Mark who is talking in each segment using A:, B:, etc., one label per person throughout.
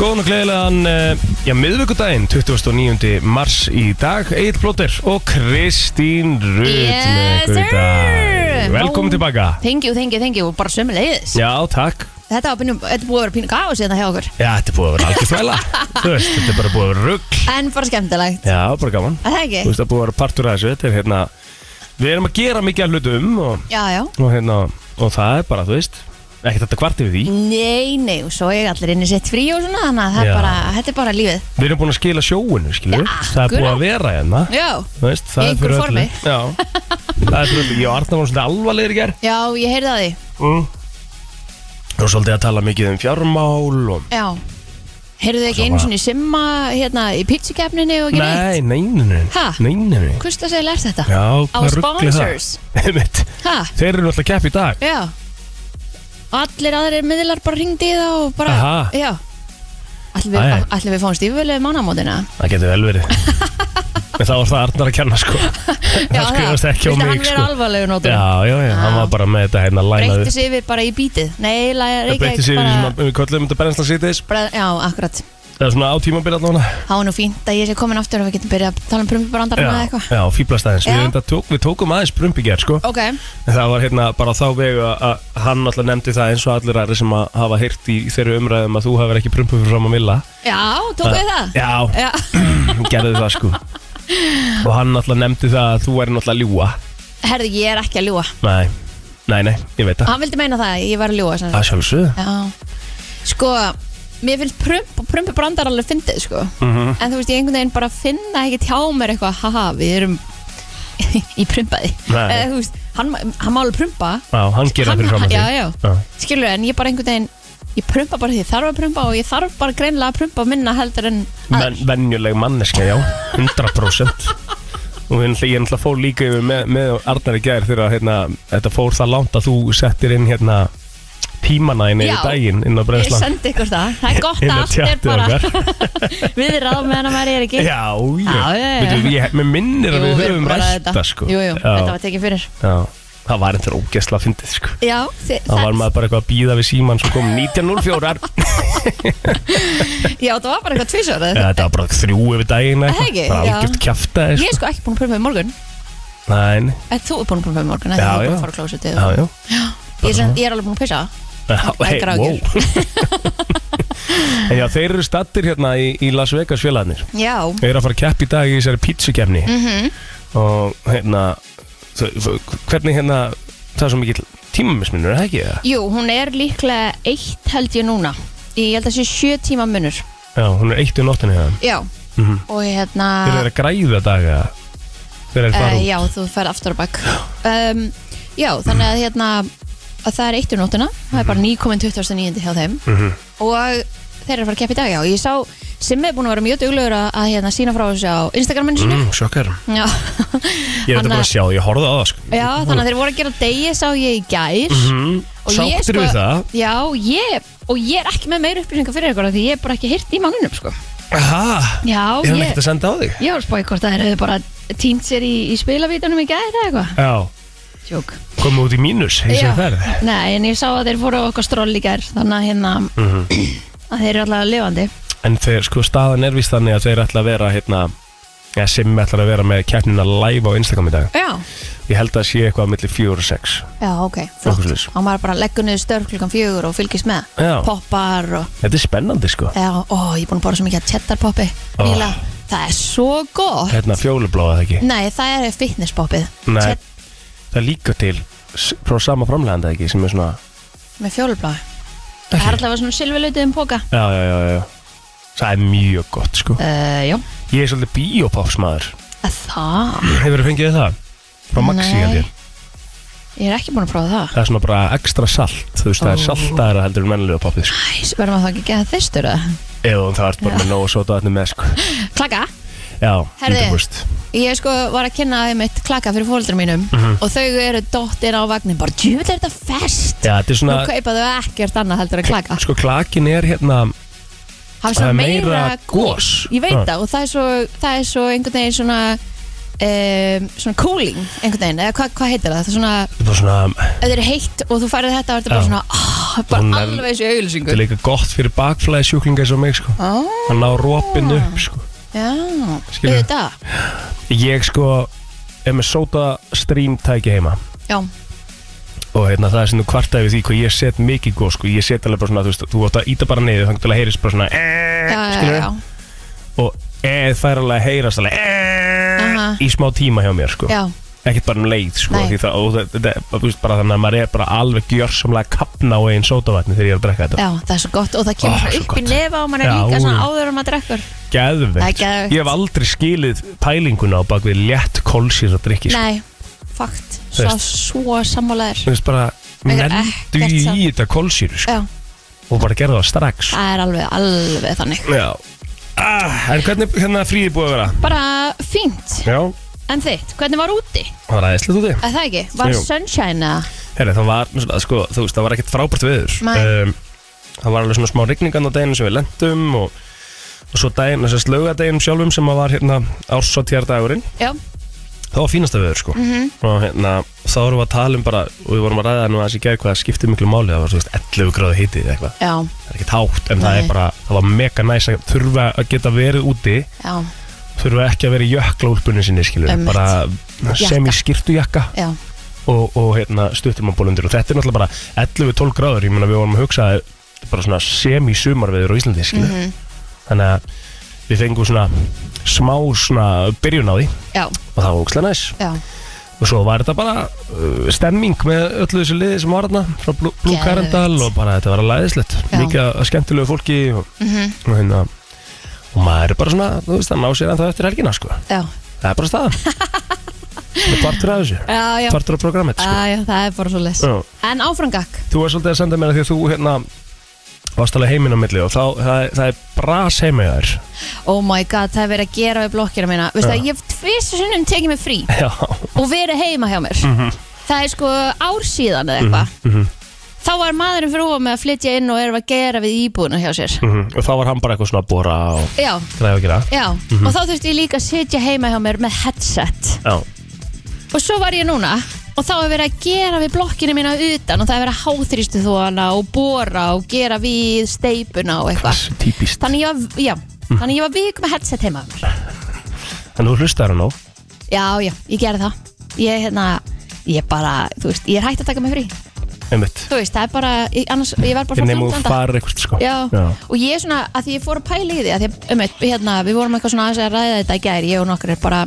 A: Góðan og gleðilegan, eh, já, miðvíkudaginn, 29. mars í dag, Egil Blóttir og Kristín Rutt
B: Yes,
A: með ykkur í dag.
B: sir.
A: Velkomin
B: Vá.
A: tilbaka.
B: Thank you, thank you, thank you, og bara sömu leiðis
A: Já, takk.
B: Þetta var pínu, þetta er búið að vera pínu gáð síðan hjá okkur
A: Já, þetta er búið að vera algjör þvæla. Þú veist, þetta er bara búið að vera rugg.
B: En bara skemmtilegt,
A: Já, bara gaman.
B: að það ekki?
A: Þú veist, það er búið að vera partur af þessu. Þetta er hérna, við erum að gera mikið af hlutum og,
B: Já, já
A: og hérna, og það er bara, þú veist, ekkert þetta kvarti við því.
B: Nei, nei, og svo er allir inn í sitt frí og svona Þannig að það
A: Já.
B: er bara, þetta er bara lífið
A: Við erum búin að skila sjóinu, skilur.
B: Já,
A: það er búið
B: akkurát.
A: að vera hérna.
B: Já,
A: Þú veist, það
B: Í
A: er fyrir
B: einhverju
A: öllu
B: formi.
A: Já, það er fyrir öllu Ég og Arnar var svona alvarlegir í ger
B: já, ég heyrði að því
A: mm. Og svolítið að tala mikið um fjármál og...
B: Já Heyrðu þið ekki einu
A: bara-
B: sinni simma hérna í pizzakefninni og ekki neitt?
A: Nei, nei, nei, nei,
B: Ha?
A: nei, nei, nei.
B: Hvist að segja lert þetta?
A: Já,
B: Á
A: hvað ruggli það
B: sponsors
A: Einmitt.
B: Ha,
A: Þeir eru alltaf kepp í dag
B: já Allir aðrir miðlar bara ringdi í það og bara
A: Aha.
B: Já Allir
A: Æ.
B: við, allir við fáum stífuvelið mánamótina
A: Það getur vel verið En þá var það Arnar að kenna sko Það skrifast ekki á
B: Vildi
A: mig
B: hann vera
A: sko
B: alvarlegur nótum?
A: Já, já, já, hann
B: Já.
A: var bara með þetta hérna lænaðu
B: Breytti sig yfir bara í bítið Nei, lægar
A: Það
B: ekki
A: breytti sig í því sem að- við kollum þetta berensla síðdeis
B: bara, Já, akkurat
A: Það er svona á tímabil allavega
B: Það var nú fínt að ég sé komin aftur og við getum byrjað að tala um prumpibrandar eða
A: Já,
B: eitthvað
A: já fýblast aðeins
B: Já.
A: Við, enda tók, við tókum aðeins prumpiger sko
B: Ok,
A: En það var hérna bara á þá vegu að- að hann alltaf nefndi það eins og allir aðri sem að hafa heyrt í þeirri umræðum að þú hafur ekki prumpu fyrir fram að milla.
B: já, tók við það
A: Já,
B: Já,
A: gerðu það sko. Og hann alltaf nefndi það að þú væri náttúrulega að ljúa.
B: herðu, ég er ekki að ljúa
A: Nei, nei, nei, ég veit það.
B: Hann vildi meina það, ég var að ljúa sem sagt.
A: Það sjálfsögðu.
B: Já, sko Mér finnst prump, prumpibrandar alveg fyndið, sko
A: Mhm.
B: En þú veist, ég einhvern veginn bara finna ekki tjá mér eitthvað Haha, við erum í prumpaði
A: Nei.
B: Eða, Þú veist, hann, hann má alveg prumpa
A: Já, hann gerir það
B: Hann-
A: fyrir fram að
B: já,
A: því.
B: já. skilur en ég bara einhvern veginn ég prumpa bara því ég þarf að prumpa og ég þarf bara greinlega að prumpa minna heldur en
A: Men, venjuleg manneska, já, 100%. Og hérna, ég náttúrulega fór líka yfir með, með Arnar í gær þegar hérna, þetta fór það langt að þú settir inn hérna tímana inn í
B: Já.
A: daginn inn á
B: ég
A: brennslan.
B: sendi ykkur það það er gott að
A: Inn á
B: allt er
A: tjaldið
B: bara
A: okkar.
B: við ráðum meðan að maður er ekki
A: Já,
B: Já, já,
A: já
B: já.
A: Veitum, ég, Mér minnir að
B: Jú,
A: við
B: við
A: höfum
B: erum bara
A: rætt
B: þetta.
A: það sko
B: jú, jú, þetta
A: já,
B: var tekið fyrir
A: já, Það var eitthvað ógeðsla að fyndið sko
B: já, þi,
A: Það var maður bara eitthvað að býða við síman svo kom 1904
B: já, það var bara eitthvað tvísar
A: Eða Þetta var bara þrjú yfir daginn
B: Það ekki,
A: Það
B: já.
A: algjört kjafta
B: ég er sko ekki búin að prumpa í morgun
A: Næn,
B: en þú er búin að prumpa í morgun
A: Já,
B: eða ég er
A: já.
B: búin að fara að klósa
A: já, já
B: ég, er sem- ég er alveg búin að pissa
A: Já, hey,
B: Engar
A: wow.
B: áhyggjur.
A: En já, þeir eru stattir hérna í, í Las Vegas félagarnir
B: já,
A: Þeir eru að fara að keppa í dag í þessari pítsukefni
B: mhm,
A: Og hérna þau- þau- Hvernig hérna Það er svo mikill tímamisminur, er það ekki? eða?
B: jú, hún er líklega eitt held ég núna ég held að sé sjö tíma munur
A: Já, hún er eitt um nóttinni hérna
B: já,
A: mm
B: og hérna
A: Þeir eru að græða daga Þeir eru fara
B: Uh,
A: út
B: já, þú ferð aftur á bakk um, Já, þannig að hérna að það er eittu nóttina, það er bara 9.29 hjá þeim
A: Mhm.
B: og þeir eru að fara að keppa í dag, já, ég sá Simmi er búin að vera mjög duglegur að, að hérna sína frá þessu á Instagraminu sinu
A: mm, Sjokkar
B: Já,
A: Ég er þetta
B: Þannig
A: búin
B: að-
A: að sjá, ég horfði á það sko.
B: já þannig að þeir voru að gera degi sá ég í gær
A: mm,
B: Mhm. Og ég
A: Sáttir
B: sko-
A: við það
B: Já, ég, og ég er ekki með meira upplýsingar fyrir ykkur af því ég er bara ekki hirt í manninum, sko
A: Aha,
B: Já,
A: Er hann
B: ég,
A: ekkert að senda á þig?
B: ég var spáði hvort að þeir hefðu bara týnt sér í, í spilavítunum í gær eða eitthvað
A: Já,
B: Sjók
A: komum út í mínus Ég
B: Já.
A: segi ferð
B: Nei, en ég sá að þeir fóru á okkar stról í gær Þannig að hérna að þeir eru alltaf lifandi
A: Mhm. En þeir, sko, staðan er vist þannig að þeir ætla að vera hérna Já, sem ætlar að vera með keppnina live á Instagram í dag
B: Já,
A: Ég held að sé eitthvað á milli 4 og 6
B: já, ok,
A: Nokkuð
B: flott
A: svoleiðis.
B: Og maður bara leggur niður störf klukkan fjögur og fylgist með
A: Já.
B: Poppar og,
A: Þetta er spennandi sko
B: já, ó, ég er búin að bóra svo mikið að cheddar poppi
A: Ó.
B: Nýla, það er svo gott
A: Hérna fjólubláða það ekki
B: Nei, það er fitness poppið
A: Nei.
B: Chedd-
A: Það er líka til s- frá sama framleganda ekki sem er svona
B: Með fjólubláði Það er alltaf svona silfurlautið um póka
A: Já, já, já, já Það er mjög gott sko
B: uh, Já,
A: Ég er svolítið bíópápsmaður
B: það
A: Hefur þið fengið það? Frá Maxi
B: Nei.
A: held ég
B: Ég er ekki búin að prófa það
A: Það er svona bara ekstra salt Þú veist það er
B: Ó.
A: saltara heldur en mennlega poppið sko.
B: Æs, verðum að það ekki geða þystur
A: Eða það ert bara með nóg og sota þetta með sko.
B: Klaka
A: Já,
B: Herði.
A: 100%
B: Ég sko var að kynna þeim eitt klaka fyrir fólkdur mínum
A: Mhm.
B: og þau eru dottir á vagnin bara, djúvel er þetta fest
A: Já, þetta er
B: Nú
A: svona
B: kaupa þau ekkert annað heldur að klaka
A: Sko klakin er hérna
B: Hafa
A: það
B: svona
A: er
B: meira
A: meira
B: gos
A: gos. Ah.
B: Ég veit
A: Já.
B: það og það er svo, það er svo einhvern veginn svona um, svona cooling einhvern veginn, eða hvað hva heitir það? Það er svona,
A: Þetta er bara svona,
B: ef þið er heitt og þú færið þetta er þetta bara
A: Já.
B: svona, oh, bara
A: Hún er-
B: alveg eins og
A: þetta er
B: auðlýsingu
A: líka gott fyrir bakflæði sjúklinga eins og mig sko
B: Ó,
A: að ná rópinu upp sko
B: já,
A: Skilur.
B: auðvitað
A: ég sko er með sóta stream tæki heima
B: Já,
A: og hérna það er sem þú kvartaði við því hvað ég set mikið góð sko ég set alveg bara svona þú veist þú átt að íta bara niður þannig til að heyrist bara svona
B: já,
A: eeeeh
B: já, já, já,
A: og eð fær alveg að heyrast alveg eeeeh
B: Aha.
A: í smá tíma hjá mér sko
B: já,
A: ekkert bara um leið sko
B: Nei.
A: því það, og það, það, það, það, bara þannig að maður er bara alveg gjörsamlega að kapna á einn sótavatni þegar ég er að drekka þetta
B: já, það er svo gott og það
A: Ó,
B: kemur
A: svo
B: svona upp í
A: gott.
B: nefa og mann er
A: Já,
B: líka svona
A: ú.
B: áður um að drekkur Það er
A: geðveikt
B: geðveikt.
A: ég hef aldrei skilið pælinguna á bak við létt kólsýra drikki sko.
B: Nei, fakt,
A: Þú
B: svo,
A: veist.
B: svo sammálaður
A: Mér finnst bara
B: Mér er
A: nenndu
B: ekkert
A: í
B: saman.
A: þetta kólsýru sko,
B: Já,
A: og bara gerða það strax
B: það er alveg, alveg þannig
A: já ah, en hvernig hérna fríði búið að vera
B: Bara fínt,
A: já
B: en þitt, hvernig var úti?
A: það var aðeinslega þú þig
B: Er það ekki? Var
A: Jú.
B: sunshine eða?
A: Herri, það var svona, sko, þú veist það var ekkert frábært viður
B: Nei.
A: það var alveg svona smá rigningan á daginn sem við lendum og, og svo daginn þess að laugadeginum sjálfum sem að var hérna ársotjardagurinn
B: Já,
A: það var fínasta viður sko
B: Mhm.
A: og hérna þá vorum við að tala um bara og við vorum að ræða nú aðeins í gær hvað það skipti miklu máli það var svona 11 gráðu hiti eða eitthvað
B: já,
A: það er ekkert hátt en það
B: Nei.
A: er bara það var mega næs að þurfa að geta verið úti
B: já,
A: þurfa ekki að vera í jökla úlpunni sinni skilur
B: Einmitt.
A: bara
B: Jakka.
A: sem í skirtu jakka
B: já
A: og, og hérna, stuttum á bólundir og þetta er náttúrulega bara 11-12 gráður ég meina við vorum að hugsa að þetta er bara svona semi sumarveður á Íslandi skilur
B: Mhm.
A: þannig að við fengum svona smá svona byrjun á því
B: Já,
A: og það var ógstlega næs
B: já,
A: og svo var þetta bara uh, stemming með öllu þessu liði sem var þarna frá Blue, Blue
B: Geðveikt.
A: Carindal og bara þetta var að læðislegt
B: Já. Mhm.
A: mikið að skemmtilegu fólki og, og hérna og maður er bara svona, þú veist, það ná sér ennþá eftir helgina sko,
B: já
A: það er bara staðan það er partur af þessu
B: Já, já,
A: partur af programmet sko
B: já, já, það er bara svo les
A: Já.
B: En áframgakk
A: Þú er svolítið að senda mér að því að þú hérna varst alveg heiminn á milli og þá, það, er- það er bras heima hjá þér
B: Oh my god, það er verið að gera við blokkina mína Veistu
A: Já.
B: það, ég hef tvisu sinnum tekið mig frí
A: Já,
B: Og verið heima hjá mér
A: Mhm.
B: Það er sko ár síðan eða eitthvað Þá var maðurinn fyrir ofan með að flytja inn og erum að gera við íbúðuna hjá sér
A: mm og þá var hann bara eitthvað svona að bóra og
B: Já,
A: græða og gera
B: já Og þá þurfti ég líka að sitja heima hjá mér með headset
A: Já,
B: Og svo var ég núna og þá hefur verið að gera við blokkinu mína utan og það hefur verið að háþrýstu þóana og bóra og gera við steipuna og eitthvað.
A: þessi típist
B: Þannig ég var, já, þannig ég var vik með headset heima. hjá mér.
A: En þú hlustar hann á
B: Já, já, ég gerði það. Ég, hérna, ég bara, þú veist, ég er hægt að taka mig frí.
A: einmitt
B: Þú veist, það er bara, ég, annars, ég var bara
A: Ég
B: svo
A: nefnum þú
B: framblanda.
A: Hérna farir eitthvað sko
B: Já. og ég er svona, að því ég fór að pæla í því að því, að, um, hérna, við vorum eitthvað svona aðeins að ræða þetta í gær, ég og nokkur er bara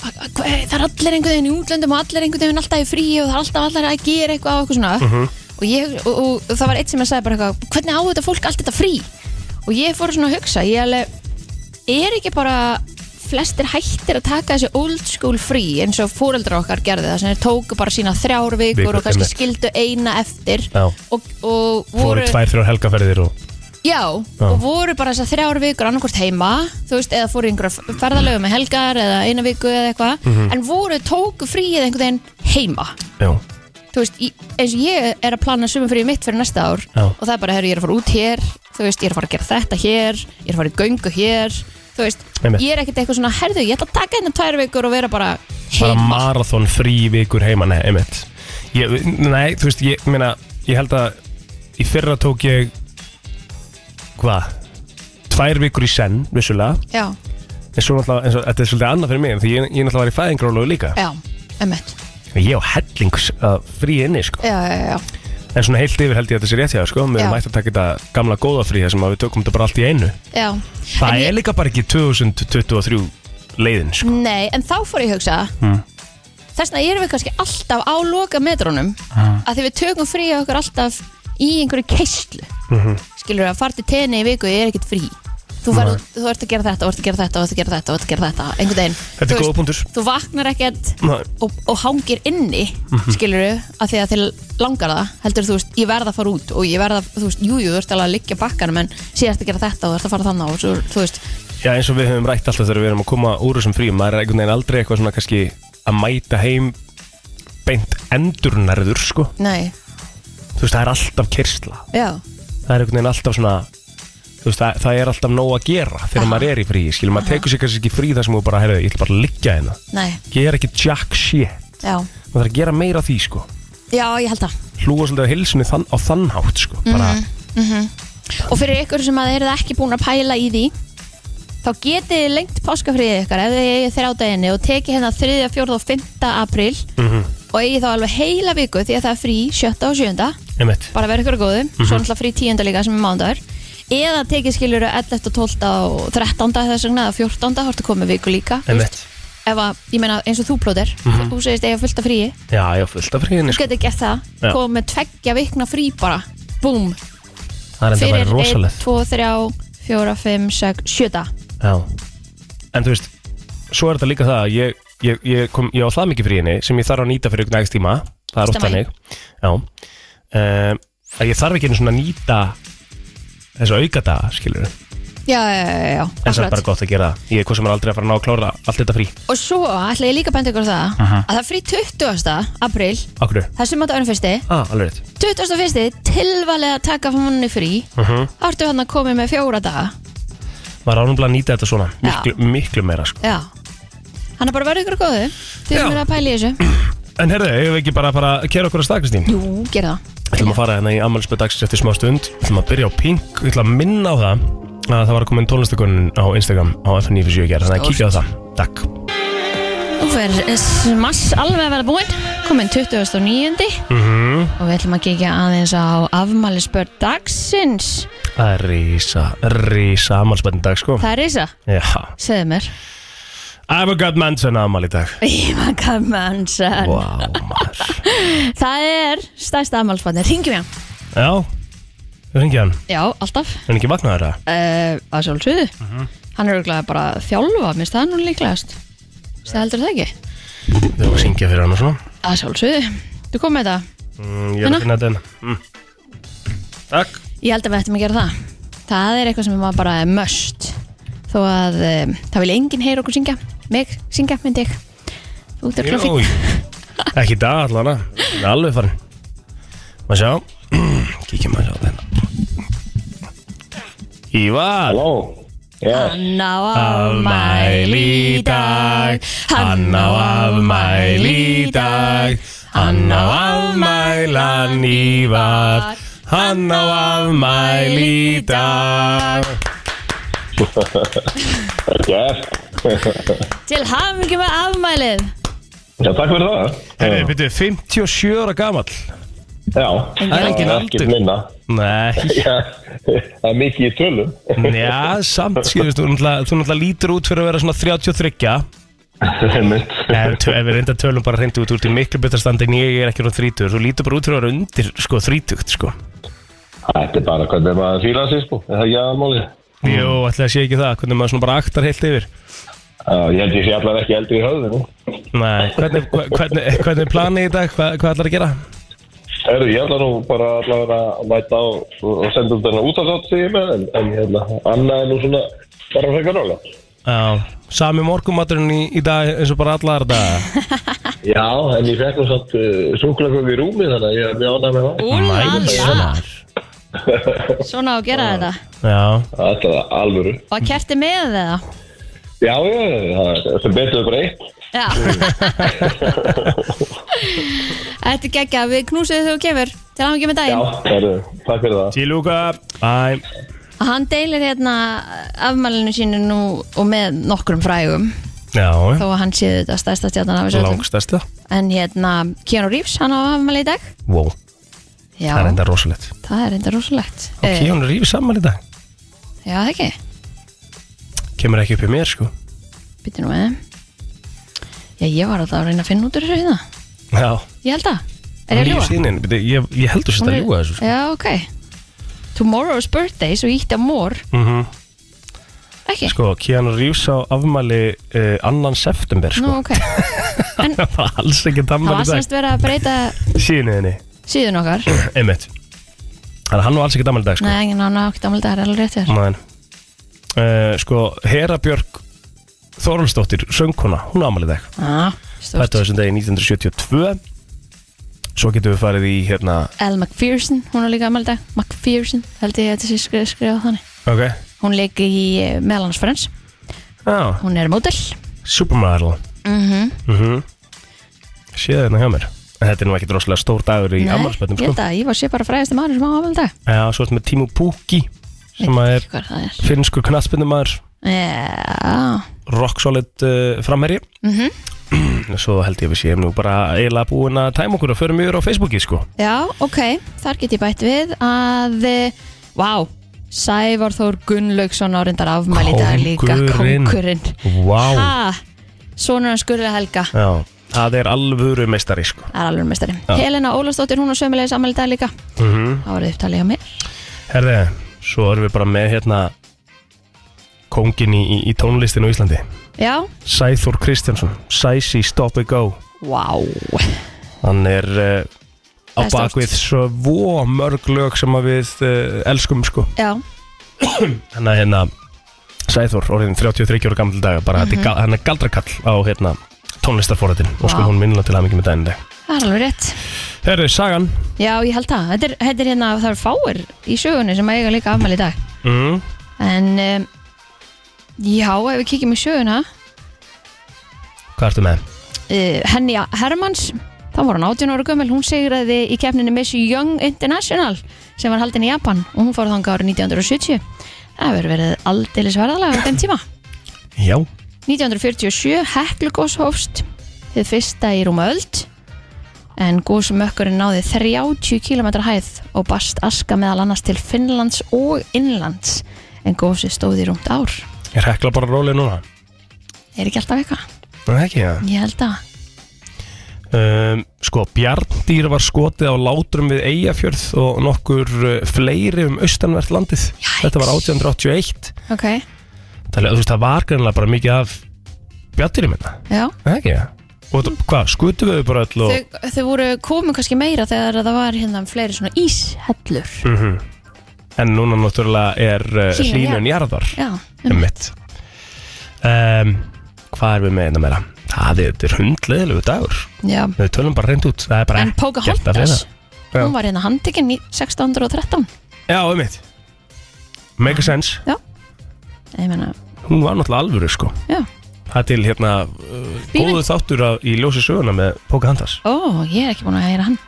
B: hva- það er allir einhvern veginn í útlöndum og allir einhvern veginn alltaf í frí og það er alltaf allir að gera eitthvað og eitthvað svona
A: Mhm.
B: og, ég, og, og, það var eitt sem að segja bara eitthvað hvernig á þetta fólk allt þetta frí og ég fór svona að hugsa, ég alveg er ekki bara flestir hættir að taka þessi old school frí eins og fóreldrar okkar gerði það sem þeir tóku bara sína þrjár vikur,
A: Vikur,
B: og kannski
A: einmitt.
B: skildu eina eftir
A: Já.
B: og, og
A: Fóru
B: voru
A: tvær, þrjár helgaferðir og
B: Já,
A: Já.
B: og voru bara þessar þrjár vikur annarkvort heima, þú veist, eða fóru í einhverja ferðalögu með helgar eða eina viku eða eitthvað,
A: Mhm.
B: en voru tóku fríið einhvern veginn heima.
A: Já,
B: Þú veist, í- eins og ég er að plana sumum fríið mitt fyrir næsta ár
A: Já.
B: og það er bara, herru, ég er að fara út hér, þú veist, ég er að fara að gera þetta hér, ég er að fara í göngu hér, þú veist,
A: Einmitt.
B: ég er ekkert eitthvað svona, herðu, ég ætla að taka hérna tvær vikur og vera bara
A: bara
B: heima.
A: marathon frí vikur heima Nei, einmitt ég, Nei, þú veist, ég meina Ég held að í fyrra tók ég Hvað? Tvær vikur í senn, vissulega
B: Já,
A: En svo náttúrulega, eins og, þetta er svolítið annað fyrir mig Því ég, ég náttúrulega var í fæðingrólu líka
B: já, emmitt,
A: Ég á helling að frí inni sko.
B: já, já, já,
A: En svona heilt yfir held ég að þetta sé rétt hjá þér, sko. Við erum
B: Já.
A: ætti að taka þetta gamla góða frí þar sem að við tökum þetta bara allt í einu
B: já. En
A: Það
B: ég-
A: er líka bara ekki 2023 leiðin sko.
B: Nei, en þá fór ég að hugsa
A: Mm.
B: Þess vegna erum við kannski alltaf á loka metrónum að því við tökum frí okkur alltaf í einhverju keislu
A: Mhm.
B: skilur að fara til tenni í viku er ekkert frí þú, far, þú ert að gera þetta, þú ert að gera þetta, þú ert að gera þetta, þú ert að gera þetta einhvern veginn
A: Þetta
B: Þú
A: er
B: veist,
A: góða punktur
B: þú vaknar ekkert
A: Nei.
B: og, og hangir inni
A: Mhm.
B: skilur að því að þið langar það heldur þú veist, ég verð að fara út og ég verð að, þú veist, jújú, jú, þú ert alveg að liggja á bakkanum en síðast að gera þetta og þú ert að fara þannig og svo, þú veist,
A: Já, eins og við höfum rætt alltaf þegar við erum að koma úr þessum fríum maður er einhvern veginn aldrei eitthvað svona kannski að mæta heim beint endurnærður sko.
B: nei,
A: Þú veist, það er alltaf kyrsla
B: já
A: Það er einhvern veginn alltaf svona þú veist, það, það er alltaf nóg að gera þegar
B: Aha.
A: maður er í fríi, skilur, maður tekur sér kannski ekki frí þar sem þú bara, heyrðu, ég ætla bara að liggja hérna
B: Nei,
A: gera ekki jack shit
B: já
A: maður þarf að gera meira af því, sko
B: Já, ég held það
A: hlúa svolítið að hilsinu þann, á þann hátt, sko bara,
B: Mhm. Og fyrir ykkur sem að eru ekki búin að pæla í því þá getið þið lengt páskafriðið ykkar ef þið eigið þrjá daginni og tekið hérna 3., 4. og 5. apríl
A: Mhm.
B: og eigið þá alveg heila viku því að það er frí 7. og 7.
A: einmitt
B: bara verið ykkur að góðu,
A: Mhm.
B: svo náttúrulega frí 10. líka sem er mándagur eða tekið skilur 11. og 12. og 13. þess vegna eða 14. þá ertu komið viku líka þú
A: einmitt,
B: veist, ef að, ég meina eins og þú plóðir þú segist eiga fullt af fríi,
A: já, já, fullt af fríðinni,
B: þú
A: Mhm. sko
B: getur gert það
A: Já.
B: komið með tveggja vikna frí bara búm,
A: það er enda bara
B: fyrir 1,
A: rosalegt
B: 2, 3, 4, 5, 6, 7
A: já, en þú veist svo er þetta líka það að ég, ég, ég, kom, ég á það mikið fríðinni sem ég þarf að nýta fyrir ykkur nægst tíma, það er oft
B: Stemma í.
A: þannig já, um, að ég þarf ekki einu svona að nýta þessu aukadaga, skilur
B: já, já, já, já,
A: en það er bara
B: akkurat
A: gott að gera það ég er hvað sem er aldrei að fara að ná að klára allt þetta frí
B: og svo ætla ég líka að benda ykkur á það að það er frí 20. apríl
A: Akkur,
B: það er sumandagurinn fyrsti
A: ah, alveg rétt
B: 21. tilvalið að taka fannu frí
A: uh -huh.
B: Þá ertu hann að koma með fjóra daga
A: maður ánum að nýta þetta svona miklu, miklu meira sko.
B: Já Hann er bara verið ykkur góðu Þið
A: Já.
B: sem eru að pæla í þessu
A: en herðu, eigum við ekki bara að fara að kera okkur að stað Kristín
B: Jú, gera það
A: ætlum að fara hérna í ammælspöð dagsins eftir smá stund ætlum að byrja á Pink, ætlum að minna á það að það var að koma inn tónlistakonin á Instagram á FN957 gerð, þannig að kíkja á það takk,
B: Nú fer smass alveg að vera búinn Komin 29. Og við ætlum að kíkja aðeins á afmæli spörd dagsins
A: það er rísa rísa ammælspöðin dag sko
B: Það er Ísa,
A: já,
B: segðu mér
A: I've got Manson ammæl í dag
B: Íma Kamansan
A: wow, maður
B: Það er stærsta afmælsbarni Ringjum ég hann
A: já, við hengið hann,
B: Já, alltaf
A: er hann ekki vaknaður það?
B: uh, Að sjálfsögðu Hann er örugglega bara að þjálfa Mér staðan hún líklegast Það heldur það ekki
A: við erum að syngja fyrir hann og svona
B: Að sjálfsögðu Þú kom með þetta
A: mm, ég er
B: Hérna?
A: að finna þetta hérna. mm. takk
B: Ég held að við ættum að gera það Það er eitthvað sem maður bara er möst Þó að um, það vil enginn heyra okkur syngja Mig syngja, myndi ég Þú ert örugglega fínn.
A: Jú, Ekki í dag allan að Alveg farin Má sjá Kíkjum að sjá þetta Ívar
C: Halló, já,
B: Hann á afmæli í dag Hann á afmæli í dag
A: Hann á afmælan Ívar Hann á afmæli í dag
C: það er gert.
B: Til hafingi með afmælið
C: Já, takk fyrir það.
A: Herri, byrju, 57 ára gamall
C: Já,
A: Það er engin
C: ekkert
A: aldur
C: minna.
A: Nei,
C: Já, það er mikið í tölum.
A: njá, samt skilur Þú náttúrulega þú náttúrulega lítur út fyrir að vera svona 33
C: Einmitt.
A: Nei, tö- ef við reynda tölum bara reyndu út úr til miklu betra standi en ég er ekki ráð þrítugur Þú lítur bara út fyrir að vera undir sko þrítugt sko
C: Þetta er bara hvernig maður fýla sér sko, er það ekki aðalmálið?
A: Jú, ætli að sé ekki það, hvernig maður svona bara aktar heilt yfir
C: Já, ég held ég sé allar ekki eldri í höfðinu.
A: Nei, hvernig, hva- hvernig, eh, hvernig er planið í dag, hvað, hvað ætlar að gera?
C: Herru, ég ætla nú bara allar að mæta á og senda út þennan út að þátt sig með, en, en ég ætla, annað er nú svona bara frekar nála.
A: Já, sami morgumaturinn í, í dag eins og bara allar þetta
C: Já, en ég fekk nú samt uh, súkulagögg í rúmi þannig að ég er mjög ánæg með það.
B: Úlala Svona á að gera þetta
A: Já,
C: Það er alvöru.
B: Og að kerti með þeða
C: Já, já, það er sem betur bara eitt.
B: Já Þetta er geggja Við knúsum þig þegar þú kemur Til hafingi með
C: Já,
B: daginn
C: herru, takk fyrir það.
A: sílúka Bæ,
B: að hann deilir hérna afmælinu sínu nú og með nokkrum frægum
A: já,
B: þó að hann séu þetta stærsta stjarnan af þessu öllum.
A: langstæsta
B: en hérna Keanu Reeves hann á afmæli í dag
A: Wow,
B: já,
A: það er enda rosalegt
B: það er enda rosalegt
A: Ok, hún er rífið saman í dag
B: Eh, já, það ekki,
A: Kemur ekki upp í mér sko
B: byttu nú með já, ég var alltaf að reyna að finna út úr þessu hérna
A: Já,
B: ég held að, er ég að ljúa?
A: Lífsýnin, bíddu, Ég, ég heldur sér þetta að ljúa þessu sko
B: já, ok Tomorrow's birthday, svo ég ítti á more
A: Mhm.
B: ekki,
A: Sko, Keanu Reeves á afmæli uh, annan september,
B: nú
A: sko.
B: ok en
A: Það var alls ekki
B: það
A: dammæli
B: var
A: dag. Sko.
B: semst verið að breyta
A: Síðinniðinni,
B: síðun okkar
A: einmitt. Þannig að hann var alls ekki dammæli dag, sko.
B: nei, en hann ákvæmt ámæli dag, það er alveg rétt hjá þér.
A: Nei. Uh, sko, Hera Björk Þorvaldsdóttir, söngkona, hún á afmæli dag.
B: Ah,
A: Þetta
B: stórt.
A: var þessum degi 1972. Svo getum við farið í, hérna,
B: Elle McPherson, hún er líka aðmælda McPherson, held ég að þetta sé skrifa, skrifa þannig
A: Ok,
B: Hún leik í eh, meðal hans Friends
A: já,
B: Hún er mótel
A: supermodel
B: mm
A: mm -hmm. Séð hérna hjá mér En þetta er nú ekkert rosalega stór dagur í ammarspöndum
B: Ég
A: sko.
B: held að ég var sé bara fræðasti maður sem á afmæli í dag
A: Já, svo ertu með Timo Pukki sem að er
B: Hvað það er
A: finnskur knatspöndumæður
B: Já
A: rock solid uh, framherji
B: Mhm.
A: Svo held ég að við séum nú bara eiginlega búin að tæma okkur og förum yfir á Facebooki sko
B: Já, ok, þar get ég bætt við að, eh, vá, Sævar Þór Gunnlaugsson árindar afmæli í dag líka,
A: Kóngurinn.
B: kókurinn.
A: Vá
B: Ha, sonur hans Gurri Helga,
A: Já, það er alvöru meistari sko
B: það er alveg mestari.
A: Já.
B: Helena Ólastóttir, hún á sömulegis afmæli í dag líka,
A: mm
B: þá er upptalið á mér.
A: Herði, svo erum við bara með hérna kóngin í, í- í tónlistinu á Íslandi
B: Já,
A: Sæþór Kristjánsson, Sæsi Stop and Go
B: vá,
A: Hann er uh, á
B: Það er stórt.
A: bakvið svo mörg lög sem að við uh, elskum sko
B: já,
A: Hann er hérna Sæþór, orðin 33 ára gammal daga bara mm -hmm. hann er galdrakall á hérna tónlistarforðin og sko
B: Vá.
A: hún minnilega til að mikið með daginn í dag
B: það er alveg rétt.
A: Herði, Sagan
B: Já, ég held það, þetta er, þetta er hérna, það er fáir í sögunni sem eiga líka afmæli í dag.
A: mm.
B: En, um, já, ef við kíkjum í söguna,
A: Hvað ertu með?
B: uh, Henny Hermans þá var hún 18 ára gömul, hún sigraði í keppninu Miss Young International sem var haldin í Japan og hún fór þangað árið 1970 það hefur verið aldeilis verðalega á þeim tíma
A: Já
B: 1947 heklugós hófst þið fyrsta í rúma öld en gósmökkurinn náði 30 km hæð og bast aska meðal annars til Finnlands og Innlands en gósi stóði í rúmt ár
A: Ég rekla bara rólið núna
B: er ekki alltaf eitthvað?
A: Það ekki, já
B: Ég held að
A: um, Sko, Bjarndýr var skotið á látrum við Eyjafjörð og nokkur uh, fleiri um austanvert landið
B: Jæks.
A: Þetta var 1881
B: Ok,
A: Það, þú veist, það var greinlega bara mikið af bjarndýri minna
B: já
A: Það ekki, já Og þetta- hvað, skutum við þau bara öll og
B: þau, þau voru komu kannski meira þegar það var hérna fleiri svona íshellur
A: mm En núna náttúrulega er uh,
B: Hlýnun
A: hlínun jarðar
B: já, um,
A: Emmitt um, Hvað er við með þetta meira? Það er, þetta er hundleðilegu dagur
B: já.
A: Við tölum bara reynd út Það er bara
B: en
A: ekkert að
B: Pocahontas
A: fela. Já.
B: hún var hérna handtekinn í 1613
A: Já, emmitt Make a sense
B: ég meina,
A: Hún var náttúrulega alvöru sko
B: já
A: Það er til hérna uh,
B: Bílinn.
A: góðu þáttur af, í ljósi söguna með Pocahontas
B: ó, ég er ekki búin að heyra hann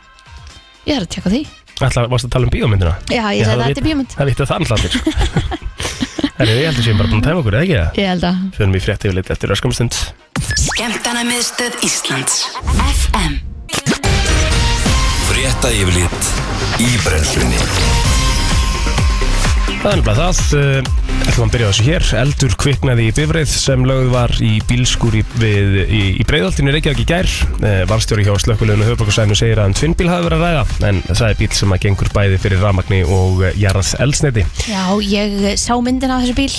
B: ég er að tjekka á því
A: Ætla, varstu að tala um bíómyndina?
B: já,
A: Ég
B: ég, ég
A: hafði
B: sagði
A: vitað.
B: þetta er bíomund
A: Það vittu það allir sko Herri, ég held að séum bara búin að tæma okkur, eða ekki það?
B: ég held að
A: Fyrir mér frétti yfirleitt eftir öskamstund
D: Skemtanamiðstöð Íslands FM
E: Frétta yfirlit í brennslunni
A: Það er nefnilega það eh, ætlum að byrja á þessu hér Eldur kviknaði í bifreið sem lögð var í bílskúr í, við, í, í breiðaltinu Reykjavík í gær Eh, Varstjóri hjá slökkulegunu höfbrukarsæðinu segir að um tvinnbíl hafi verið að ræða en það er bíl sem að gengur bæði fyrir rafmagni og eh, jarð eldsneiti
B: já, ég eh, sá myndina af þessu bíl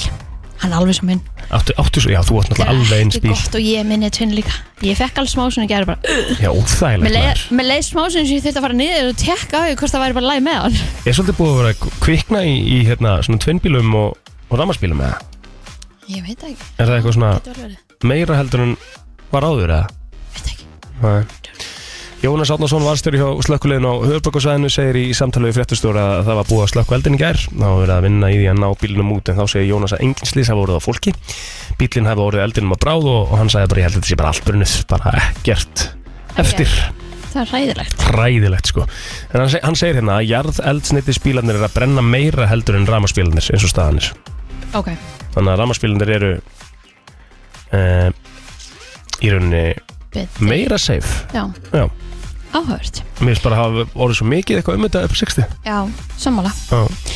B: hann er alveg svo minn
A: Áttu, áttu svo, já þú átt
B: Þetta er
A: náttúrulega alveg eins
B: ekki
A: bíl
B: gott og ég minni tvinn líka ég fekk alveg smá svona gæri bara
A: Já, óþægilegt maður
B: með leið smá svona sem ég þurfti að fara niður og tekka á því hvort það væri bara læg með hann
A: Ég er svolítið búið að vera að kvikna í, í hérna, svona tvinnbílum og, og rafmagnbílum eða?
B: ég veit það ekki,
A: Er það eitthvað svona
B: þetta var verið
A: meira heldur en var áður eða?
B: veit það ekki
A: Nei. Jónas Átnarsson varstjóri hjá slökkulegin á höfbökkusvæðinu segir í samtali við fréttustóra að það var búið að slökku eldin í gær þá var verið að vinna í því að ná bílunum út en þá segir Jónas að engin slís hafa orðið á fólki bílinn hafa orðið eldinum á bráð og, og hann sagði bara ég held að þetta sé bara allt brunnið bara ekkert eftir
B: það er ræðilegt
A: hræðilegt sko en hann, seg, hann segir hérna að jarðeldsnittisbílarnir er að brenna meira heldur en ramaspílarnir eins og staðanir
B: Ok,
A: þannig að ramaspílarnir eru uh, í rauninni
B: betri.
A: meira safe
B: Já,
A: já
B: áhört
A: Mér finnst bara að hafa orðið svo mikið eitthvað um þetta upp á 60
B: Já, sammála
A: Já.
B: uh,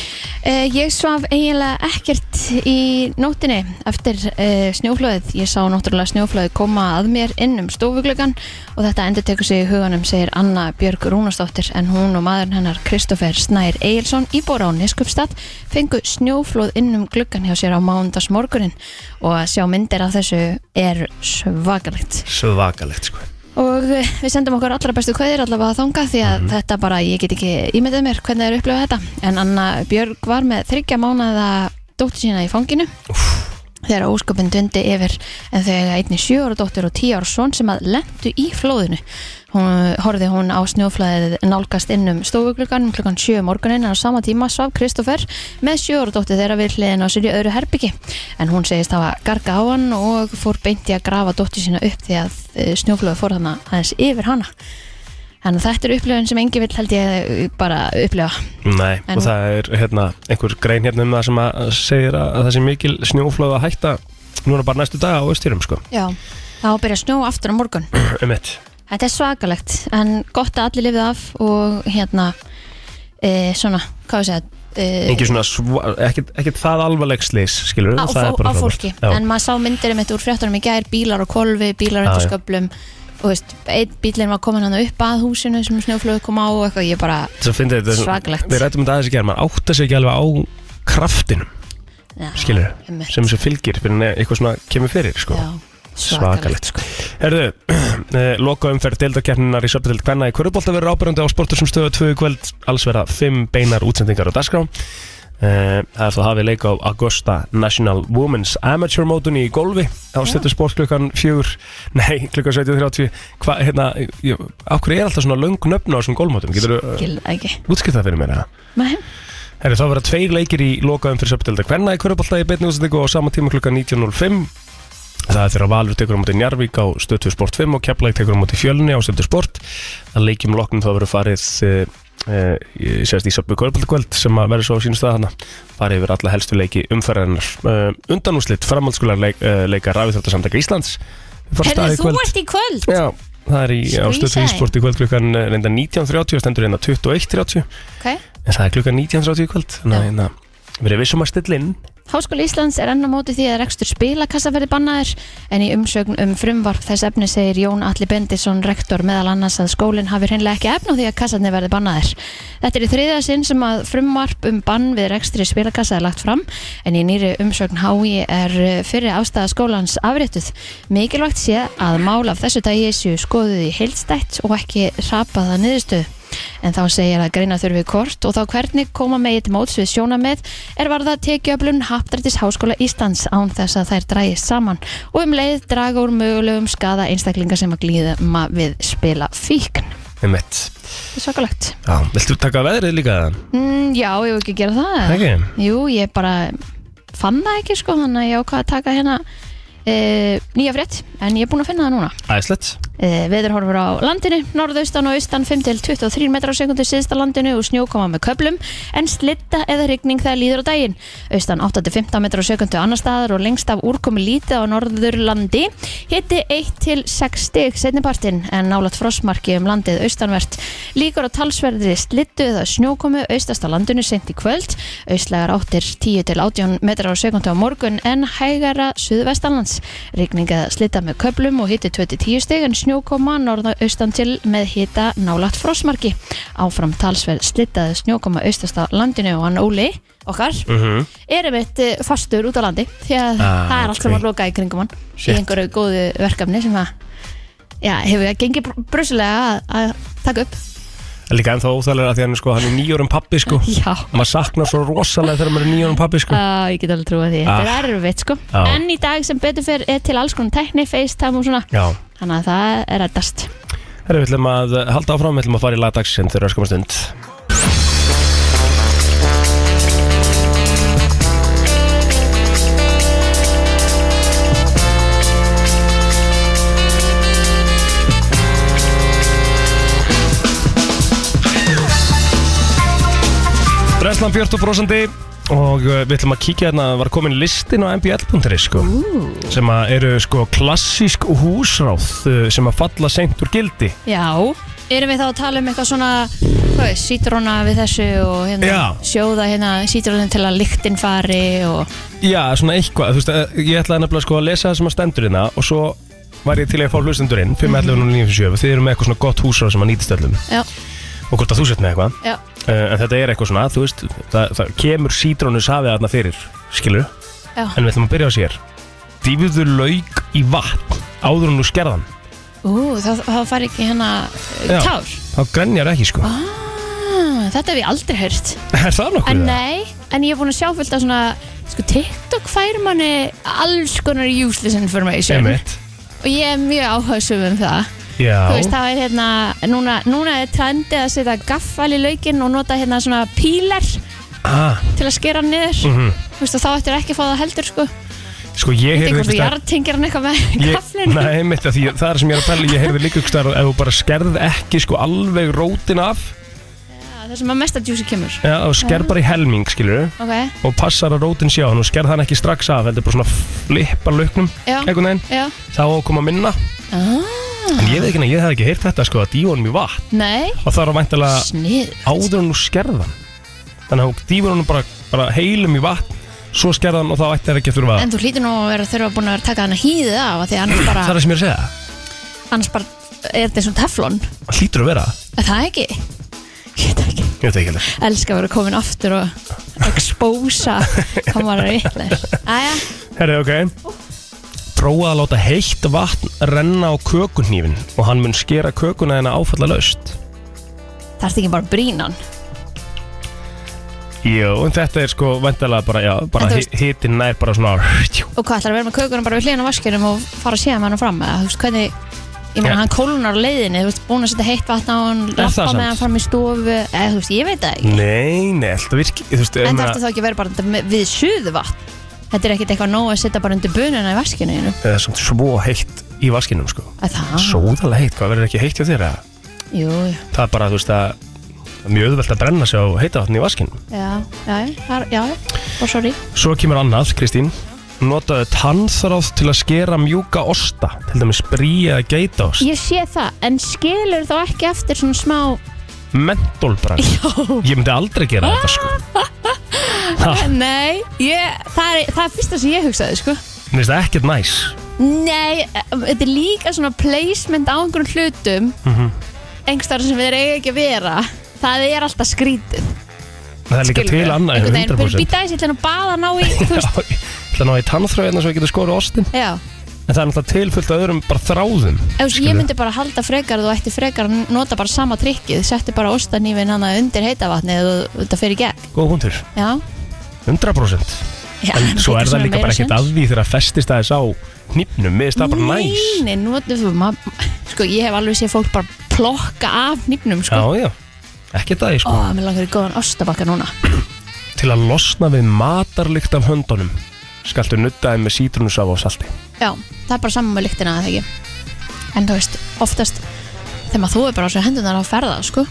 B: Ég svaf eiginlega ekkert í nóttinni eftir uh, snjóflöðið Ég sá náttúrulega snjóflöðið koma að mér inn um stofuglögan og þetta endur tekur sig í huganum segir Anna Björg Rúnastóttir en hún og maður hennar Kristoffer Snær Egilson í bóra á Niskupstad fengu snjóflóð inn um gluggan hjá sér á mándas morgunin og að sjá myndir af þessu er svakalegt
A: Svakalegt sko
B: og eh, við sendum okkur allra bestu kveðir allavega þangað því að þetta bara, ég get ekki ímyndið mér hvernig það er upplöfað þetta en Anna Björg var með þryggja mánaða dóttir sína í fanginu þegar ósköpinn dundi yfir en þegar einni sjö ára dóttir og tíu ára son sem að lendu í flóðinu hún, horfði hún á snjóflæðið nálgast inn um stofugluggan um klukkan sjö morgunin en á sama tíma svaf Kristoffer með sjö ára dóttir þeirra við hliðin á sér í öðru herbyggi en hún segist hafa garga á hann og fór beinti að grafa dóttir sína upp því að snjóflóði fór þarna aðeins yfir hana Þannig að þetta er upplifun sem engi vill held ég bara upplifa
A: Nei,
B: En-
A: og það er hérna, einhver grein hérna um það sem að segir að að það sé mikil snjóflóð að hætta núna bara næstu daga á austýrum sko,
B: Já, þá byrja að snjóa aftur á morgun
A: um eitt
B: Þetta er svakalegt, en gott að allir lifið af og hérna e, svona, hvað við segja e,
A: Engi svona, sva- ekkert ekkert það alvarleg slis, skilur
B: á, á, á fólki en maður sá myndir um þetta úr fréttunum í gær bílar á kolfi, bílar
A: Já,
B: undir
A: já.
B: sköplum og veist, einn bílinn var komin hann upp að húsinu sem snjóflöðu kom á og eitthvað, ég bara
A: Svo fyndið þetta,
B: Svakalegt.
A: við rættum þetta aðeins í gerð, maður átta sig ekki alveg á kraftinum,
B: ja,
A: skilur
B: einmitt.
A: sem þessu fylgir fyrir en eitthvað svona kemur fyrir sko.
B: Já,
A: Svakalegt,
B: svakalegt sko.
A: Herðu, loka umferð deildakerninar í söpudeld Kvenna í Körubólta verður ábyrjandi á sportur sem stöðu tvö í kvöld, alls verða fimm beinar útsendingar á dagskrá Eh, Það er þá hafið leik á Augusta National Women's Amateur mótun í golfi á stöðu sport klukkan fjögur nei, klukkan 17.30 hvað, hérna, ég, af hverju er alltaf svona löng nöfn á þessum golfmótum, getur þú
B: Skil það ekki
A: útskiptað fyrir mér það?
B: Nei,
A: Herru, þá verða tveir leikir í lokaðum fyrir söpdelda Kvenna í Körubolta í beinni útsendingu á sama tíma klukka 19.05 Það er þegar Valur tekur á móti Njarvík á stöðtu sport 5 og Keflæk tekur á móti Fjölni á stöðtu sport að leikjum loknum þá verður farið e, e, sérst í söpbu Köruboltakvöld sem að verður svo á sínum stað hana farið yfir alla helstu leiki umferðarinnar e, undanúslitt framhaldskular leik, e, leika Rafiðrættasamtaka Íslands Fara af stað
B: Herðu,
A: í
B: þú
A: kvöld.
B: ert í kvöld
A: Já, það er í, á
B: Skvísa
A: stöðtu
B: í.
A: ísport í kvöld klukkan eh, reyndar 19.30 og stendur reyndar 21.30
B: okay.
A: En það er klukkan 19.30 í kvöld Þannig að hérna, við erum vissum að stilla inn
B: Háskóli Íslands er enn á móti því að rekstur spilakassa verði bannaðir en í umsögn um frumvarp þess efni segir Jón Alli Bendisson rektor meðal annars að skólinn hafi hreinlega ekki efn á því að kassarnir verði bannaðir. Þetta er í þriðja sinn sem að frumvarp um bann við rekstri spilakassa er lagt fram en í nýri umsögn HÍ er eh, fyrri afstæða skólans afréttuð. Mikilvægt sé að mál af þessu dagi séu skoðuð í heilstætt og ekki rapaða niðurstöðu. En þá segir að greina þurfi kort og þá hvernig koma megi til móts við sjónameð er varða tekjöflun Haptrættis Háskóla Íslands án þess að þær drægist saman og um leið draga úr mögulegum skada einstaklinga sem að glíðma við spila fíkn.
A: um mitt
B: Það er svakalegt.
A: Já, viltu taka veðrið líka?
B: Mm, já, ég vil ekki gera það. eða?
A: Ekki?
B: Jú, ég bara fann það ekki sko, þannig að ég ákvað að taka hérna e, nýja frétt, en ég er búin að finna það núna.
A: Æslegt
B: Eh, Veðurhorfur á landinu, norðaustan og austan 5-23 metrar á sekundu síðsta landinu og snjókoma með köplum en slitta eða rigning þegar líður á daginn. Austan 8-15 metrar á sekundu annar staðar og lengst af úrkomi lítið á norðurlandi. Hitti 1-6 stig setnipartin en nálat frostmarki um landið austanvert. Líkur á talsverðri slittu eða snjókomi austast á landinu sent í kvöld. Austlegar áttir 10-18 metrar á sekundu á morgun en hægara suðvestanlands. Rigning eða slitta með köplum og hitti 2-10 stig en snjókoma norðaustan til með hita nálagt frostmarki. Áfram talsverð slittaði snjókoma austast á landinu og hann Óli okkar erum eitt fastur út á landi því að
A: Mhm. Ah,
B: það er allt
A: ok.
B: sem að loka í kringum hann
A: Shit.
B: í einhverju góðu verkefni sem að já, hefur það gengið br- brusulega að, að taka upp
A: Líka ennþá óþægilega því hann er sko, hann er nýjórum pappi sko
B: Já,
A: Maður saknar svo rosalega þegar maður er nýjórum pappi sko
B: uh, ég get alveg trúið því Þetta er erfitt sko
A: Ah. Já.
B: En í dag sem betur fyrir er til alls konar tækni, FaceTime og svona
A: Já
B: Þannig að það er reddast
A: Herru, við ætlum að eh, halda áfram, við ætlum að fara í lagdagsinn þegar öskum stund Breslan 40% og uh, við ætlum að kíkja hérna var komin listin á mbl.is sko, sem að eru sko klassísk húsráð uh, sem að falla seint úr gildi
B: Já, erum við þá að tala um eitthvað svona hvað er, sítróna við þessu og hérna,
A: Já.
B: sjóða hérna sítrónin til að lyktin fari og
A: Já, svona eitthvað, þú veist, eh, ég ætlaði nefnilega sko að lesa það sem að stendur hérna og svo var ég til í að fá hlustendur inn 511 og 957 þið eru með eitthvað svona gott húsráð sem að nýtist öllum
B: Já,
A: og hvort að þú sett með eitthvað
B: já,
A: uh, en þetta er eitthvað svona, þú veist, það, það kemur sítrónu safið þarna fyrir, skilur
B: já
A: en við ætlum að byrja á sér dýfðu lauk í vatn áður en þú skerðan
B: Ú, þá, þá fari ekki hérna eh,
A: Já.
B: tár
A: þá grenjar ekki sko
B: ah, Þetta hef ég aldrei hört
A: Er það nokkuð
B: En
A: það?
B: nei, en ég er búin að sjá fullt af svona sko TikTok fær manni alls konar useless information
A: Einmitt.
B: og ég er mjög áhersum um það
A: Já,
B: þú veist það er hérna núna, núna er trendið að setja gaffal í laukinn og nota hérna svona pílar
A: ah,
B: til að skera hann niður
A: Mhm.
B: þú veist og þá ættir ekki að fá það heldur sko
A: sko ég heyrði
B: þetta er eitthvað
A: einhvers staðar-
B: jartengir hann eitthvað með
A: Ég,
B: gaflinu
A: nei, mitt, því, það er sem ég er að pæla Ég heyrði líka ykkur starf Ef þú bara skerð ekki sko alveg rótin af
B: það sem að mesta djúsi kemur
A: Já, og skerð bara í helming, skilur
B: ok,
A: Og passar að rótin sé á hann Og skerð hann ekki strax af Þetta er bara svona flippa lögnum
B: Já.
A: Einhvern veginn
B: já
A: Þá á að koma minna
B: ah,
A: En ég veit ekki, að ég hef ekki heyrt þetta sko Að dýfa honum í vatn
B: nei,
A: Og það er að væntalega
B: snið
A: áður en þú skerðan þannig að þú dýfur hann bara, bara heilum í vatn svo skerðan og þá ætti það ekki að þurfa
B: En þú hlýtur nú að vera þurfa búin að vera að taka hann að hýðið af af Því að annars bara,
A: það er það sem ég er að segja,
B: annars bara er þetta eins og teflon
A: það hlýtur að vera
B: Er það ekki? Ég veit ekki
A: ég veit ekki heldur
B: Elskar að vera komin aftur og expósa hvað maður er vitlegur Æja,
A: herri, ok prófa að láta heitt vatn renna á kökunhnífin og hann mun skera kökuna hérna hennar áfalla löst
B: það ert ekki bara brínan
A: jú, en þetta er sko vendalega bara, já, bara
B: En þú
A: hi-
B: veist-
A: hitinn nær bara svona tjú.
B: Og hvað ætlar að vera með kökunum bara við hliðan á vaskinum og fara að séða með hann fram eða þú veist hvernig Ég
A: Ja.
B: meina hann kólnar á leiðinni, þú veist búin að setja heitt vatn á hann
A: það
B: lappa
A: samt?
B: með hann fram í stofu eða þú veist, ég veit það ekki
A: nei, nei, þetta virki þú veist,
B: En
A: um,
B: það ertu þá ekki að vera bara með- við suðu vatn Þetta er ekkert eitthvað nóg að setja bara undir bununa í vaskinu þínu.
A: það er svona svo heitt í vaskinum sko
B: Að Það,
A: sóðalega heitt, hvað verður ekki heitt hjá þér eða?
B: jú, jú.
A: það er bara, þú veist, að það er mjög auðvelt að brenna sig á heita vatni í vaskinu.
B: Já, já, já, já, og sorry
A: Svo kemur annað, Kristín, notaðu tannþráð til að skera mjúka osta, til dæmis bríja eða geitaost,
B: Ég sé það, en skilur þá ekki eftir svona smá
A: mentólbrand.
B: Já.
A: Ég myndi aldrei gera þetta, sko.
B: Nei, ég, það, er, það er fyrsta sem ég hugsaði, sko
A: Mér finnst það ekkert næs.
B: Nei, eh, þetta er líka svona placement á einhverjum hlutum mm
A: Mhm.
B: Engstar sem þeir eiga ekki að vera Það er alltaf skrítið
A: Það er líka
B: skilurðu.
A: til annað,
B: Einhvern veginn,
A: 100%.
B: Býta þessi, ég ætla nú að baða ná í, þú
A: Já,
B: veist
A: ég ætla að ná í tannþráð hérna svo ég getur skora ostin.
B: Já,
A: En það er náttúrulega til fullt af öðrum bara þráðum.
B: Ef þú- ég
A: skilurðu.
B: myndi bara halda frekar Þú ætti frekar að nota bara sama trikkið Settu bara ostanífin hana undir heitavatni Og þetta fer í gegn
A: Góð hundur,
B: Já,
A: 100%.
B: já
A: En svo
B: þetta
A: er
B: svona
A: það líka
B: meira
A: bara ekkert
B: sens.
A: að því þegar að festist aðeins á hnýpnum, mér finnst það bara næs.
B: Nei, nei, nú, þú, ma, sko, ég hef alveg séð fólk bara plokka af nýpnum, sko.
A: Já, já, ekkert aðeins, sko.
B: Ó, mér langar í góðan ostabakka núna.
A: Til að losna við matarlykt af höndunum skaltu nuttaði með sítrunusafa og salti
B: Já, það er bara saman með lyktina að það ekki. En þú veist, oftast þegar maður þóður bara á sér hendunar á ferða, sko.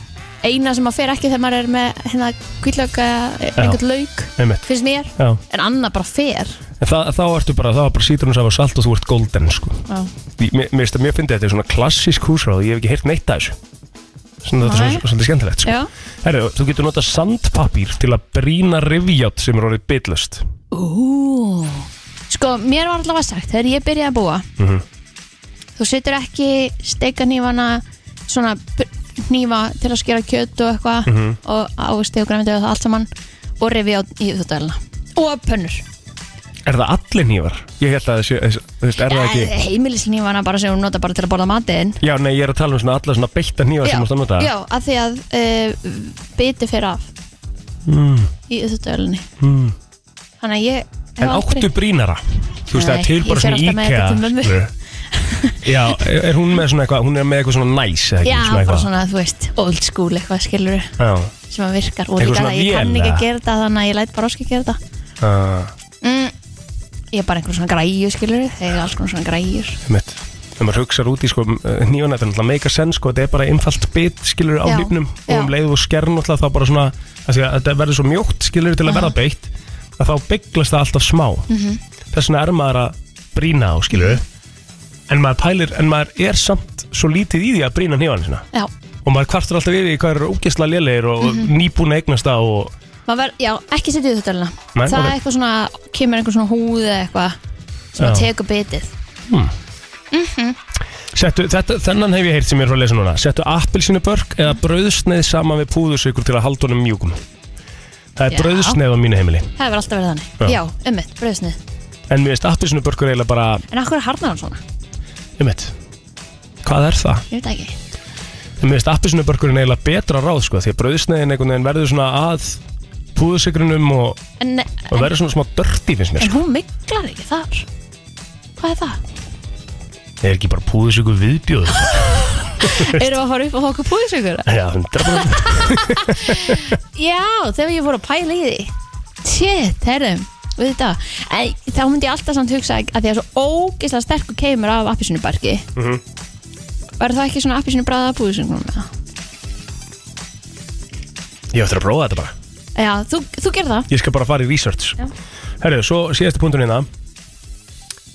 B: Eina sem maður fer ekki þegar maður er með hérna kvítlöka, einhvern lauk,
A: Einmitt.
B: finnst mér.
A: Já.
B: En annað bara fer.
A: En það, þá ertu bara, þá er bara sítrunusafa og salt og þú ert golden sko.
B: Já.
A: Því- Mér, mér, finnst- mér finnst þetta er svona klassísk húsráð ég hef ekki heyrt neitt að þessu Svona þetta er
B: Nei.
A: svona- svolítið skemmtilegt sko.
B: Já.
A: Herru, þú getur notað sandpapír til að brína rivjátt sem er orðið bitlust
B: Ú. Sko, mér var allavega sagt, þegar ég byrjaði að búa
A: Mhm.
B: þú setur ekki steikanýfana svona nýfa til að skera kjöt og eitthvað
A: Mhm.
B: og ávisti og græmdi og það allt saman og rifi á í þóttavælina og pönnur
A: Er það allir nývar? Ég held að þessu, þú veist, er það ekki
B: heimilisnýfana bara sem hún nota bara til að borða matinn
A: Já, nei, ég er að tala um svona alla svona beitta nývar sem þú ert að nota
B: já, að því að uh, biti fyrir af
A: Hmm.
B: í þóttavælinu
A: Mm.
B: þannig að ég hef
A: En
B: aldrei-
A: áttu brínara Þú veist það
B: Nei,
A: er til
B: ég
A: bara
B: fer
A: svona
B: alltaf með
A: IKEA
B: þetta til mömmu.
A: skilurðu. Já, er er hún með svona eitthvað Hún er með eitthvað svona næs eða ekki,
B: já,
A: svona
B: bara
A: eitthvað.
B: svona, þú veist, old school eitthvað skilur
A: Já,
B: sem að virkar og
A: Eitthvað
B: líka
A: svona
B: það ég kann
A: vél,
B: ekki
A: eða?
B: að gera þetta þannig að ég læt bara oski að gera þetta
A: uh,
B: mm, ég er bara einhver svona græju skilur þegar er alls konar svona græjur
A: mitt Þegar maður hugsar út í sko nýjana Þetta er náttúrulega meika senn sko Þetta er bara einfalt bit skilur á
B: Já,
A: lífnum Og
B: já.
A: um leið og skern náttúrulega þá bara svona af því að Þetta verður svo mjótt skilur til að verða beitt Að þá bygglast það alltaf smá
B: Mhm.
A: Þess vegna er maður að brína á skilur En maður pælir, en maður er samt svo lítið í því að brína nýjana sinna
B: já,
A: og maður kvartur alltaf yfir í hvað eru ógeðslega lélegir og mm
B: Mhm.
A: -hmm. nýbúin að eignast það og
B: Maður ver, já ekki setja í þetta alveg
A: Nei, ok.
B: það er eitthvað svona, kemur einhver svona húð eða eitthvað sem
A: Já.
B: að tekur bitið
A: Settu, þetta, þennan hef ég heyrt sem ég er frá að lesa núna Settu appelsínubörk eða brauðsneið saman við púðusökur til að halda honum mjúkum Það er
B: Já.
A: brauðsneið á mínu heimili
B: það hefur alltaf verið þannig,
A: Já.
B: já, ummitt, bröðsnið
A: En mér veist appelsínubörkur eiginlega bara
B: en akkur harnar hann svona,
A: um Hvað er það?
B: ég veit ekki
A: En mér veist appelsínubörkurinn eiginlega betra ráð sko, Því að brauðsneiðin einhvern veginn verður svona að púðusikrunum og,
B: en,
A: og
B: en,
A: verður svona smá dörti finnst mér
B: en
A: sko.
B: hún miklar ekki þar Hvað er það?
A: Er ekki bara púðusikur viðbjóð?
B: Erum við að fara upp og hóka púðisökur?
A: Já, 100%
B: Já, þegar ég voru að pæla í því Shit, herrum við þetta, en þá myndi ég alltaf samt hugsa að því að svo ógeðslega sterkur keimur af appisínubarki mm
A: Mhm.
B: það ekki svona appisínubræða að búðisögnum með það?
A: Ég ætti að prófa þetta bara
B: Já, þú, þú gerð það
A: Ég skal bara fara í research
B: Já.
A: Herru, svo síðasti punktur hérna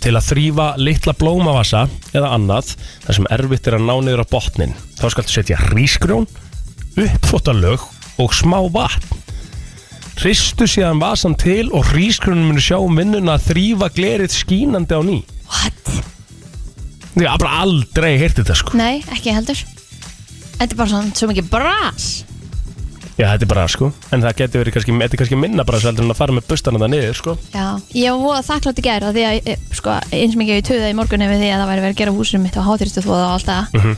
A: Til að þrýfa litla blómavasa eða annað þar sem erfitt er að ná niður á botnin þá skaltu setja rísgrjón uppfottalög og smá vatn Hristu síðan vasan til og rísgrjónum munu sjá um vinnuna að þrýfa glerið skínandi á ný
B: What?
A: Ég hef bara aldrei heyrti þetta sko
B: Nei, ekki heldur Þetta er bara svona svo mikið bras
A: Já, þetta er bara sko En það getur verið kannski, þetta er kannski minna bara heldur en að fara með bustana það niður sko
B: Já, ég var voða þakklátt í gær af því að, e, sko, eins og mikið ég töða í morgunni við því að það væri verið að gera húsinu mitt og háþýrstu þvóða og allt það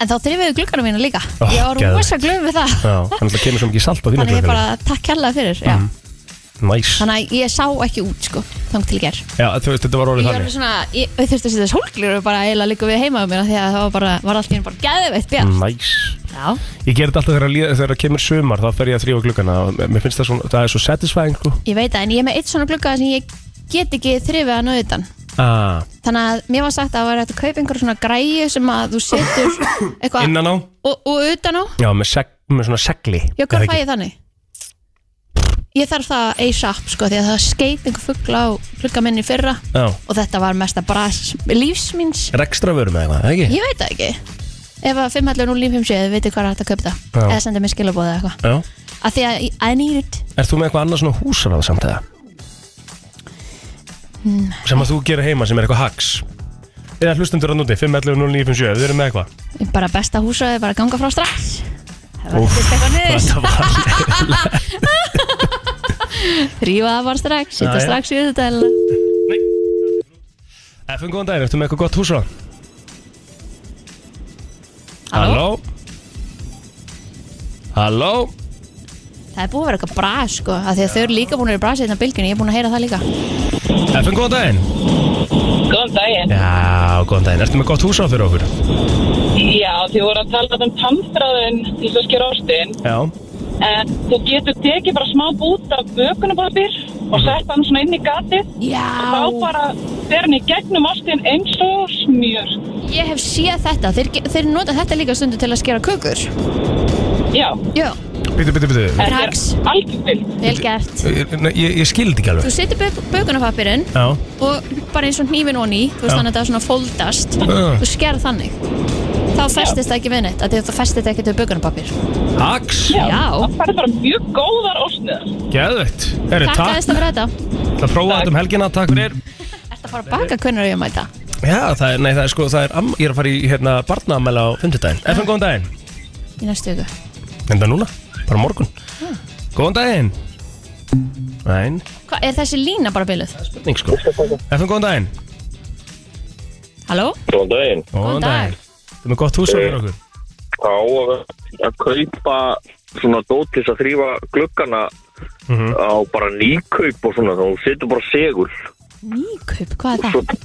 B: En þá þrifiðu glugganum mína líka
A: Mhm. Ó,
B: Ég var
A: geðveikt.
B: rosa glöð með það
A: Já, Mhm. þannig að kemur svo mikið salt á þínu
B: Þannig ég bara takk kærlega fyrir já.
A: Næs
B: Þannig að ég sá ekki út sko Þannig til í gær
A: Já, þú veist, þetta var
B: Ég
A: orðið
B: var alveg
A: þannig
B: svona, ég ég þurfti að setja sólglur og bara eiginlega líka við heima um mér af því að það var bara, var allt í henni bara geðveitt bjart
A: Næs
B: Já,
A: Mm, Ég ger þetta alltaf þegar, að líða- þegar það kemur sumar Þá fer ég að þrjóa glukkana Mér finnst það svona, það er svo satisfying sko
B: ég veit það en ég er með eitt svona glugga sem ég get ekki þrifið að nauðutan
A: ah,
B: Þannig að mér var sagt að það var hægt að kaupa einhver svona græju sem að þú setur eitthvað
A: Innan á
B: og, og utan á
A: Já, með, seg, með svona segli
B: Já,
A: Er það
B: hvað fæ
A: ekki?
B: ég þannig? Ég þarf það ASAP sko því að það skeit einhver fuggla á glugga minni í fyrra
A: Já,
B: og þetta var mesta bras lífsmins
A: rekstra vörum eða eitthvað, ekki?
B: Ég veit það ekki Ef að 5.11.057 þið veitir hvað er hægt að kaupa það
A: Já.
B: eða senda mér skilabóð eða eitthvað
A: Já
B: að því að I need it
A: Er þú með eitthvað annað svona húsaráð samt eða?
B: Mm.
A: Sem að þú gerir heima sem er eitthvað hacks Eða hlustendur að núti, 5.11.09.57 Við erum með eitthvað
B: bara besta húsraði bara að ganga frá strax Það var
A: Úff,
B: ekkert eitthvað niður
A: Þetta var
B: Rífa það bara strax,
A: Já,
B: setja
A: já.
B: strax í þetta
A: Efum góðan daginn, ertu með eitthvað gott húsráð?
B: Halló,
A: Halló
B: það er búið að vera eitthvað bras sko að því að þau eru líka búin að vera brasið innan bylginni, hérna ég er búin að heyra það líka
A: Efum góðan daginn
F: Góðan daginn.
A: Já, góðan daginn, ertu með gott húsráð fyrir okkur?
F: Já, þið voru að tala um tamfræðin í Svöskjur Ástin,
A: Já
F: en þú getur tekið bara smá bút af bökunababir og sett hann svona inn í gatið og þá
B: Já,
F: bara fer hann í gegnum ástin eins og smjör.
B: ég hef séð þetta þeir, ge- þeir nota þetta líka stundu til að skera kökur
F: Já,
B: Já,
A: Býtu, býtu, býtu
F: þetta er
B: Drags.
F: algjörfild.
B: vel gert
A: Ég, nei, ég, ég skildi ekki
B: Þú
A: alveg
B: setur bökunafapirinn
A: Já,
B: og bara eins og hnífin onni þú veist
A: Já.
B: þannig að það svona foldast
A: Já.
B: þú skerð þannig þá festist það ekki við neitt að því að þú festist það ekki til bökunarpapir
A: haks,
F: Já,
B: Já.
F: það færði bara mjög góðar ósnöðar.
A: geðvett Herri,
B: takk
A: takk,
B: aðeins það fyrir þetta
A: það prófa þetta um helgina, takk fyrir
B: Ertu að fara að baka hvernig er ég að mæta
A: Já, það er, nei, það er sko, það er, am, ég er að fara í hérna barnaamæla á fundudaginn Efum góðan daginn
B: í næstu viku
A: Enda núna, bara á morgun Góðan daginn Nein,
B: Hva, er þessi lína bara byluð?
A: spurning sko Efum góðan daginn
B: Halló?
C: Góðan daginn.
B: Góðan dag.
A: Þú er með gott hús á fyrir okkur
C: Þá að, að kaupa svona dót til þess að þrýfa gluggana á bara nýkaup og svona, þá setur bara segul.
B: Nýkaup, hvað er
C: Svo,
B: það?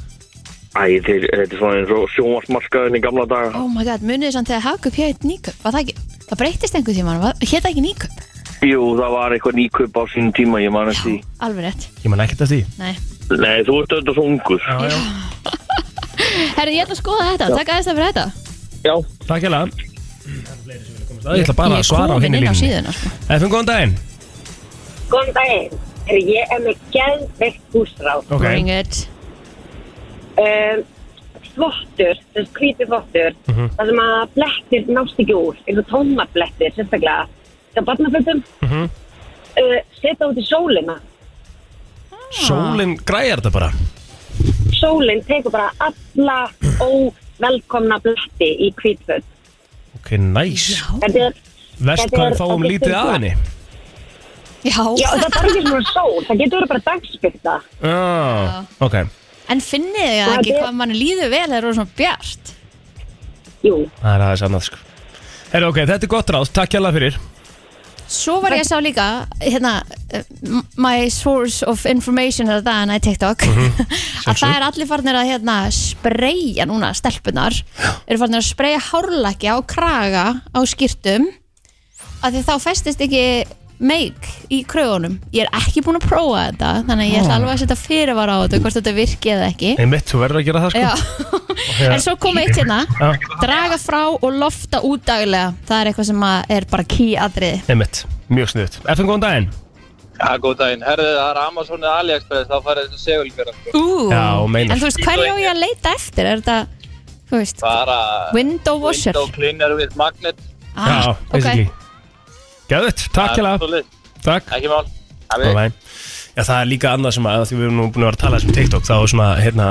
C: æ, þeir, þetta er svona eins og sjónvarsmarkaðin í gamla daga.
B: Oh my god, munið þess að þegar hagkaup hétt nýkaup var það ekki, það breytist einhver tíma hétt það ekki nýkaup,
C: Jú, það var eitthvað nýkaup á sínum tíma, ég man eftir því.
B: alveg rétt
A: Ég man ekkert að því
B: Nei.
C: Nei, þú ert auðvitað svo ungur.
A: Já, já
B: Herri, ég ætla að skoða þetta, takk aðeins það fyrir þetta
C: Já.
A: Takk hella Ég ætla bara að
B: Ég er
A: svara á
B: komin
A: henni
B: inn á
A: línu
B: síðuna sko.
A: Efum góðan daginn
G: Góðan daginn. Er ég er með geðveikt húsráð.
A: Ok,
B: Bring it
G: Um, þvottur, þessi hvíti þvottur,
A: Mhm.
G: þar sem að blettir nást ekki úr, eins og tómablettir sérstaklega, það er barnafötum, mm
A: Mhm.
G: uh, setja út í sólina.
A: sólin græjar þetta bara
G: Sólin tekur bara alla óvelkomna bletti í hvítföt.
A: Ok, næs
B: Já,
G: Þetta er,
A: Vest
G: Þetta
A: hvað
G: er
A: við fáum
G: ágætis
A: lítið af
G: svar.
A: henni
G: já,
B: já.
G: það er ekki svona sól, það getur verið bara dagspyrta.
A: Já, ok
B: En finnið þið það
G: Já,
B: ekki
G: þetta-
B: hvað mann líður vel þegar það er svona bjart?
G: Jú,
A: Það er aðeins annað sko Herra, ok, þetta er gott ráð, takk hjá fyrir
B: Svo var ég að sá líka hérna, uh, m- my source of information er það en að TikTok að það
A: sjálfsögðu.
B: er allir farnir að hérna, spreja núna stelpunar eru farnir að spreja hárlaki á kraga á skýrtum að því þá festist ekki meik í krögunum ég er ekki búin að prófa þetta þannig að ég ætla alveg að setja fyrirvara á þetta hvort þetta virki eða ekki
A: Einmitt, þú verður að gera það sko
B: Já. en svo kom eitt hérna
A: Já,
B: draga frá og lofta út daglega það er eitthvað sem að er bara key atriði
A: Einmitt, mjög sniðut FN, góðan daginn
H: Já, góð daginn. Herðu, það er Amazon eða AliExpress, þá farið þessu segulbjörn. sko.
B: Ú,
A: Já, meinar.
B: en þú veist, hverju á ég að leita eftir? Er þetta, þú veist,
H: Bara
B: window washer?
H: window cleaner with magnet.
A: Já,
B: Ah, ok.
A: basically Gæðut, takk hjá
H: Það er svoleiðis.
A: Takk
H: Ekki mál. Hafið.
A: Bye-bye. Já, það er líka annað sem að því við erum nú búin að vera að tala þessum TikTok þá er svona, hérna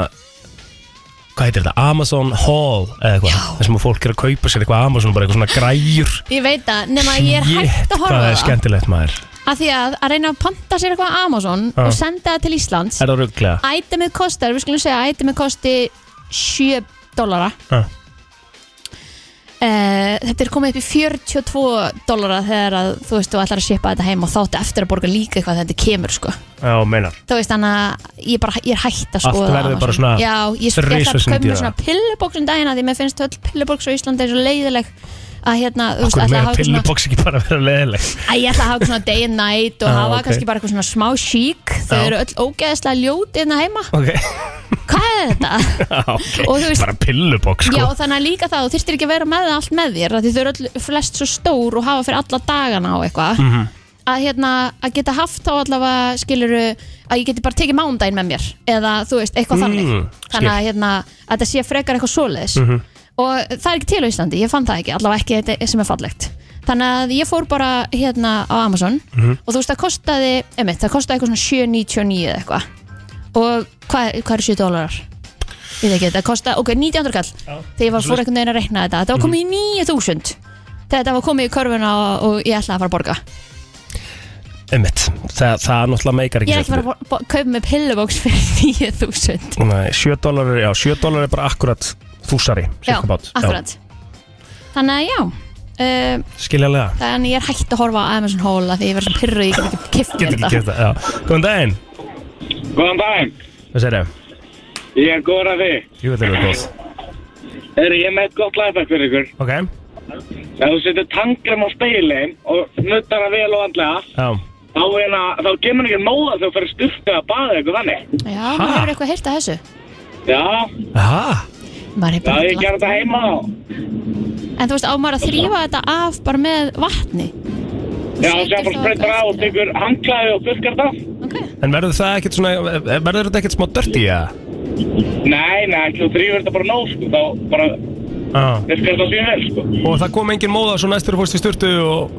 A: hvað heitir þetta, Amazon Haul eða eitthvað, þar sem að fólk er að kaupa sér eitthvað á Amazon, bara eitthvað svona græjur
B: Ég veit það, nema ég er hægt að
A: það
B: horfa á
A: er
B: það
A: skemmtilegt maður,
B: Af því að að reyna að panta sér eitthvað á Amazon
A: Já.
B: og senda það til Íslands
A: er það rugglega
B: Ætemið kostar, við skulum segja, ætemið kosti 7 dólara
A: Já.
B: Uh, þetta er komið upp í 42 dólara þegar að, þú veist, þú ætlar að shipa þetta heim og þáttu eftir að borga líka eitthvað þegar þetta kemur, sko
A: Já, meinar,
B: þú veist þannig að ég, bara, ég er hægt að
A: Allt
B: skoða
A: verður
B: Amazon.
A: bara svona
B: já, ég ég ætla
A: þrisvar
B: að
A: sinnum
B: köpa mér
A: dýrara.
B: svona pillubóks um daginn að því mér finnst öll pillubóks á Íslandi er svo leiðileg að hérna, þú veist,
A: okkur
B: ætla að
A: meira
B: hafa svona
A: pillubox ekki bara að vera leðileg
B: að ég ætla að hafa eitthvað svona day and night og
A: Já,
B: hafa
A: Ah, ok.
B: kannski bara eitthvað svona smá sík þau
A: Já.
B: eru öll ógeðslega ljót innan heima
A: Ok,
B: hvað er þetta?
A: Já, Ah, ok.
B: Og þú veist-
A: bara pillubox
B: Já,
A: sko
B: þannig að líka það, þú þyrftir ekki að vera með það allt með þér af því þau eru öll flest svo stór og hafa fyrir alla dagana á eitthvað að, hérna, að geta haft þá allavega skiluru að ég geti bara tekið mándaginn með mér eða þú veist, eitthvað
A: Mm,
B: þannig þannig
A: skil.
B: að,
A: Mhm.
B: hérna, að þetta sé frekar eitthvað svoleiðis og það er ekki til á Íslandi, ég fann það ekki allavega ekki þetta sem er fallegt þannig að ég fór bara hérna á Amazon
A: Mhm.
B: og þú veist, það kostaði, emitt, það kostaði eitthvað svona 7,99 eða eitthvað og hvað, hvað er 7 dólarar? Ég veit ekki, það kosta, ok, 1900 kall Þegar ég var fór einhvern veginn að reikna þetta Þetta var komið í 9000 Þegar þetta var komið í körfuna og, og ég ætlaði að fara að borga
A: Einmitt, það, það náttúrulega meikar ekki
B: Ég er ekki að fara að bo- kaupa með pillubóks fyrir 9000
A: Nei, 7 dólar, já, 7 dólar er bara akkurat þúsari,
B: Já,
A: cirka bát.
B: akkurat Þannig að já um,
A: Já, skiljanlega
B: Þannig ég er hægt að horfa á Amazon Hall af Því ég verður svo pyrruð, ég get ekki kift
A: Getur ekki kæft það, já Góðan daginn,
I: Góðan daginn,
A: hvað segir þau?
I: ég er góður að þig.
A: Jú, þetta er verið góð
I: Er ég er með eitt gott lifehack fyrir ykkur?
A: Ok,
I: Ef þú setur tangram á speilin og nuttar það vel og andlega,
A: já
I: þá, hérna, þá kemur ekki móða þegar þú fyrir styrta að baða eitthvað þannig.
B: Já, maður hefur eitthvað heyrt að þessu
I: Já,
A: Aha,
B: Maður hefur
I: já,
B: bara
I: ég gerði þetta heima á.
B: En þú veist, á maður að þrýfa þetta af bara með vatni
I: Já, þú sé bara spreytar á og tekur handklæði og buskar það.
B: Ok,
A: en verður það ekkert svona, verður þetta ekkert smá dörti, já?
I: Nei, nei, ekki, þú þrýfur þetta bara nóg, sko, þá bara
A: Já
I: buskar það síðan vel, sko.
A: Og það kom engin móða svo næstur fórst í styrtu og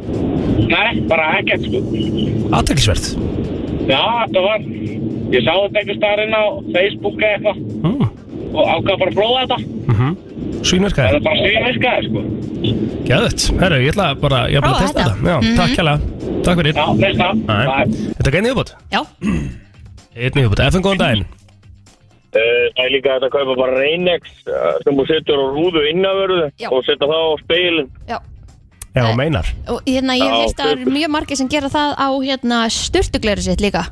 I: Nei, bara ekkert, sko.
A: aðteklisverð
I: Já, þetta var, ég sá þetta einhver starinn á Facebook eða eitthvað
A: mm.
I: og ákvað bara að prófa þetta. Það
A: Svínverkaði,
I: er bara svinniskaði, sko.
A: geðut Herru, ég ætla bara, ég ætla bara að
B: Prófa
A: testa
B: þetta. Mhm.
A: þetta Já, takk hella, takk fyrir
I: Já, næsta.
A: Nei. Þetta er gænið uppbútt,
B: já,
A: einnig uppbútt FN, góðan daginn
C: Eh, Það er líka hægt að kaupa bara Reynex eh, sem þú setur á rúðu innanverðu
B: Já.
C: og setja það á speilin.
B: já
A: Já, meinar
B: og hérna ég
C: Já,
B: veist að það eru
C: fyrir-
B: mjög margir sem gera það á hérna sturtugleiri sitt líka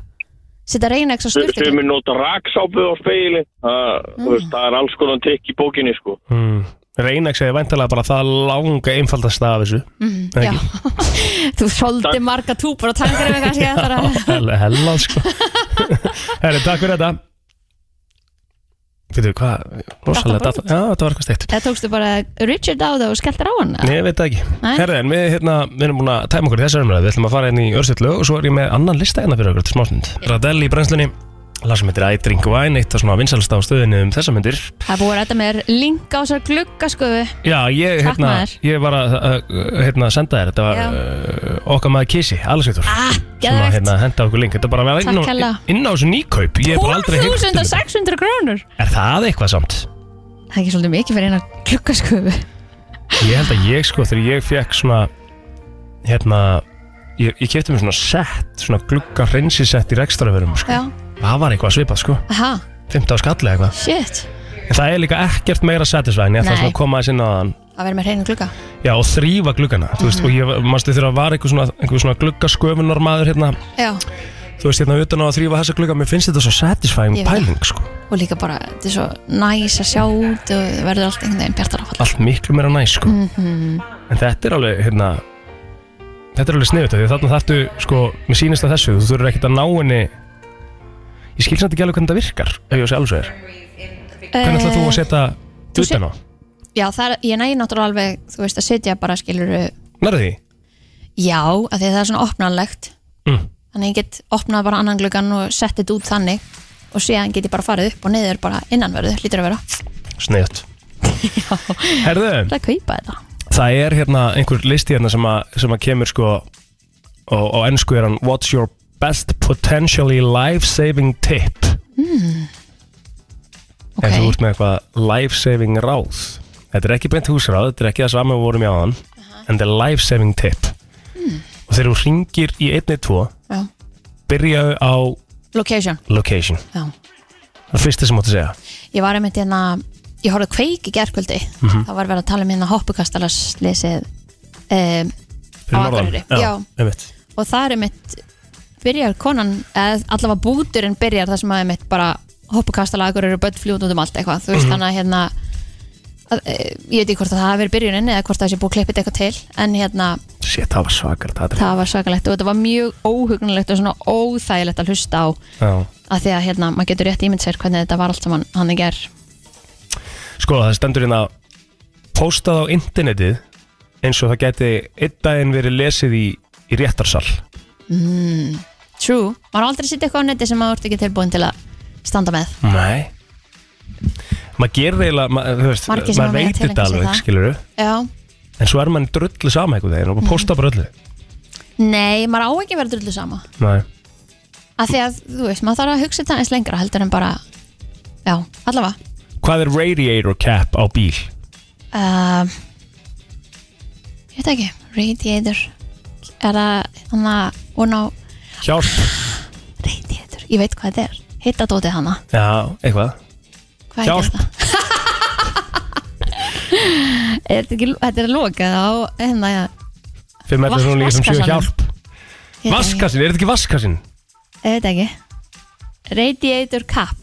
B: setja reyna á
C: Sumir
B: sturtugleiri
C: nota raksápu á speilin. Það, þú veist, það er alls konar trikk í bókinni sko.
A: mm. Reynex er væntalega bara það langa einfaldasta af þessu mm,
B: Mhm, já, þú soldi marga túpur og tangar ef kannski að það er
A: Hella, hella sko Herri, takk fyrir þetta Fyrir hvað, rosalega
B: Datt á
A: data Já, þetta var eitthvað steikt
B: eða tókstu bara Richard á það og skelltir á hann
A: Nei, ég veit það ekki
B: Nei.
A: Herri, en við, hérna, við erum búin að tæma okkur í þessar umræðu Við ætlum að fara inn í örsittlu og svo er ég með annan lista hérna fyrir okkur til smásnund Radelli í brennslunni Lag sem heitir I Drink Wine, eitt af svona vinsalsta á stöðinni um þessa myndir
B: það er búið að ræta mér link á þessar sko. gluggasköfu
A: Já, ég,
B: Takk,
A: hérna,
B: maður.
A: ég var að uh, uh, hérna, senda þér Þetta var
B: Já.
A: uh, okkar maður Kissi, Alessveitur sem
B: ah,
A: að
B: geðvegt
A: hérna, henda okkur link Þetta bara var inn,
B: Takk
A: á-
B: hérlega.
A: inn á þessu nýkaup Ég hef bara aldrei heyrt um þetta.
B: 1600 krónur
A: Er það eitthvað samt?
B: það er ekki svolítið mikið fyrir eina sko. gluggasköfu
A: Ég held að ég sko, þegar ég fekk svona hérna ég, ég kefti mér svona sett, svona glugga hreinsisett í rekstraförum sko.
B: já,
A: það var eitthvað svipað sko,
B: aha,
A: 15 skalli eitthvað
B: shit
A: en það er líka ekkert meira satisfæðin, ég ætla
B: Nei.
A: svona að koma aðeins inn á þann
B: að vera með hreinu glugga
A: Já, og þrýfa gluggana, þú veist, og ég mannstu þegar að var einhver svona, einhver svona gluggasköfunar hérna,
B: Já,
A: þú veist, hérna utan á að þrýfa þessa glugga, mér finnst þetta svo satisfying
B: Ég veit
A: pæling, sko,
B: og líka bara, þetta er svo næs að sjá út og það verður allt einhvern veginn bjartar áfall
A: allt miklu meira næs, sko, en þetta er alveg, hérna, þetta er alveg sniðut, því að þarna þarftu, sko, mér sýnist að þessu, þú þurfur ekkert að ná henni, ég skil samt ekki alveg hvernig þetta virkar, ef ég sé alveg er, hvernig ætlar Eh, þú að setja
B: þú set-
A: utan á,
B: Eh, Já, það er, ég næði náttúrulega alveg, þú veist, að setja bara skilur
A: nærði því,
B: Já, af því að það er svona opnanlegt
A: Mm.
B: Þannig ég get opnað bara annan gluggan og sett þetta út þannig og síðan get ég bara farið upp og niður bara innanverðu, lítur að vera
A: sniðut, herðu,
B: Það kaupa þetta
A: Það er hérna einhver listi hérna sem að, sem að kemur sko og, og ennsku er hann What's your best potentially life-saving tip?
B: Ok,
A: Ef þú ert með eitthvað life-saving ráð Þetta er ekki beint húsráð, þetta er ekki það saman við vorum í áðan en þetta er life-saving tip
B: Hmm.
A: og þegar þú ringir í 112
B: já.
A: byrjaðu á
B: Location,
A: location
B: já
A: Það er fyrsta sem máttu segja
B: Ég var einmitt hérna, ég horfði á kveik í gerkvöldi mm
A: Mhm.
B: -hmm. Það var verið að tala um hérna hoppukastalarslisið um,
A: Fyrir
B: Á
A: norðan.
B: Akureyri,
A: Já,
B: já.
A: einmitt
B: og það er einmitt byrjar konan, eða allavega búturinn byrjar þar sem að einmitt bara hoppukastalagur eru börn fljóð út um allt eitthvað
A: Mhm.
B: þú veist þannig að hérna að, e, ég veit ekki hvort að það hafi verið byrjunin eða hvort að það sé búið að klippið eitthvað til en hérna
A: Shit, það var svakar þetta
B: það var svakalegt og þetta var mjög óhugnulegt og svona óþægilegt að hlusta á
A: Já
B: að því að hérna maður getur rétt ímynd sér hvernig þetta var allt saman hann í ger
A: Sko það stendur hérna Postað á internetið eins og það geti einn daginn verið lesið í, í réttarsal
B: true, maður á aldrei sitt eitthvað á neti sem maður ert ekki tilbúin til að standa með
A: Nei Maður gerir eiginlega, maður, þú veist, maður
B: Margir sem hafa verið að
A: veit
B: tileinka
A: þetta
B: sér
A: alveg,
B: það.
A: skilur
B: já,
A: En svo er mann drullu sama einhvern veginn og bara posta bara öllu
B: nei, maður á ekki að vera drullu sama
A: Nei,
B: að því að, þú veist, maður þarf að hugsa þetta eins lengra heldur en bara, já, allavega
A: Hvað er radiator cap á bíl?
B: uh, ég veit ekki radiator er það, hann að, hún á
A: Hjálp
B: radiator, ég veit hvað þetta er hitta dótið hana,
A: Já, eitthvað
B: hvað heitir
A: Hjálp.
B: þetta? Er þetta ekki- þetta er lokað á hérna, já,
A: Fimm
B: Vask-
A: eftir svona líka sem séu
B: vaskassanum.
A: hjálp
B: ég veit ekki.
A: Vaskasinn, er þetta ekki vaskasinn?
B: hérna. Ég veit ekki radiator cap,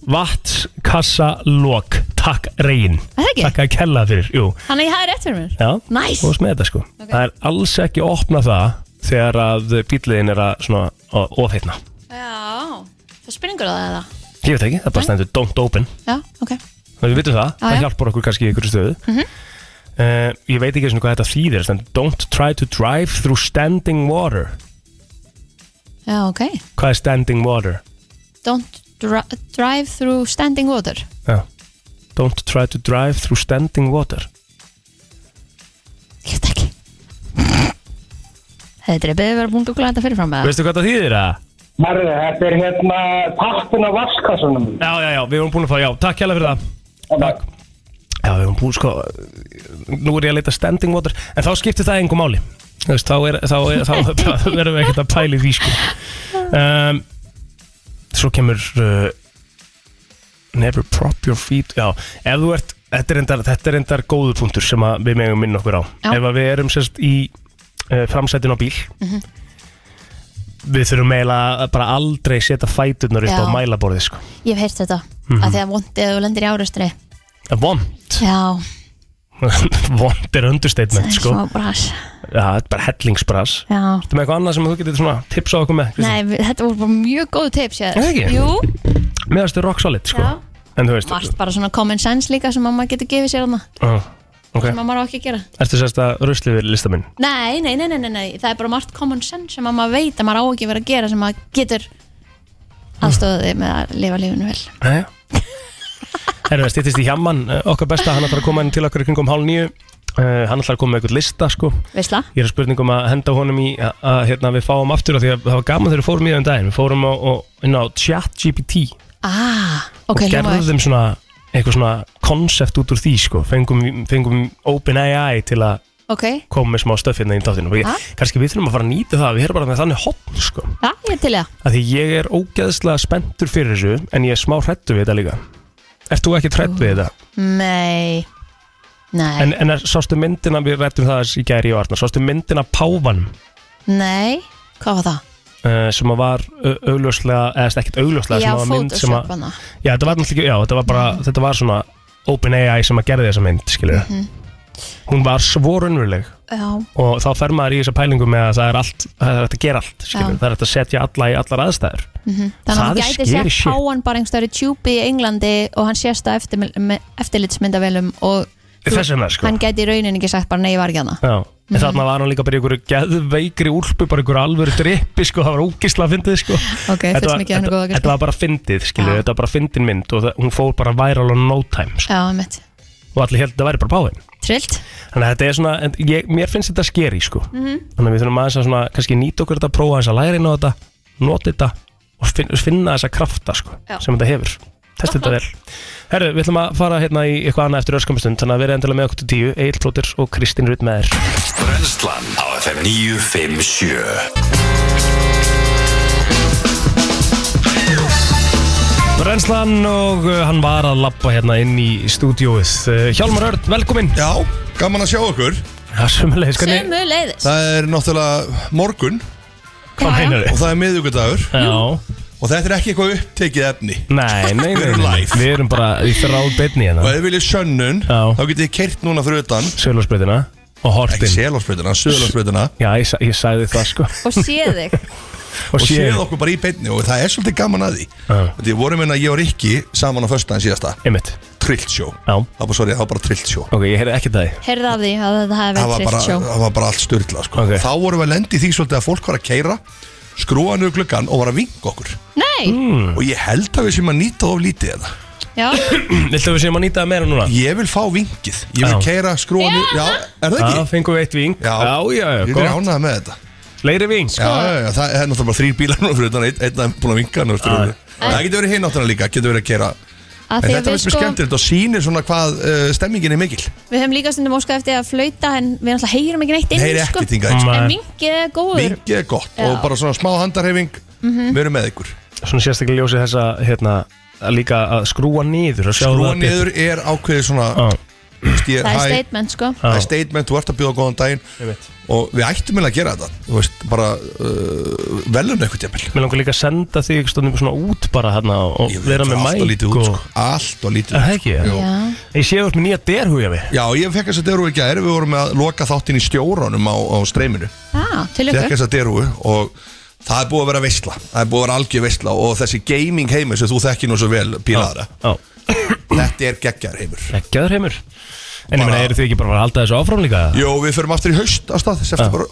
A: Vatskassa lok Takk regin
B: Er það ekki?
A: Takk að kella fyrir, jú
B: hann að ég hafi rétt fyrir mér
A: Já,
B: Nice.
A: þú veist með þetta sko Það er alls ekki að opna það þegar að bíliðin er að svona að ofheitna
B: já, það spurningur það eða
A: Ég veit ekki, það bara stendur don't open
B: já, ok,
A: Þannig að við vitum það, það
B: já. Mhm.
A: hjálpar okkur kannski í einhverju stöðu uh, Ég veit ekki svona hvað þetta þýðir stendur Don't try to drive through standing water
B: já, ok
A: Hvað er standing water?
B: don't dri drive through standing water
A: Já. Don't try to drive through standing water
B: ég veit ekki þetta er beðið að vera búin að googla þetta fyrirfram með
A: Veistu hvað það þýðir að?
I: Herðu, þetta er hérna tappin af vaskassunum.
A: Já, já, já, við vorum búin að fara, já, takk hérlega fyrir það
I: Takk.
A: Já, við höfum búið sko Nú er ég að leita standing water En þá skiptir það engum máli Þú veist, Þá, er, þá, er, þá, þá verðum við ekkert að pæli því sko um, Svo kemur uh, Never prop your feet Já, ef þú ert Þetta er endar, þetta er endar góðu punktur sem að við megum minna okkur á
B: Já.
A: Ef að við erum sérst í uh, framsætin á bíl
B: Mhm.
A: Við þurfum eiginlega að bara aldrei setja fæturnar upp
B: Já.
A: á mælaborðið sko
B: ég hef heyrt þetta mm -hmm. að því að vondið að þú lendir í árustri
A: Vond,
B: já,
A: vond er
B: það
A: understatement
B: er
A: sko
B: smá brás
A: Já, þetta er bara hellingsbras
B: já,
A: Þetta með eitthvað annað sem þú getur svona tipsa okkur með Kristín?
B: nei, við- þetta voru bara mjög góð tips ég.
A: Er það ekki?
B: jú,
A: Mér finnst þetta rock solid sko
B: Já.
A: En þú veist
B: margt bara svona common sense líka sem að maður getur gefið sér hana
A: uh, Ok,
B: sem að maður á ekki að gera
A: ertu sérst að rusli við lista minn
B: nei, nei, nei, nei, nei, nei, það er bara margt common sense sem að maður veit að maður á ekki að vera að gera sem maður getur aðstóðið með að lifa lífinu vel
A: Jæja Herra, það stýttist í Hjaman, eh, okkar besta Hann ætlar að koma inn til okkar í kringum hálf nýju Uh, hann ætlar að koma með eitthvað lista sko
B: veistla,
A: Ég er að spurninga um að henda honum í að, að hérna, við fáum aftur af því að það var gaman þegar við fórum í það um daginn Við fórum á, á, inn á ChatGPT
B: ah, ok,
A: og
B: hljómaður.
A: gerðum svona eitthvað svona konsept út úr því sko Fengum, fengum OpenAI til að
B: Ok,
A: komið með smá stöffinna í þáttinu og ég,
B: Ha?
A: kannski við þurfum að fara að nýta það við erum bara með þannig hopn sko
B: já, ég er til í það
A: að því ég er ógeðslega spenntur fyrir þessu en ég er smá hrættu við þetta líka Ert þú ekki hrætt við þetta?
B: Nei, Nei,
A: En, en er- sástu myndina, við rættum það aðeins í gæri og Arna, sástu myndina af Páfanum
B: nei, hvað var það?
A: uh, sem að var au- augljóslega, eða sem ekkert augljóslega
B: Já,
A: sem að var mynd sem
B: Photoshop
A: að,
B: hana
A: já þetta var náttúrulega ekki, já þetta var bara, þetta var svona OpenAI sem að gerði þessa mynd, skilur
B: Mhm.
A: hún var svo raunveruleg
B: Já,
A: og þá fer maður í þessa pælingu með að það er allt, það er hægt að gera allt, skilur
B: Já.
A: það er hægt að setja alla í allar aðstæður
B: þannig
A: Það er
B: að þú gæti
A: scary
B: sér
A: shit.
B: páan bara einhverstaður í tjúpi í Englandi og hann sést á eftir, með eftirlitsmyndavélum og
A: þess vegna sko
B: hann gæti í rauninni ekki sagt bara nei, ég var ekki hana
A: Já, en
B: Mhm.
A: þarna var hann líka bara í einhverju geðveikri úlpu, bara í einhverju alvöru drippi sko, það var ógisla að fyndið sko
B: Ok,
A: Þetta
B: fyrst
A: var-
B: mikið hann er
A: þetta-
B: góða
A: Þetta var
B: kannski
A: bara fyndið, skilur,
B: Já.
A: þetta var bara fyndin mynd og það, hún fór bara viral on no time sko.
B: Já, mitt,
A: og allir held að þetta væri bara páðin
B: trillt
A: Þannig að þetta er svona, en ég, mér finnst þetta skeri sko Þannig að við þurfum aðeins að svona, kannski nýta okkur þetta, prófa aðeins að læra inn á þetta, nota þetta og finn, finna þessa krafta sko,
B: Já.
A: sem þetta hefur Testa þetta vel Herru, við ætlum að fara hérna í eitthvað annað eftir öskamstund Þannig að við erum endilega með okkur til tíu, Egil Plóter og Kristín Rutt með þér
E: Brenslan á FM 957
A: Brennslan og uh, hann var að lappa hérna inn í stúdióið Uh, Hjálmar Örn, velkomin
J: Já, gaman að sjá okkur
A: Já, sömulegis, hvernig,
B: Sumu leiðis
J: Það er náttúrulega morgun
A: hvað meinar
J: og það er miðvíkudagur
A: Já,
J: og þetta er ekki eitthvað upptekið efni
A: nei, nei,
J: Við
A: nei,
J: erum
A: nei.
J: live.
A: Við erum bara í þráð
J: og
A: beinni hérna
J: ef þið viljið sönnun
A: Já.
J: þá getið þið kert núna fyrir utan
A: Sjölusbreytina og
J: ekki
A: hortin
J: selásbreytina, söðlásbreytina
A: Já, ég, sa- ég sagði það sko
B: Og sé þig
A: Og
J: og
A: séð
J: séð okkur bara í beinni og það er svolítið gaman að því
A: Já.
J: og því vorum hérna ég og Rikki saman á föstudaginn síðasta
A: Einmitt,
J: trillt sjó
A: já,
J: það var, sorry, það var bara trillt sjó
A: ok, ég heyrði ekki það í.
B: Heyrðu af því að þetta hefði
J: það var
B: verið
J: bara,
B: trillt sjó
J: það var bara allt styrla sko.
A: Ok.
J: þá vorum við að lendi því svolítið að fólk var að keira skrúa niður gluggan og var að vinga okkur
A: Mm.
B: Nei,
J: og ég held að við sem að nýta of lítið eða.
B: já,
A: Viltu að við séum að nýta það meira núna?
J: ég vil fá vingið, ég vil
A: Já.
J: keira skrúa niður já, er það
A: Já,
J: ekki?
A: fengum við eitt ving
J: Já.
A: já, já, já
J: ég er
A: gott
J: ánað með þetta já,
A: Fleiri sko. ving
J: já, já, það er náttúrulega bara þrýr bílar núna fyrir utan einn einn er búin að hérna, vinga hann
A: Já.
J: það getur verið hinn áttuna líka, getur verið að keira
B: að
J: en
B: því
J: þetta
B: að
J: er
B: við
J: sko...
B: sko
J: skemmtilegt og sýnir svona hvað uh, stemmingin er mikil
B: Við hefum líka stundum óskað eftir að flauta en við náttúrulega heyrum ekki neitt inn
J: heyri
B: sko.
J: ekki þingað eins
B: En
A: Nei.
B: mingið er
A: Mm.
B: góður
J: vingið er gott
B: Já. Mhm.
J: og bara svona smá handarhefing við erum með ykkur
A: Svona sérstaklega ljósið þessa, hérna, að líka að skrúa niður og sjá
J: skrúa
A: það Ah. betur.
J: niður er ákveðið svona
A: Já,
J: veist, ég-
B: Það er
J: hæ,
B: statement sko
J: það
A: Ah.
J: er statement, þú ert að bjóða góðan daginn
A: einmitt
J: og við ættum vel að gera þetta þú veist, bara uh, velun eitthvað tjafnvel
A: Mér langar líka að senda þig stundum svona út bara hérna og vera
J: allt
A: með
J: og
A: mæk
J: lítið út
A: og...
J: sko. allt og lítið
A: Er það
J: út
A: ekki?
J: Jú.
B: Já,
A: Ég sé þú ert með nýja derhugja við
J: Já, ég fekk þess að derú í gæri, við vorum að loka þáttinn í stjórunum á, á streyminu
B: Já, Ah, til
J: Fekk
B: ykkur
J: þess að derú og það er búið að vera veistla Það er búið að vera algjör veistla og þessi gaming heimur sem þú þekkir nú svo vel bílaðara
A: Já,
J: Þetta er geggjar heimur
A: geggjaður heimur En ég meina,
J: Bara-
A: eru þið ekki bara að halda þessu áfram líka?
J: Jó, við förum aftur í haust á stað, september,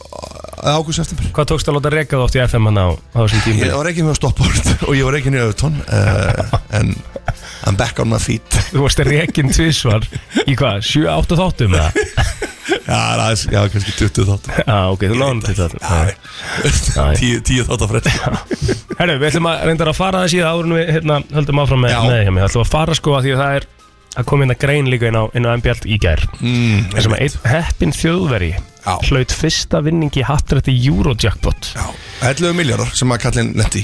J: águst september
A: Hvað tókst að láta reka þú oft í FM hann á, á þessum tími?
J: Ég var ekki með að stoppa og ég var ekki nýja auðvitón uh, en I'm back on my feet
A: Þú varst rekin tvísvar í hvað, 7-8 þáttum eða?
J: Já, það er, já, kannski 20 þáttum
A: Já, ok, þú náðum til þáttum
J: Já,
A: Já, já.
J: tíu, tíu þáttar frest
A: Herru, við ætlum að reynda að fara það síðan áður en við hérna, höldum áfram með,
J: Já.
A: með hjá mig Það ætlum að fara sko að því að það er að koma inn að grein líka inn á, inn á MBL í gær
J: mm,
A: Það sem að einn heppin þjóðveri
J: Já.
A: hlaut fyrsta vinning í hattrætti Eurojackpot
J: Já, 11 miljardar sem að kallin lendi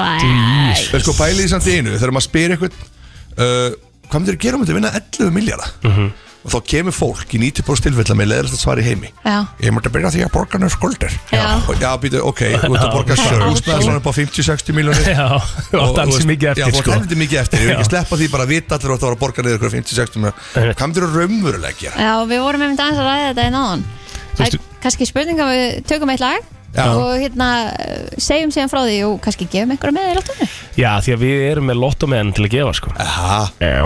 A: Pældi
J: Það er sko pælið í samt í einu Þegar maður spyr eitthvað uh, Hvað myndir þú gera um þetta vinna 11 miljardar?
A: Mhm.
J: Og þá kemur fólk í 90% tilfella með leðrast að svara í heimi
B: Já,
J: Ég mörði að byrja á því að borga nefn skuldir
B: Já.
J: Og Já, býtu, ok, þú ert að borga húsnaði svona upp á 50-60 miljónir
A: Já, þú átt ansi mikið
J: Já, þú
A: eftir
J: átt
A: sko
J: heldur mikið eftir Ég vil
A: Já.
J: ekki sleppa því bara að vita allir að þú átt að borga niður ykkur 50-60 miljónir Hvað myndir þú raunverulega að gera?
B: já við vorum einmitt aðeins að ræða þetta í náðan Það
A: veistu-
B: er kannski spurning að við tökum eitt lag
J: Já.
B: og hérna eh, segjum síðan frá því og kannski gefum einhverja með í lóttunni
A: Já, því að við erum með lottomenn til að gefa sko
J: Aha,
A: Já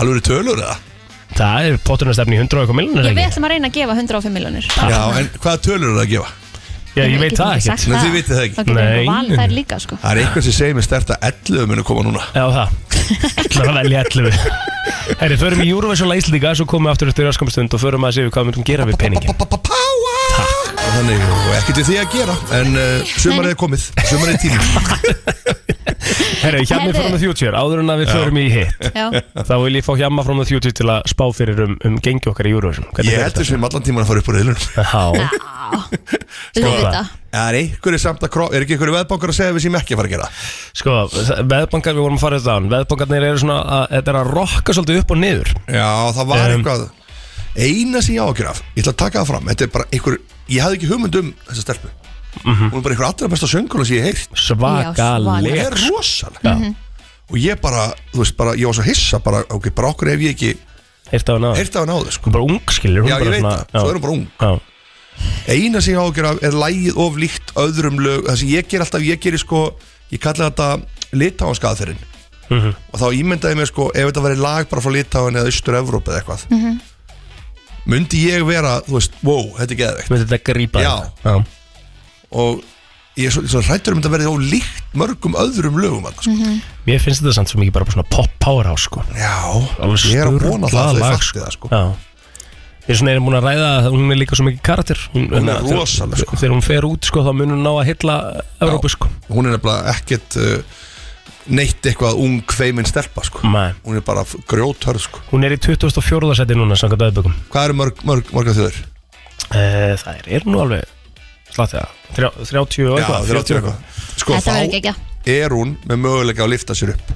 J: alveg tölur eða?
A: Það er pottunarstefni í 100 og eitthvað miljonar
B: Ég við
A: ekki
B: ætlum að reyna að gefa 105 miljonir
J: Já, en hvaða tölur eru það að gefa?
A: Já, ég veit það ekkert
J: Nei, þið vitið það ekki.
B: Það getur
A: Nei.
B: einhver val þær líka sko
J: Það er eitthvað sem segir mér stert að 11 munu koma núna
A: Já, það Það er að velja 11 Herri, förum í Eurovision Læslinga Svo komum við aftur eftir öskamstund Og förum að séu hvað við myndum gera við peningin
J: Páa Þannig, og ekkert við því að gera En uh, sumarið er komið, sumarið er tími
A: Herri, hjá mig
B: Herri.
A: frá með future Áður en að við förum í hitt
B: Já,
A: Þá vil ég fá hjá mig frá með future Til að spá fyrir um, um gengi okkar í Eurovision
J: Ég held
A: heldur
J: þessum um allan tíman að fara upp úr reyðlunum
A: Já,
B: þú
A: Skoða.
B: veit það
J: Það er einhverju samt að kró Er ekki einhverju veðbankar að segja að við sem ekki að fara að gera
A: sko, það- veðbankar Við vorum að fara þetta án Veðbankarnir eru svona að, Þetta er að rokka svolítið upp og niður
J: Já, það var
A: Um,
J: eitthvað eina sem ég á að gera af, ég ætla að taka það fram þetta er bara einhver, ég hafði ekki hugmynd um þessa stelpu hún er bara einhver allra besta sönguna sem ég hef heyrt
A: Svakaleg.
J: hún er rosaleg og ég bara, þú veist, bara, ég var svo hissa bara, ok, bara okkur ef ég ekki
A: Heyrt af náður
J: Heyrt af náður, sko
A: Bara ung, skilur hún
J: Já,
A: bara
J: ég veit
A: svona-
J: það, svo
A: já.
J: er hún bara ung
A: Já.
J: Eina sem ég ágjör af er lægið of líkt öðrum lög Það sem ég ger alltaf, ég gerir sko Ég kalla þetta litáanska aðferðin
A: Mhm.
J: Og þá ímyndaði ég mér sko Ef þetta væri lag bara frá litáin eða austur Evróp eða eitthvað
K: Mhm.
J: Myndi ég vera, þú veist, wow, þetta er geðveikt
A: Myndi þetta grípa
J: Já,
A: Já.
J: og ég er svo, svo hrættur um þetta verið of líkt mörgum öðrum lögum sko. annars.
A: Mér finnst þetta samt sem ekki bara bara svona pop power á sko
J: Já,
A: Alveg
J: ég er að vona það að
A: sturlað
J: þau
A: lag,
J: fatti það sko
A: Já Ég er svona erum búin að ræða að hún er líka svo mikið karakter Hún, hérna,
J: Hún er
A: þegar-
J: rosaleg, sko.
A: Þegar hún fer út sko þá mun hún ná að hitla Evrópu sko
J: Hún er nefnilega ekkert uh, neitt eitthvað ung kveiminn stelpa sko
A: Nei.
J: Hún er bara grjóthörð sko
A: Hún er í 24. seti núna samkvæmt aðbökum
J: Hvað eru mörg, mörg, mörg af þjóður?
A: Eh, Það er nú alveg Slátti það 30 og
J: Já,
A: eitthvað
J: 30 eitthvað Sko
B: Þetta verður
J: þá
B: ekki
J: er hún með möguleika að lifta sér upp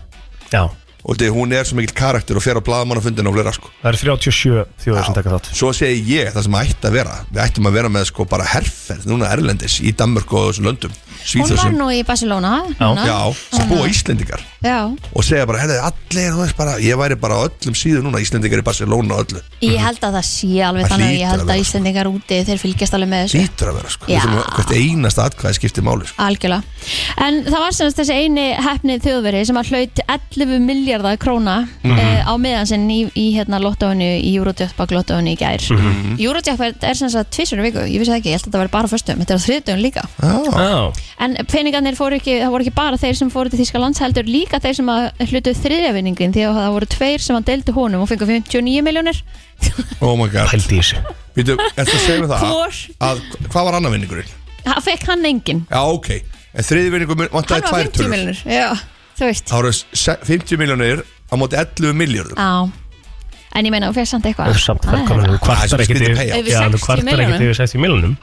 A: Já
J: Og því hún er svo mikill karakter og fer á blaðamannafundin og fleira sko
A: Það eru 37 þjóður sem taka þátt
J: Svo segi ég það sem ætti að vera Við ættum að vera með sko bara herferð núna erlendis Í Danmörk og þessum löndum
B: Hún var
J: Svíþjóðsum
B: nú í Barcelona núna.
J: Já, sem búa Íslendingar
B: Já,
J: og segja bara, herrið, allir, þú veist bara ég væri bara á öllum síðu núna, Íslendingar í Barcelona og öllu,
B: ég held að það sé alveg
J: Það
B: þannig
J: hlýtur að
B: Ég
J: vera,
B: held
J: sko.
B: að Íslendingar úti þeir fylgjast alveg með þessu
J: lítur að vera sko,
B: Já.
J: Við þurfum að- hvert einasta atkvæði skiptir máli sko.
B: Algjörlega. En það var semst þessi eini hefnið þjóðveri sem að hlaut 11 miljardar króna mm
J: Mhm.
B: á meðan sinn í, í hérna lottóinu í Eurojackpack lottóinu í gær.
J: Mhm.
B: Eurojackpack er semst að tvisur í viku, ég vissi það ekki, ég held að þetta var bara fyrstum, þetta er á þriðdögun líka.
A: Já
B: En peningarnir fóru ekki, það voru ekki bara þeir sem fóru til Þískaland, heldur líka þeir sem að hlutu þriðjavinningin því að það voru tveir sem að deildu honum og fengu 59 miljónir.
J: Oh my god
A: Pældi í þessu
J: Vítu, ertu að segja mig
B: Hvor?
J: það að, hvað var annar vinningurinn?
B: Það fekk hann engin.
J: Já, ok, en þriði vinningur
B: Hann
J: vantaði
B: var
J: tvær
B: 50
J: tölur
B: miljónir, já, þú veist.
J: Það voru se- 50 miljónir á móti 11 miljónum
B: Já En ég meina, hún fekk samt eitthvað
A: Það er samt
B: Það er
A: velkomin Þú kvartar ekkert yfir
B: Yfir
A: Já, þú
B: 60
A: kvartar ekkert
B: milljónum.
A: yfir 60 miljónum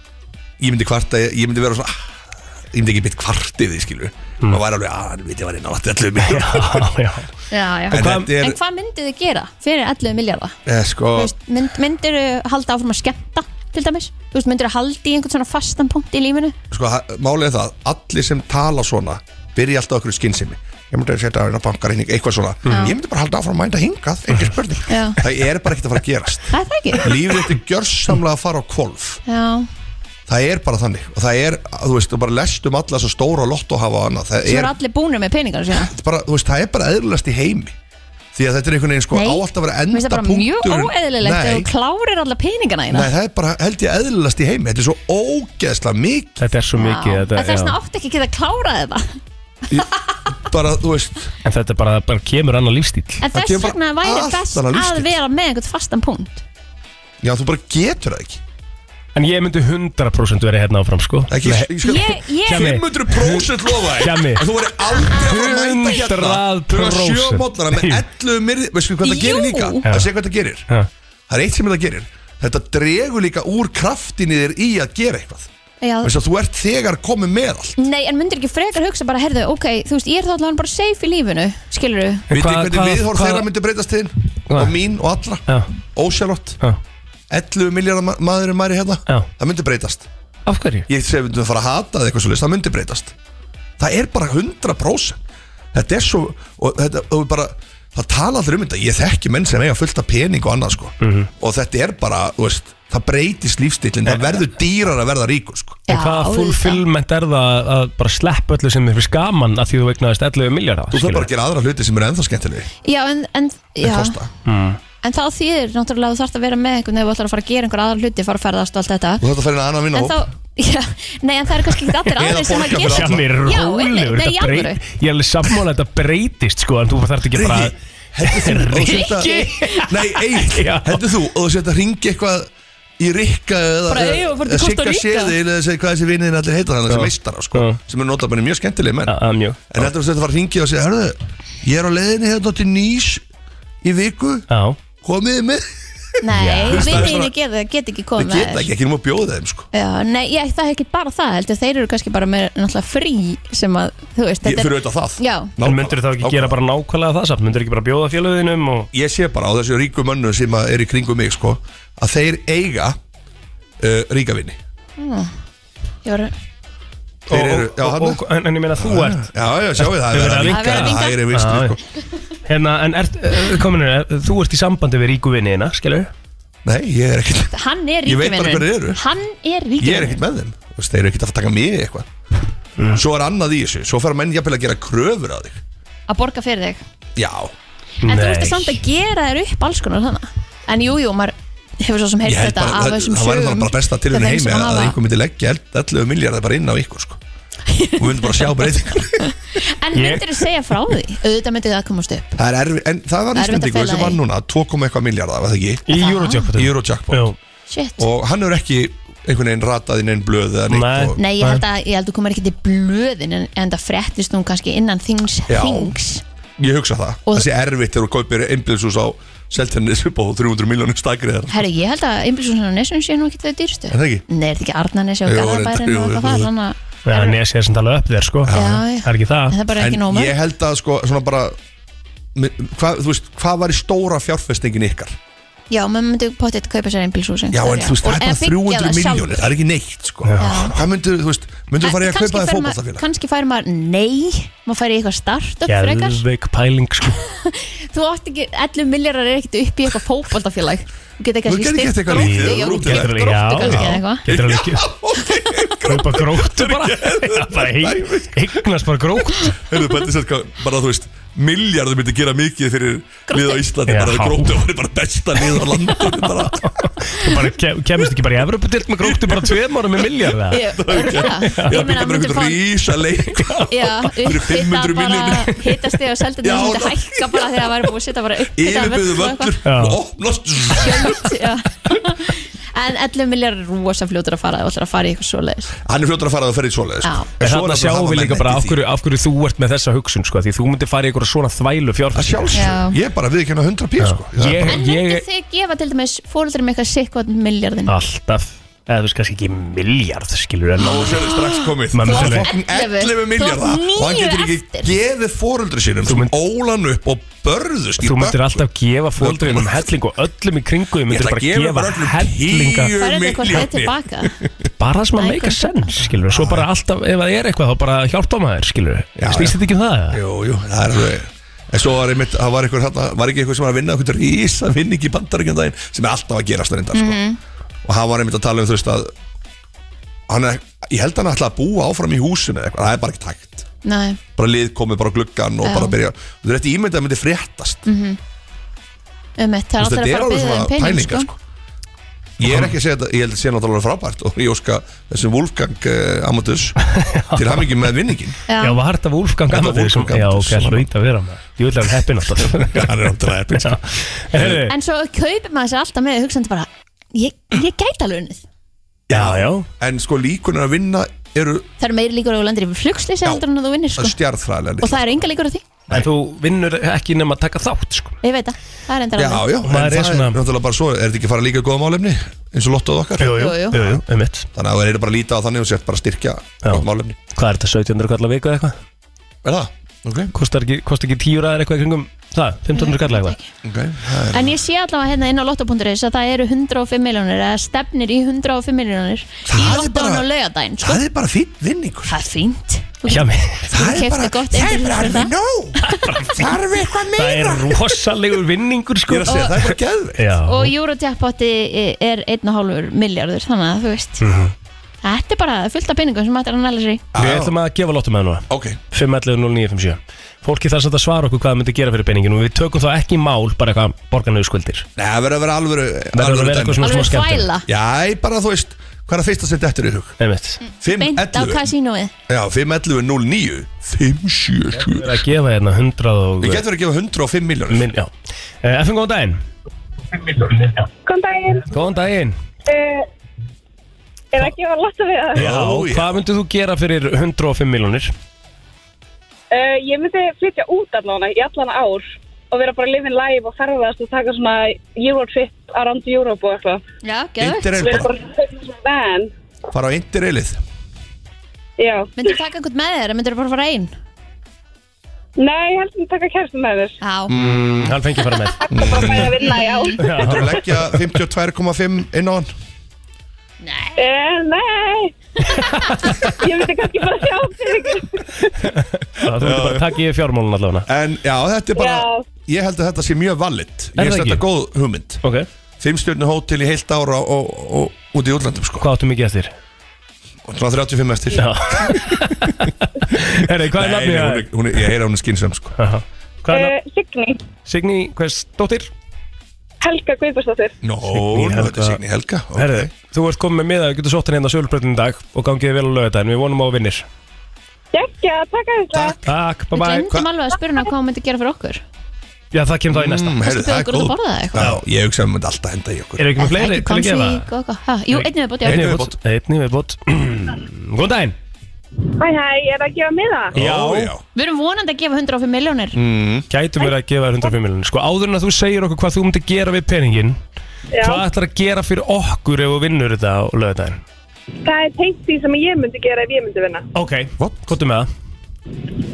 J: Ég myndi kvarta, ég myndi vera svona ah, Ég myndi ekki beitt kvartið því, skilur Maður væri alveg, að hann veit ég var inn á 11 miljónum
A: Já,
B: Já, já.
J: En
B: En,
J: þetta er-
B: hvað myndir þið gera fyrir 11 miljardar?
J: já Sko,
B: Mynd, myndir þið halda áfram að skemmta til dæmis? Þú veist, myndir þið halda í einhvern svona fastan punkt í lífinu?
J: sko, það- málið er það Allir sem tala svona byrja alltaf okkur skynsemi Ég myndi að setja hérna að reyna bankarreining, eitthvað svona Ég myndi bara halda áfram að mænda hingað, engin spurning
B: Já.
J: Það er bara ekkert að fara að gerast
B: Það er það ekki?
J: Lífið þetta er gjörsamlega að fara á kvolf
B: Já,
J: Það er bara þannig og það er, þú veist, þú bara lest um alla þess stóra lotto hafa og annað það
B: svo
J: er,
B: eru allir búnir með peningar sína
J: bara, þú veist, það er bara eðlulegt í heimi því að þetta er einhvern veginn sko
B: Nei.
J: á alltaf að vera
B: Mér finnst
J: enda
B: það bara mjög
J: punkturinn-
B: óeðlilegt ef
J: Nei.
B: þú klárir alla peningana þína
J: Nei, það er bara, held ég, eðlulegt í heimi Þetta er svo ógeðslega mikið
A: Þetta er svo
B: Já.
A: mikið
B: En Það er svona
A: já.
B: átt ekki að geta klárað þetta
J: bara, þú veist
A: En þetta er bara, bara kemur annar lífstíl
B: En þess vegna væri best
J: annað
B: að
J: lífsstíll.
B: vera með einhvern fastan punkt
J: Já, þú bara getur það ekki
A: En ég myndi 100% verið hérna áfram sko
J: Ekki,
A: Nei.
J: ég skal
B: Ég, ég,
A: Kjami.
J: 500% lofa þér
A: Hjami.
J: að þú verður aldrei að fara að mæta hérna
A: 100%.
J: klukkan sjö á mótnana með 11 myrði veistu hvað það gerir
B: Jú.
J: líka það sé hvað það gerir
A: Já.
J: það er eitt sem það gerir þetta dregur líka úr kraftinni þér í að gera eitthvað
B: já,
J: veistu að þú ert þegar komið með allt
B: Nei, en myndir ekki frekar hugsa bara, herðu, ok, þú veist, ég er þá allavega bara safe í lífinu, skilur þú?
A: En
J: veitu
A: hvað-
J: hvernig
A: hvað-
J: viðhorf
A: hvað-
J: þeirra myndi breytast til þín og mín og allra
A: Já,
J: ósjálfott
A: já,
J: 11 miljardar maðurinn mæri hérna
A: já
J: það myndi breytast
A: Af hverju?
J: ég segi við myndum að fara að hata eða eitthvað svolítið, það myndi breytast það er bara 100% þetta er svo og þetta, og við bara, það tala allir um þetta ég þekki menn sem eiga fullt af pening og annað sko.
A: Mhm.
J: og þetta er bara, þú veist það breytist lífstillin, það verður dýrar að verða ríkur sko.
A: En hvaða fullfilment er það að bara sleppa öllu sem þér fyrir skaman að því þú eignaðist 11 miljardar
J: þú þarf bara að gera aðra hluti sem eru ennþá skemmtilegi
B: Já, en,
J: en
B: en, já,
J: kosta
B: en þá þýðir náttúrulega að þú þarfst að vera með einhvern ef þú ætlar að fara að gera einhver aðra hluti, fara að ferðast og allt þetta.
J: og þetta fær eina annan vinna
B: En þá, já, nei, en það eru kannski ekki allir
J: Eða
B: aðrir sem að
J: borga
B: gera
J: fyrir alla.
A: Sjami,
B: Já, einmitt,
A: rólegur,
B: nei, í
A: þetta
B: alvöru.
A: breyt Ég er alveg sammála að þetta breytist sko En þú þarf ekki bara
J: Rikki Nei, Egil,
A: Já.
J: hendur þú og þú setja að ringi eitthvað í Rikka eða
B: Bara, "Ey, og fór til
J: eða
B: Costa
J: Sigga
B: Rica."
J: Seðil eða segja hvað þessi vinniðin allir heita þannig
A: Já.
J: sem meistara sko,
A: Já.
J: sem er notað mjög skemmtileg menn
A: Já, já, mjög.
J: en heldur þú að þetta fara að ringi og segja hörðu, ég er á leiðinni hérna til nýs í viku
A: Já,
J: komið þið með Já.
B: Nei,
J: Þú veist, það er
B: vinninni
J: svona-
B: geta, geta ekki
J: Við
B: komið með
J: geta
B: þér.
J: ekki, ekki nema að bjóða þeim sko
B: Já, nei, ég, það er ekki bara það heldur, þeir eru kannski bara með náttúrulega frí sem að, þú veist,
J: Ég-
B: þetta er-
J: Fyrir auðvitað það
B: Já,
A: En myndir þá ekki gera bara nákvæmlega það samt? Myndir ekki bara bjóða félöðinum og...
J: Ég sé bara á þessu ríku mönnu sem að er í kringum mig sko Að þeir eiga uh, ríka vinni
B: mm, ég var
J: Þeir eru, já, Ah.
A: og,
J: hann
A: og, en, en ég meina þú
J: Já,
A: ert
J: já, já, sjáið, það er verið að vinka, Það er verið að vinka. það er hægri vinstri, sko.
A: Já, já. Hérna, en ert, eh, kominu, eh, þú ert í sambandi við ríku vinniðina, skilur?
J: Nei, ég er ekkert
B: Hann er
J: Ég veit bara
B: ríkivinnur
J: hverjir eru.
B: Hann er
J: Ég er
B: ríkivinnur
J: ekkert með þeim Þú veist, Þeir eru ekkert að taka mig í eitthvað
B: Mm.
J: Svo er annað í þessu Svo fara menn jafnvel að gera kröfur að þig
B: að borga fyrir þig
J: Já
B: En þú veist að samt að gera þér upp alls konar þannig En jú, jú, maður hefur svo sem heyrt
J: Ég held
B: þetta
J: bara,
B: af
J: það,
B: þessum
J: það væri
B: sögum
J: það bara besta til hún
B: hjá þeim
J: heimi
B: sem
J: að, að
B: hafa.
J: einhver myndi leggja 11 miljardar bara inn á ykkur sko. og við myndum bara sjá breytingar
B: En myndir þú segja frá því? Auðvitað myndir það komast upp
J: það er erfi, en það var
B: Það er erfitt að
J: íslendingur
B: fela
J: sem
B: í.
J: var núna 2,1 miljardar, var það ekki?
A: Í Eurojackpot.
J: Í Eurojackpot
B: Shit
J: og hann er ekki einhvern veginn ratað inn einn blöð eða neitt og,
B: Nei, ég held að, ég held að þú komar ekki til blöðin En, en það fréttist hún kannski innan þings
J: Já.
B: Þings
J: ég hugsa það,
B: Og-
J: það sé erfitt þegar þú kaupir einbilsús á seltennis upp á 300 miljónum stakrið þar.
B: Herru, ég held að Einbjörnsson og Nessun séu nú ekki þau dýrstu
J: Er það ekki?
B: Nei, er þetta ekki Arnarnes og
J: Jú,
B: Garðabærin
J: reyndar,
B: og
J: jú,
B: eitthvað það
J: jú.
B: Þannig að
A: Já, en ég sé þessum tala upp þér, sko.
B: Já, já.
A: Það er ekki það.
B: En það er bara ekki nóg
J: en
B: mörg.
J: ég held að sko svona bara mi- hvað, þú veist, hvað var í stóra fjárfestingin ykkar?
B: Já, maður myndi potið kaupa sér einbílshús
J: Já, en þú veist, það er bara 300 miljónir, það er ekki neitt sko. Hvað myndu, þú veist, myndu fara í að kaupa þér fótballtafélag?
B: Kanski fær maður, nei, maður fær í eitthvað startup frekar
A: Geðveik pæling, sko.
B: Þú átt ekki, 11 miljardar er ekkert upp í eitthvað fótballtafélag Þú getur
J: Þú
B: kannski
J: getur gert
B: styrkt
J: eitthvað lítið,
B: Gróttu, já,
J: gróttu,
B: þú getur gróttu kannski eða
A: Já,
B: eitthvað
A: getur alveg ekki Kaupa gróttu bara Já, bara hei- Eignast bara grótt
J: Heyrðu, bara, þess að hvað- bara þú veist, miljardur myndi gera mikið fyrir lið á Íslandi, bara
A: Já.
J: það gróttu og bara besta lið á landinu bara.
A: Þú bara ke- kemist ekki bara í Evropadilt með gróttu bara tveim ára með miljard
B: Ég- örugglega.
J: Já,
B: Ég
J: byggja
B: meina,
J: bara
B: myndi
J: einhvern
B: fá-
J: rísa leik
B: Já, upphita
J: 500
B: bara
J: milljónir.
B: hittast þig á seldan
J: Já,
B: þú myndi
J: ná-
B: hækka bara þegar það væri búið að setja bara upphita
J: Yfirbyðu völlur, opnast
B: En 11 miljardar er rosa fljótur að fara þú ætlar að fara í eitthvað svoleiðis
J: Hann er fljótur að fara að ferja í svoleiðis
B: Já.
A: En þarna sjáum við líka bara af hverju, af hverju þú ert með þessa hugsun sko, Því þú myndir fara í einhverja svona þvælu fjárfæstingar
B: Já.
J: Ég bara viðkenna 100 píl sko. Það er
A: Ég,
J: bara-
B: Myndu
A: ég,
B: þið gefa til dæmis fóröldurum eitthvað sikkvað miljardin
A: alltaf Eða þú veist kannski ekki miljard skilur en
J: Nú sérðu strax komið
A: Mamma,
J: Það
A: sérðu.
J: er fokkin 11
B: 11
J: miljardar
B: Þú átt
J: Og hann
B: níu
J: getur ekki gefið fóruldri sínum sem ólan upp og börðust í
A: Þú
J: bökkum.
A: myndir alltaf gefa fóldriðinum helling og öllum í kringu Þú
J: Ég
A: myndir
J: ætla að
A: bara
J: gefa
A: gefa
J: bara öllum
A: hellinga
J: tíu
B: Færðu eitthvað það
J: milljónir
B: tilbaka
A: Bara það sem að
B: Nei,
A: meika
B: hvað
A: sens skilur Svo bara alltaf, ef það er eitthvað þá bara hjálpa maður skilur
J: Já,
A: Snýst þetta ekki um það? eða?
J: Jú, jú, það er alveg En svo var einmitt, það var, einhver, þarna, var ekki eitthvað sem var að vinna eitthvað rísa vinning í bandaríkjum daginn sem er alltaf að gerast reyndar sko.
B: Mhm.
J: og hann var einmitt að tala um þú veist að hann er, ég held hann ætla að búa áfram í húsinu eða eitthvað, það er bara ekki tækt
B: Nei,
J: bara lið komið bara á gluggan og
B: Já.
J: bara byrja þú veist, þetta ímyndið að myndi fréttast
B: um eitt,
J: Þú veist,
B: það er alltaf að
J: þetta
B: fara að
J: alveg
B: byggja um
J: svona
B: pening
J: pælingar,
B: sko.
J: Ég er ekki að segja þetta, ég held að þetta sé náttúrulega frábært og ég óska þessum Wolfgang uh, Amadeus til hamingi með vinningin
B: Já.
A: Já, var þetta Wolfgang
J: Þetta var
A: Amadeus sem-
J: Wolfgang
A: Já, ok,
J: Amadeus.
A: hlaut að vera með Ég vil að hann heppin alltaf
J: hann er náttúrulega sko. eppin
A: Já. Heyrðu,
B: En svo kaupir maður sér alltaf með hugsandi bara Ég, ég gæti alveg unnið
A: Já, já
J: En sko líkunar að vinna eru
B: Það eru meiri líkur að þú lendir í flugslýsi
J: Já.
B: heldur en að þú vinnir sko.
J: stjartfræðilega
B: Og það eru enga líkur á því
A: En þú vinnur ekki nema að taka þátt sko.
B: Ég veit það, það er endar
J: Já, já, en
A: maður
J: það
A: er
J: er
A: svona-
J: náttúrulega bara svo er þetta ekki að fara líka í góða málefni eins og lottoð okkar
B: jú. Jú, jú.
A: jú, um mitt
J: þannig að það er bara að líta á þannig og sért bara að styrkja
A: Já.
J: gott málefni
A: Hvað er þetta, 1700 kallar viku eða eitthvað?
J: Er það? Ok,
A: Kostar ekki, kostar ekki tíu ræðar eitthvað í kringum það, 1500 kallar eitthvað
J: ok það er-
B: En ég sé allavega hérna inn á lotto.is að það eru 105 miljónir eða stefnir í 105 miljónir í
J: Það er
B: lottoan
J: bara-
B: og laugadaginn sko.
J: Það er bara fýtt vinningur
B: Það er fínt
A: Já, mér-
J: Það er
B: keyptir
J: bara,
B: gott
J: það er
B: einbýlishús
J: bara
B: fyrir
J: alveg nóg Það er eitthvað meira
A: Það er rosalegur vinningur
J: Ég
A: sko.
J: er að segja, það er bara geðveikt
A: Já,
B: Og Eurojackpoti er 1,5 miljardur þannig að þú veist
J: Mhm.
B: Þetta er bara fullt af peningum sem hættir að næla sér í
A: við ætlum að gefa lottum með núna
J: Ok,
A: 511-0957 Fólki þarf samt að svara okkur hvað það myndi gera fyrir peningin og við tökum þá ekki í mál bara eitthvað borgarlegu skuldir
J: Nei, það verður að vera alvöru
A: Verður að vera
J: dæmi.
A: eitthvað svona smá
B: Alveg
A: skemmtum
B: þvæla
J: Já, ég bara þú veist, hvað er að fyrsta setja eftir í hug?
A: Einmitt.
J: Mm.
B: Beint á
J: 511
B: kasínóið
J: Já, 511 09 577
A: Við erum að gefa hérna 100 og
J: Við getum verið að gefa 105 miljónir
A: Minn, já. Eh, FM, góðan daginn
F: Kom daginn,
A: Góðan daginn
G: Ehm,
F: uh, er ekki að láta við það.
A: Já,
J: Ó, já.
A: hvað myndir þú gera fyrir 105 miljonir?
F: Eh, Uh, ég myndi flytja út allavega í allan ár og og vera bara living live og ferðast og taka svona Euro trip around Europe og eitthvað
B: Já,
J: geðvegt. Interrail
F: Vera bara svona van
J: fara á indireilið
F: Já
B: Myndir taka einhvern með þér, myndir bara fara einn?
F: Nei, ég heldur að taka kærstum með þér
B: Já
A: mm, Hann fengi að fara með
F: Bara með að vinna, já
J: Þú leggja 52,5 inn á hann
F: Eh, Nei Ég myndi kannski bara sjá fyrir ykkur
A: Það þú myndir bara taka í fjármálun allavega
J: En já, þetta er bara
F: Já.
J: Ég held að þetta sé mjög valid
A: Er
J: Ég
A: það
J: held
A: ekki?
J: þetta góð hugmynd
A: okay.
J: Fimmstjörnu hótel í heilt ára og, og, og út í útlandum sko
A: Hvað áttu mikið eftir?
J: Og svona 35 eftir Já
A: Herri, hvað
J: Nei,
A: er nafnið?
J: nei,
A: á
J: hún
A: þér?
J: er, hún er, ég heyra hún er skynsum sko
A: Aha. Hvað er
F: Eh,
A: nafn?
F: Signý,
A: Signý, hvers dóttir?
F: Helga Guðbjörnsdóttir
J: Nó, nú,
A: Signý
J: þetta er
A: Helga.
J: Signý Helga ok.
A: Herri, þú ert komið með miða, við getum sótt hann hérna á sölubröðinu í dag og gangið vel á lögða, en við vonum á að vinnir
F: Gekkja, taka þetta
A: Takk, bye
B: Við
A: bye
B: glemdum alveg að spyrja hana hvað hún myndi gera fyrir okkur
A: Já, það kemur þá í næsta
J: Mm, heyrðu,
B: Kannski bjóða
J: það er
B: ykkur út að
J: góð.
B: borða eða eitthvað.
J: Já, ég hugsa að við myndum alltaf henda í okkur
A: Eru ekki með fleiri
B: Ekki
A: til að gefa?
B: konsík og eitthvað Ha, Jú, einnig við bóti
A: Einni
J: Einni
A: viðbót Einni viðbót Góðan daginn
F: Hæ, hæ, ég er að gefa miða
A: Já.
J: Ó, já.
B: Við erum vonandi að gefa 105 miljónir
J: Mm.
A: Gætum við að gefa þér 105 miljonir Sko áður en að þú segir okkur hvað þú myndir gera við peningin
F: Já,
A: Hvað ætlar að gera fyrir okkur ef þú vinnur þetta á lögadaginn?
F: það er tengt því sem ég myndi gera ef ég myndi vinna
A: Ok,
J: What?
A: gottum með það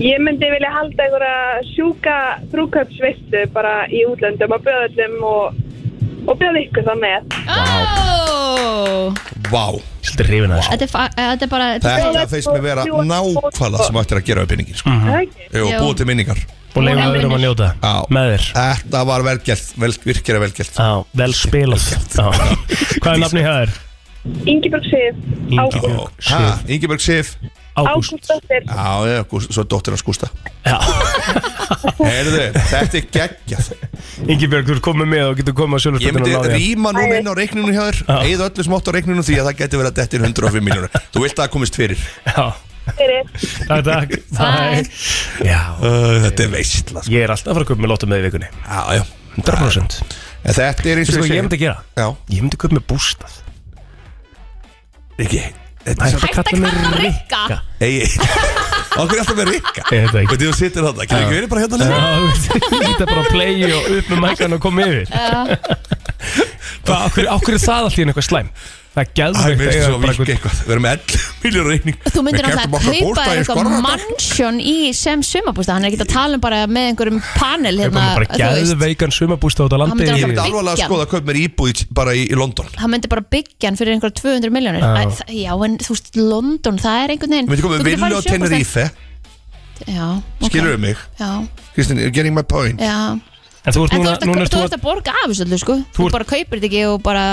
F: Ég myndi vilja halda einhverja sjúka brúköpsveislu bara í útlöndum og bjöðallum og, og bjöða ykkur það með.
B: Ó,
J: Vá,
A: Svolítið hrifin að þessu
B: Þetta er fa- eh, þetta er bara þetta er-
J: þetta feist mér vera nákvæmlega sem ættir að gera við peningin
B: Mhm.
J: sko.
F: Það ekki?
J: Jú,
B: Jú.
J: búið til minningar
A: Og leiðum
B: Hún
A: við um að njóta
J: Já.
A: Með þér
J: Þetta var velgert, vel, virkjara velgert
A: Já, vel spilað Já. Hvað er nafni hér?
F: Ingeborg Sif, Ágúst,
A: Ingibjörg Sif
J: Ingeborg Sif
A: Ágúst
F: Ágústóttir.
J: Já, já, Gúst- svo er dóttir hans Gústa
A: Já.
J: Heyrðu, þetta er geggjað
A: Ingibjörg, þú er komið með og getur komið á
J: Ég myndi
A: söluspöldinu og náði
J: rýma núna inn á reikninu hjá þér
A: Já.
J: Eða öllu smátt á reikninu því að það geti verið að dettin 105 miljónur Þú vilt að það komist fyrir
A: Já,
F: fyrir.
A: takk, takk
B: Bye.
A: Bye. Já,
J: uh, Þetta er veistla sko.
A: ég er alltaf að fara að köpa með lótum með í vikunni
J: Já, já
A: 100%
J: En Þetta er eins
A: Veistu
J: og
A: hvað ég myndi gera?
J: Já,
A: Ég myndi köpa með bústað
J: ekki Þetta er
A: Hægt að kalla mig
B: kalla Rikka.
A: Rikka
J: Ey, okkur er alltaf með rikka
A: Ég veit það ekki.
J: Veitir þú situr þarna, getur ekki verið bara hérna líka
A: Íta bara að playa og upp með mækan og koma yfir Hvað, okkur, okkur er það alltaf eitthvað slæm? Það er
J: Æ, mér
A: gæðvegt
J: finnst svo vík eitthvað Við erum með 11 miljónur reikning
B: Þú myndir
J: Við
B: náttúrulega
J: keyptum okkur
B: að kaupa
J: bústað
B: þér
J: í
B: eitthvað
J: Skorradal.
B: mannsjón í sem sumabústa Hann er ekki að tala um bara með einhverjum panel
A: Ég
B: hérna,
A: kom bara
B: þú veist.
A: gæðveikan sumabústa út á
B: myndi
A: landi
J: Ég
B: náttúrulega
J: myndi alvarlega að
B: Byggja.
J: skoða að kaupa mér íbúð í- bara í, í London Ég
B: Hann myndi bara byggja hann fyrir einhverja 200 miljónir
A: Já.
B: Já, en þú veist, London, það er einhvern veginn
J: myndi koma með
B: Þú getur
J: villu á
B: farið í sumarbústað.
J: Tenerife
B: Já, ok.
J: Skilur við mig
B: Já,
J: Kristín, you're getting my point
B: já
A: En þú ert
B: En þú
A: núna,
B: ert að,
A: núna
B: þú
A: ert
B: ert að borga af þessu öllu, sko
A: Þú
B: Þú
A: ert-
B: bara kaupir þetta ekki og bara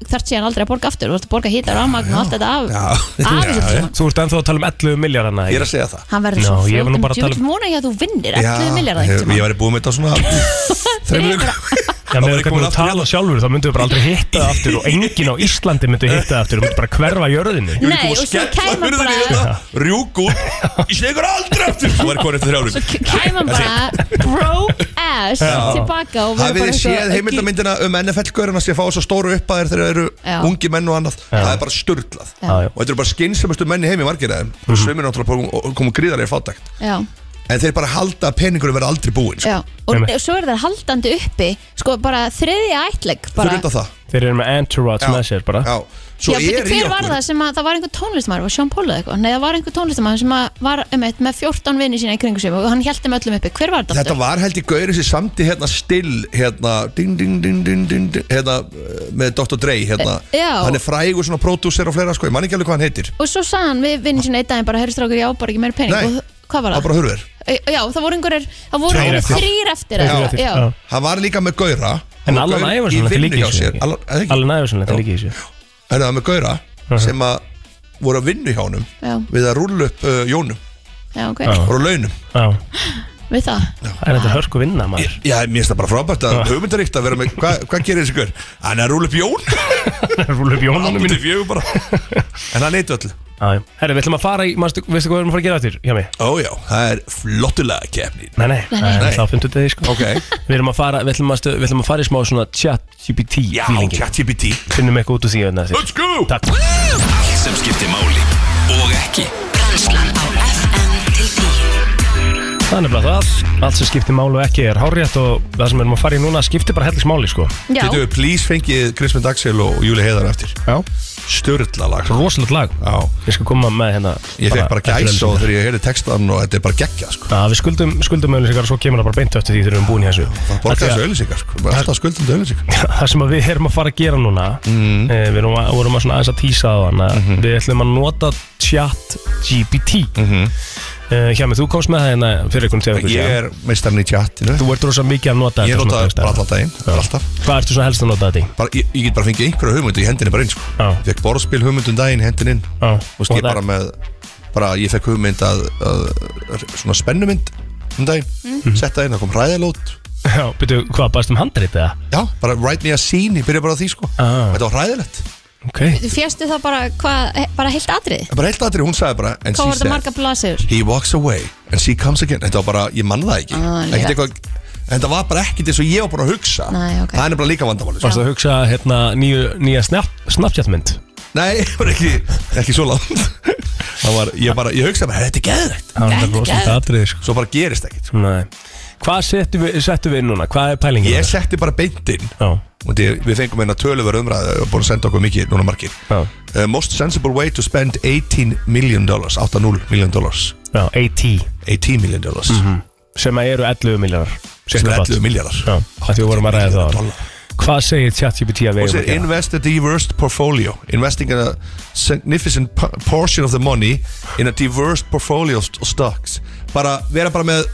B: þarft síðan aldrei að borga aftur Þú ert að borga hýta, rafmagn og allt þetta af
J: Já,
B: Af þessu öllu sko.
J: já, já.
B: saman.
A: Þú ert ennþá að tala um 11 miljard hana
J: Ég er að segja það
B: Hann verður
A: Ná,
B: svo
A: ég var nú bara að
B: fljótum
A: tala um-
B: Þú vona ég að þú vinnir
J: Já,
B: 11 miljardar
J: ég
B: einhvern
J: ég
B: tímann.
J: væri búið með þetta á svona Þreimur
A: Já, með
J: var ég
A: hvernig
J: komin
A: þú
J: aftur
A: tala sjálfur þá myndum við bara aldrei hitta það aftur og enginn á Íslandi myndi hitta það aftur og myndi bara hverfa jörðinni
B: Nei, og svo kæma bara
J: Rjúk hérna, út Ég sé ykkur aldrei aftur Svo væri komin eftir þrjárum
B: Svo k- kæma hann bara broke ass tilbaka og verður
J: Hafið
B: bara
J: þið séð heimildamyndina um NFL-göruna sem fá svo stóru uppaðir þegar þeir eru
B: Já.
J: ungi menn og annað Það er bara sturlað
B: Já. Mhm.
A: Já, já.
J: Og þetta eru bara skynsumustu menn í heimi margir aðeim mm -hmm. Sveimir náttúrulega komum gríðar í fátækt
B: Já,
J: En þeir bara halda að peningur verða aldrei búin
B: já
J: sko.
B: Og
A: Einmitt.
B: svo er það haldandi uppi Sko bara þriðja ætleg
J: Þau
B: bara
J: reynda það
A: Þeir eru með entourage
J: Já.
A: með sér bara
J: Já. Svo
B: Já,
J: er
B: betur,
J: í
B: hver var
J: okkur
B: það sem að það var einhver tónlistamæður, var Sean Paul eða eitthvað? Nei, það var einhver tónlistamæður sem að var um eitt með 14 vinni sína í kringu sig og hann held þeim öllum uppi. Hver var þetta?
J: Þetta
B: aftur?
J: var held í gaurið sem samti hérna still hérna, ding, ding, ding, ding, ding, ding, hérna eh, með Dr. Dre hérna.
B: Eh, já.
J: hann er frægur svona pródúser og fleira sko, ég man ekki alveg hvað hann heitir
B: Og svo sagði hann við vinni sína einn daginn bara, herri strákur, ég á bara ekki meira pening.
J: Nei.
B: Og, hvað var
J: það
B: það?
J: bara hurður
B: E- Já, það voru einhverjir, það voru
A: Tveir
B: einhverjir
A: eftir.
B: þrýr eftir.
A: Þeir eru
B: eða-
A: eftir.
B: Já,
A: Já.
J: hann var líka með gaura
A: En
J: hann var
A: Allan
J: gaur
A: Ævarsson, þetta
J: í
A: er
J: vinnu
A: líka í
J: hjá sér
A: þessu
J: Allan- er það ekki?
A: Alveg næður þetta er líka í þessu
J: hann var með gaura sem að voru að vinnu hjá honum
B: já,
J: við að rúlla upp uh, jónum
B: já, ok.
A: Já.
J: voru á launum
A: Já,
B: Við það.
A: það er þetta hörku vinna maður
J: já, mér finnst það bara frábært að hugmyndaríkt að vera með hvað hva gerir þessi gaur? hann er að rúlla upp jón
A: Rúlu upp jónunum mínu
J: Aldrei fjögur bara En hann eitt öll
A: Herri, við ætlum að fara í, manstu, veistu hvað við erum að fara að gera eftir hjá mig?
J: Ójá, það er flottulega keppni
A: Nei, nei,
B: Nei,
A: nei,
B: nei.
A: nei. þá finnstu þetta sko
J: Ok
A: Við erum að fara, við ætlum að, stu, við ætlum að fara í smá svona chat GPT
J: Já,
A: feelingin
J: ChatGPT
A: Finnum eitthvað út úr því hérna, að þetta
J: Let's go
A: Takk
E: Allt sem skiptir máli og ekki
D: Brennslan á FM til 10
A: Það er nefnilega það Allt sem skiptir mál og ekki er hárétt og það sem við erum að fara í núna skiptir bara hellis máli sko
B: Já.
J: Getur við please fengið Krismund Axel og Júli Heiðar eftir
A: Já
J: Störla lag
A: Rosalegt lag
J: Já
A: Ég skal koma með hérna
J: Ég fekk bara
A: eftir
J: gæsa
A: auglýsingar.
J: og þegar ég heyrði textan og þetta er bara geggja sko.
A: Já, við skuldum, skuldum auðlýsingar og svo kemur það bara beint eftir því þegar við erum búin í þessu
J: Bara
A: Af því
J: borga
A: að
J: þessu auðlýsingar sko. Bara Alltaf skuldum til auðlýsingar
A: Það sem að við erum að fara að gera núna mm. Við erum að, vorum að svona aðeins að tísa á hann mm
J: Mhm.
A: Við ætlum að nota chat GPT mm -hmm. Hjá mig, þú komst með það hérna fyrir einhvern tegum
J: Mhm. Ég er meistarinn í tjattinu
A: Þú ert rosa mikið að nota
J: Ég
A: þetta
J: nota bara
A: svona texta.
J: alltaf daginn bara alltaf.
A: Hvað ertu svona helst að nota þetta í?
J: Bara, ég, ég get bara fengið einhverja hugmyndu í hendinni bara einn sko.
A: Já.
J: Ég fekk borðspil hugmyndum daginn í hendinni inn.
A: Já.
J: Þú veist,
A: Og
J: ég
A: það-
J: bara með bara, Ég fekk hugmynd að, að svona spennumynd um daginn
A: Mhm.
J: Setta inn, það kom ræðalót
A: Já, byrju, hvað, baðast um handrið eða?
J: Já, bara write me a scene, ég byrja bara á því sko
A: Ah.
J: Þetta var hræðilegt
A: Ok
B: Þú fjastu það bara, hvað, he- bara heilt atrið?
J: En bara heilt aðri, hún sagði bara And
B: Hvað
J: she
B: var þetta
J: said,
B: marga blasur?
J: he walks away And she comes again Þetta var bara, ég mann það ekki
B: Ah,
J: Ekkert
B: lélegt.
J: eitthvað en Þetta var bara ekkert eins og ég var bara að hugsa
B: Nei, ok.
J: Það er bara líka vandamáli sko.
A: Varst það að hugsa hérna nýju, nýja snap, Snapchat mynd?
J: Nei, ég var ekki, ekki svo langt Það var, ég bara, ég hugsaði bara, þetta er geðrætt
A: Það var rosalega atrið sko.
J: Svo bara gerist ekkert sko.
A: Nei Hvað settum við, settum við inn núna? Hvað er pælingin?
J: Ég setti bara beint inn
A: Já,
J: Og því, við fengum eina töluverð umræðu og búin að senda okkur mikið núna margir
A: já,
J: uh, Most sensible way to spend 18 million dollars 8-0 million dollars
A: já, AT
J: 18 million dollars
A: Mhm. Sem að eru 11 miljardar
J: sem er 11 miljardar
A: Já, af því við vorum að ræða það áðan.
J: Dollar.
A: Hvað segir ChatGPT að við
J: Og
A: eigum
J: sér,
A: að gera?
J: invest a diverse portfolio Investing in a significant po- portion of the money In a diverse portfolio of st- stocks Bara, vera bara með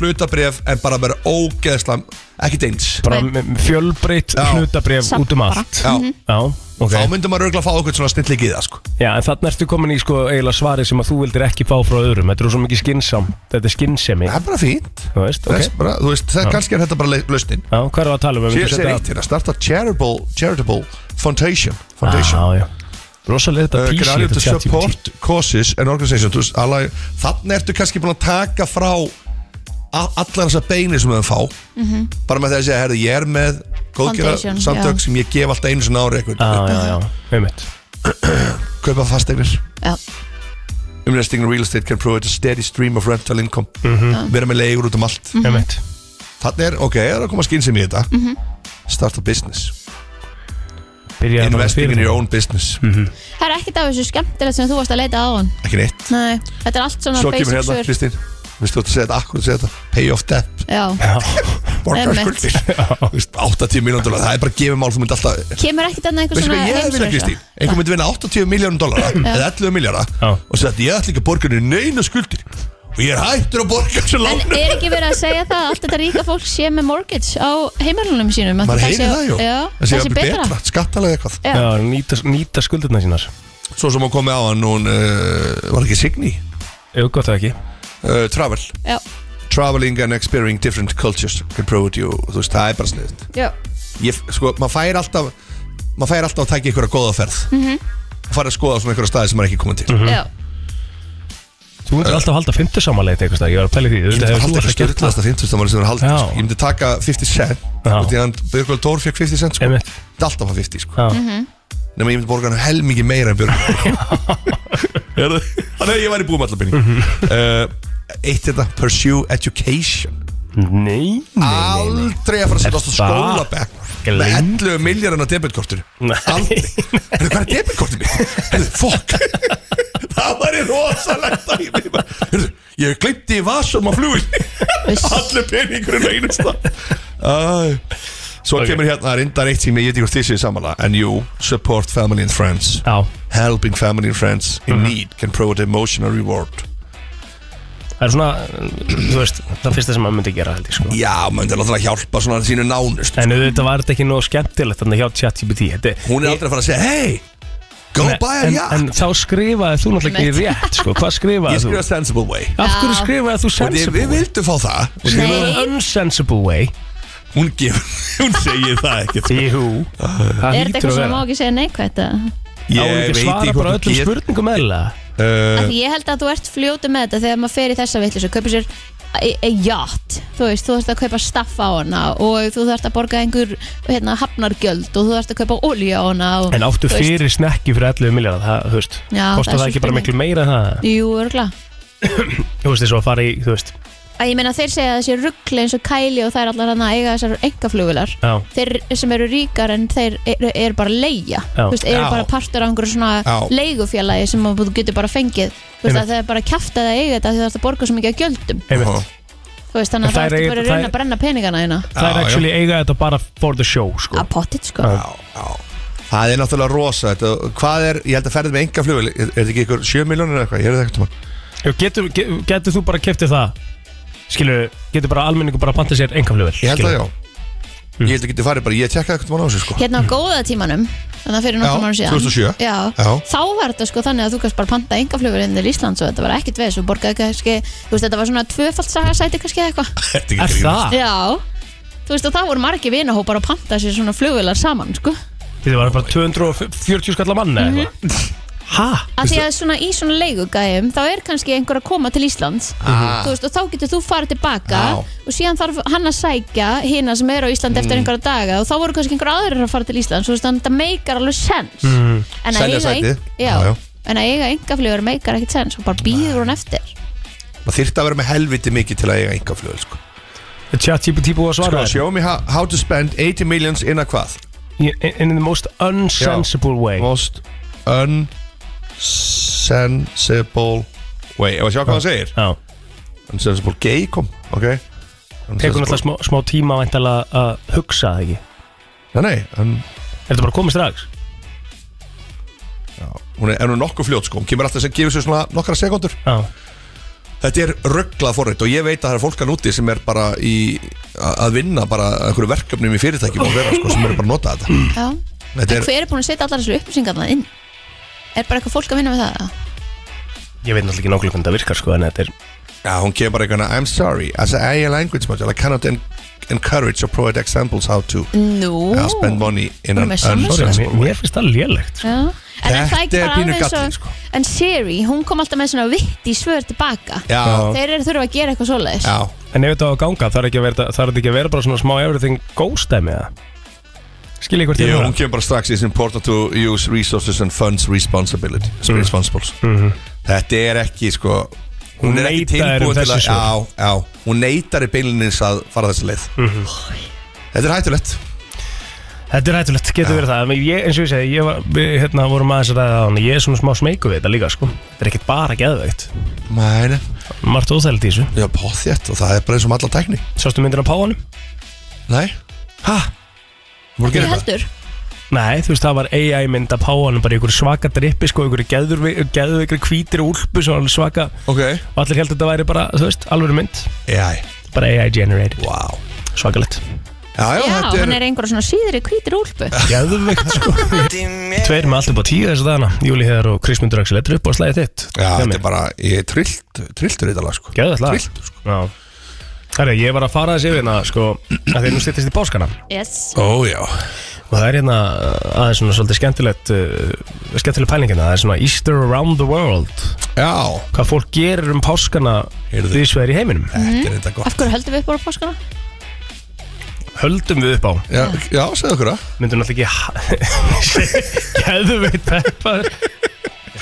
J: hlutabref En bara vera ógeðslam Ekkert eins
A: Bara með- með fjölbreytt
J: Já.
A: hlutabréf
B: Samt
A: út um
B: bara.
A: allt
J: Já,
A: Já, ok
J: Þá myndum maður örgulega að fá okkur svona snillig í það sko.
A: Já, en þarna ertu komin í sko eiginlega svarið sem að þú vildir ekki fá frá öðrum Þetta er svo mikið skynsam, þetta er skynsemi
J: Það er bara fínt
A: Þú veist,
J: okay.
A: ok
J: bara, Þú veist, það kannski er þetta bara le- lausnin
A: Já, hvað er það að tala um? Ef við
J: Sér
A: myndum
J: sér
A: setja-
J: eitt hérna, starta charitable, charitable foundation, foundation.
A: Já, já Rosalega þetta
J: Uh,
A: písi
J: Græðið
A: þetta
J: to
A: chat GPT
J: support causes and organizations Þú veist, alla- Þannig ertu kannski búin að taka frá a- allar þessar beinir sem við höfum fá bara með því að segja, herðu, ég er með góðgera
B: Mhm. Foundation,
J: samtök
B: já.
J: sem ég gef alltaf einu sinna ári eitthvað,
A: Ah, Já, já, já, einmitt
J: kaupa fastegnir
B: Já,
J: investing in real estate can provide a steady stream of rental income
A: Mhm.
J: vera með leigur út um allt
B: Mhm.
A: Einmitt
J: þannig er, ok, það er að koma skynsum í þetta start a business
A: Byrjaði bara
J: investing in
A: fyrir Mhm.
J: your own business
B: það er ekkert af þessu skemmtilegt sem þú varst að leita á hann
J: ekki neitt
B: Nei, þetta er allt svona
J: Svo
B: basic
J: kemur hérna,
B: svör.
J: Kristín Vistu þú ert að segja þetta, akkur að segja þetta Pay off debt,
B: Já,
J: borgar
B: Einmitt.
J: skuldir Þú veist, 80 miljón dólar, það er bara að gefa mál Þú myndi alltaf,
B: kemur ekkert annað einhver
J: veistu
B: svona
J: hvað ég hefði vilja Kristín Einhver myndi vinna 80 miljón dólar Eða 11 miljóna
A: Já.
J: Og segja þetta, ég ætla ekki að borga henni neina skuldir Og ég er hættur að borga þessu
B: En
J: lánu
B: er ekki verið að segja það að allt þetta ríka fólk sé með mortgage á heimælunum sínum? að
J: Maður
B: það
J: heyrir
B: sé-
J: það, jú
B: Já,
J: Það sé
B: það sé
J: jafnvel
B: betra.
J: betra, skattalega eitthvað
B: Já.
A: Já, nýta, nýta skuldirna sínar
J: Svo sem hún komið á hann, hún uh, var ekki Signý
A: Jú, gott það ekki
J: uh, Travel
B: Já,
J: Traveling and experiencing different cultures Can provide you, þú veist, það er bara sniðut
B: já,
J: ég, sko, maður fær alltaf maður fær alltaf að taka einhverja góða ferð mm og fara að skoða svona einhverja staði sem maður er ekki komið til
A: Mhm.
J: mm
B: já.
A: Þú myndir alltaf halda fymtusamaleit einhvers dag Ég var að pæla í því Þú
J: ég
A: veist,
J: myndi
A: hefur þú
J: halda
A: alltaf
J: það
A: gert það
J: styrlaðasta 50 stammari sem það er haldið
A: Já.
J: sko. ég myndi taka 50 cent
A: Já.
J: og því að Björgvald Dór fekk 50 cent sko.
A: Einmitt.
J: Þetta er alltaf að 50 sko.
A: Já,
B: Mhm.
J: nema ég myndi borga hann hel mikið meira en Björgvald þannig að ég væri búið með allar penning
A: Mhm.
J: uh, eitt þetta pursue education
A: nei, nei, nei,
J: aldrei að fara að
A: Er
J: setjast á
A: það?
J: skólabekk með
A: Gleymd.
J: 11 miljarinn á debitkortinu
A: Nei.
J: aldrei Heyrðu, hvað er debitkortinu mitt? Heyrðu, fokk það var í rosalegt að ég bara, heyrðu, ég glimti í vasum á flugin
B: Uss.
J: allir peningurinn á einu stað Æ. svo
A: Ok.
J: kemur hérna reyndar eitt sem ég get ekki hvort þessi samanlega and you support family and friends
A: Já, Mhm.
J: helping family and friends in need can provide emotional reward
A: það er svona Þú veist, það fyrsta sem maður myndi gera held ég sko
J: já, maður er alltaf að hjálpa svona sínu nánust
A: En auðvitað var þetta ekki nóg skemmtilegt Þannig hjá ChatGPT Þetta er-
J: hún er aldrei að fara að segja hey, go
A: Nei,
J: buy a
A: en,
J: yacht
A: en þá skrifaði þú náttúrulega ekki rétt sko. Hvað
J: Ég
A: skrifaði þú?
J: skrifa sensible way
A: Af hverju skrifaði þú
J: Og þið-
A: sensible
J: Við
A: way?
J: vildum fá það Og
A: Skrifaði þú unsensible way
J: Hún, gef, hún segir það ekkert
A: Jú, það
B: Er þetta
A: hýtur
B: eitthvað
A: að
B: sem má
A: vera
B: ekki segja neikvægt? eða?
A: Á hún ekki að svara bara öllum spurningum eðlilega
B: Af
J: spurningum
B: því Ég held að þú ert fljótu með þetta þegar maður fer í þessa vitleysu, kaupir sér e- e- yacht, þú veist, þú þarfst að kaupa staff á hana og þú þarfst að borga einhver hérna, hafnargjöld og þú þarfst að kaupa olíu á hana og,
A: En áttu
B: þú veist,
A: fyrir snekki fyrir 11 miljard Það, þú veist,
B: Já, það
A: kostar
B: er
A: það
B: svo
A: ekki bara
B: spurning.
A: miklu meira en það
B: Jú, örgla
A: Þú veist, þess að fara í, þú veist
B: að ég meina þeir segja að þessi ruggli eins og kæli og þær allar hann að eiga þessar engaflugular
A: Já.
B: þeir sem eru ríkar en þeir eru, eru bara leigja
A: Já.
B: þú veist, eru
A: Já.
B: bara partur á einhverju svona
A: Já.
B: leigufélagi sem að þú getur bara fengið þú veist
A: Einmitt.
B: að það er bara kjæft að það eiga þetta því það er að borga svo mikið að gjöldum
A: Einmitt.
B: þú veist
A: En
B: þannig að það
A: þær
B: er
A: eiga-
B: bara að reyna
A: þær-
B: að brenna peningana hérna
A: Það er actually eiga þetta bara for the show sko.
B: að pottit sko
A: Já.
J: Það er náttúrulega rosa þetta, Hvað er, ég held að ferðið með enga flugvel Er er þetta ekki ykkur 7 miljónir eða eitthvað? Ég er þetta ekkert um
A: Já, getur, ge- getur þú bara keftið það skilur, getur bara almenningu bara að panta sér engaflugvel
J: Ég held að já Ég held að geti farið bara, ég tekkaði ekkert um á þessu sko
B: hérna á góða tímanum þannig að fyrir
J: Já,
B: nokkrum árum síðan
J: 2007.
B: Já.
J: Já.
B: þá var þetta sko þannig að þú kannski bara panta engaflugur inn í Íslands og þetta var ekkit veð svo borgaði kannski, þú veist þetta var svona tvöfald sagarsæti kannski eða
J: eitthvað
A: Er það?
B: já, þú veist og það voru margi vinahópar að panta sér svona flugular saman sko
A: Þetta var bara 240 skallar mann eða eitthvað
B: Mhm.
A: Hæ?
B: að því að svona í svona leigugæðum þá er kannski einhver að koma til Íslands
A: Ah.
B: þú veist, og þá getur þú farið tilbaka
A: Já.
B: og síðan þarf hann að sækja hina sem er á Íslandi eftir
A: Mm.
B: einhverja daga og þá voru kannski einhver aðrir að fara til Íslands þú veist, þannig að þetta meikar alveg sens
A: Mm.
B: en að
J: Selja
B: eiga,
J: sætið.
B: ein- já,
J: Já, já.
B: En að eiga engafljóður meikar ekkert sens og bara býður hún eftir
J: Maður þyrfti að vera með helviti mikið til að eiga enga flugvel sko
A: Tjátt típu típu að svara
J: Sko, show me how, how to spend 80 millions in a hvað
A: In the most unsensible way
J: Most unsensible way Ef að sjá hvað
A: Já.
J: það segir
A: Já
J: Unsensible gay kom, ok
A: Tekur náttúrulega smá, smá tíma væntanlega að hugsa það ekki
J: Nei, nei en...
A: Er þetta bara komið strax?
J: Hún er, en hún er nokkuð fljót sko Hún kemur alltaf sem gefur sér svona nokkra sekundur
A: Já
J: Þetta er rugglað forrið og ég veit að það er fólk að núti sem er bara í a- að vinna bara að einhverju verkefnum í fyrirtækjum og vera sko sem eru bara að nota þetta
A: Hmm.
B: já.
J: Þetta
B: en
J: er,
B: hver er búin að setja allar þessu upplýsingarna inn er bara eitthvað fólk að vinna með það
A: Ég veit náttúrulega ekki nákvæmlega hvernig það virkar sko en þetta er
J: já, hún kemur bara eitthvað I'm sorry, as an AI language module I cannot en encourage or provide examples how to
B: nú
J: uh, spend money in
B: Hún er
J: an
B: með samvisku.
J: unsensible
A: Mér- Mér finnst það lélegt sko.
B: Já. en er það
J: Þetta
B: ekki
J: er
B: bara
J: pínu sko.
B: alveg
J: galli,
B: svo en Siri, hún kom alltaf með svona vitt í svör tilbaka
A: Já.
B: þeir eru þurfa að gera eitthvað svoleiðis
J: Já
A: En ef þetta á að ganga þarf ekki að vera, þarf ekki að vera bara svona smá everything ghost dæmi eða Skil ég hvort ég
J: Jú,
A: er að
J: hún kemur bara strax It's important to use resources and funds responsibility Responsibles Þetta er ekki sko Mhm. Hún,
A: Hún
J: er ekki
A: neitar um
J: tilbúin til
A: þessi
J: að
A: svör.
J: já, já, Hún neitar í beilinins að fara þessa leið Þetta er hættulegt
A: Þetta er hættulegt, getur verið það En ég, eins og ég segi, ég var, við hérna, vorum aðeins að ræða á hann Ég er svona smá smeyku við þetta líka sko Þetta er ekkert bara geðveikt
J: Mæni
A: Margt óþægilegt í þessu
J: Já, pothjætt og það er bara eins og með alla tækni
A: Sástu myndina á páanum?
J: Nei Hæ? Voru að
B: Ég
J: gera eitthvað?
B: heldur
A: Nei, þú veist, það var AI mynd af páanum Bara í einhverju svaka drippi, sko Einhverju geðveikri, geðveikri hvítir úlpu Svo alveg svaka
J: Ok
A: Og allir heldur þetta væri bara, þú veist, alvöru mynd
J: AI
A: Bara AI generated
J: Wow
A: Svakalegt
J: Já,
B: Já, hann er einhver svona síðri hvítir úlpu
A: Geðveikt, sko Tveir með allt upp á tíu þessu dagana Júli Heðar og Krismundur Axel Þetta er upp á slæðið þitt
J: Já, þetta er bara Ég er trillt Trilltur í þetta lag sko
A: Geðveikt lag.
J: Trilltur sko
A: Já Herra, ég var að fara þessi yfir hérna, sko, að þeir nú stýttist í páskana
B: yes.
J: Ó, já
A: og það er hérna aðeins svona svolítið skemmtilegt uh, skemmtileg pælingina, það er svona Easter around the world
J: Já
A: hvað fólk gerir um páskana því svo er í heiminum
J: Þetta er þetta gott
B: Mhm. af hverju höldum við upp á páskana?
A: höldum við upp á
J: Já, já segðu okkur það
A: myndum náttúrulega ekki geðu veit peppar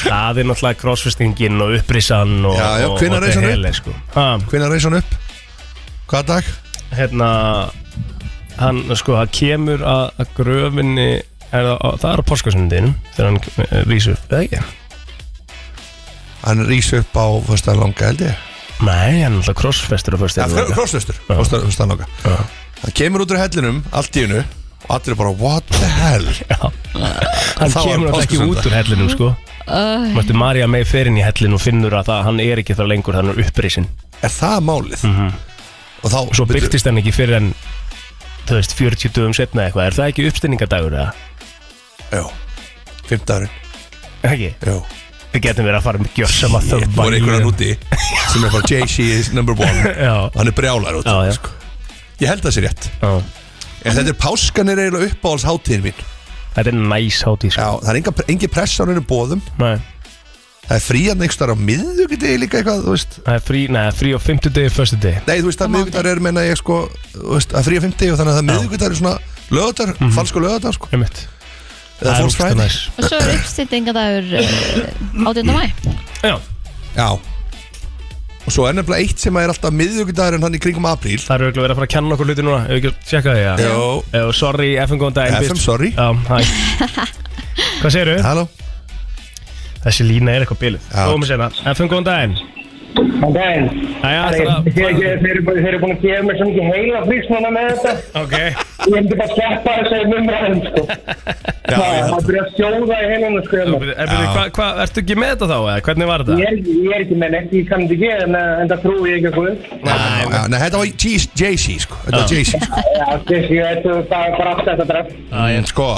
A: það er náttúrulega crossfestingin og upprisan og,
J: Já, já,
A: og-
J: hvenær
A: og
J: reis hann upp?
A: þetta hele, sko. Ha,
J: Hvenær reis hann upp? Hvaða dag?
A: hérna hann sko, hann kemur að, að gröfinni er það, á- það er á páskasundinum þegar hann eh, rís upp, eða ekki?
J: Hann rís upp á Föstaðan langa held ég
A: Nei, hann er náttúrulega crossfestur á fyrstu
J: Ja, Krossnöstur Föstaðan langa Hann kemur út úr hellinum Allt í hennu Og allir er bara What the hell
A: Hann
J: Það var
A: kemur alltaf ekki
J: páskasunnudag.
A: út úr hellinum sko
B: Uh,
A: Mættu Marja May fer inn í hellin og finnur að það, hann er ekki þar lengur, hann er upprisin
J: Er það málið? Og þá
A: Mhm. Svo
J: byrju-
A: byrtist hann ekki fyrir en Þú veist, 40 dögum setna eitthvað Er það ekki uppstilningadagur eða?
J: Jó Fimmtagurinn
A: Ekki?
J: Jó
A: Við getum verið að fara með gjössama
J: Það
A: þöfvæl
J: voru einhverjan úti Sem er bara JC is number one
A: Já,
J: Hann er brjálar út
A: já, já,
J: Ég held það sé rétt
A: já.
J: En þetta er páskanir eiginlega uppáhalds hátíðin mín
A: Þetta er næs hátíð sko
J: Já, það er enga, engi press á hennu bóðum
A: Nei,
J: Það er frían einhver starf á miðugdegi líka eitthvað, þú veist
A: það er frí, nei, það er frí á 50 degi, föstu degi
J: Nei, þú veist að miðvíkudar er menna ég sko þú veist, að frí að 50 og þannig að það miðvíkudar er svona lögadar, mm falsku lögadar sko
A: Einmitt
J: eða
A: Mhm. Það er
J: fólks
A: úkst að
J: fræði
A: næs
B: og svo eh, er uppstýtingadagur uh, 18. mæ
A: Já,
J: Já, og svo er nefnilega eitt sem er alltaf miðvíkudagurinn hann í kringum apríl
A: Það eru auðvitað verið að fara að kenna okkur hluti núna Ef við ekki að tjekka því að
J: Jó.
A: Jó Sorry, FM góðan dag
J: FM, sorry.
A: Já, hæ Hvað segirðu?
J: Halló
A: Þessi lína er eitthvað bilið
J: Já.
A: Góðum við sena FM góðan daginn
K: Góðan daginn
A: Æja,
K: Þeir
A: ætlar að
K: þeir- þeir eru búin þeir eru búin að gefa mér svo mikið heila frísnuna með þetta
A: Ok
K: Ég myndi bara sleppa þessari umræðum sko Já, já Það byrja að sjóða í heilunum sko
A: Er
K: hérna.
A: byrju, hvað, hva, ertu ekki með þetta þá? Eða? Hvernig var
K: Ég
A: þetta?
K: er, ég er ekki með neitt, ég kann þetta ekki, en, en það trúi ég ekki að guð.
J: Já, já, Nei, þetta var G- JC sko Þetta var
A: Já.
J: JC sko.
K: Já, þessi, þetta er bara bara allt þetta dref.
A: Æja
J: En sko,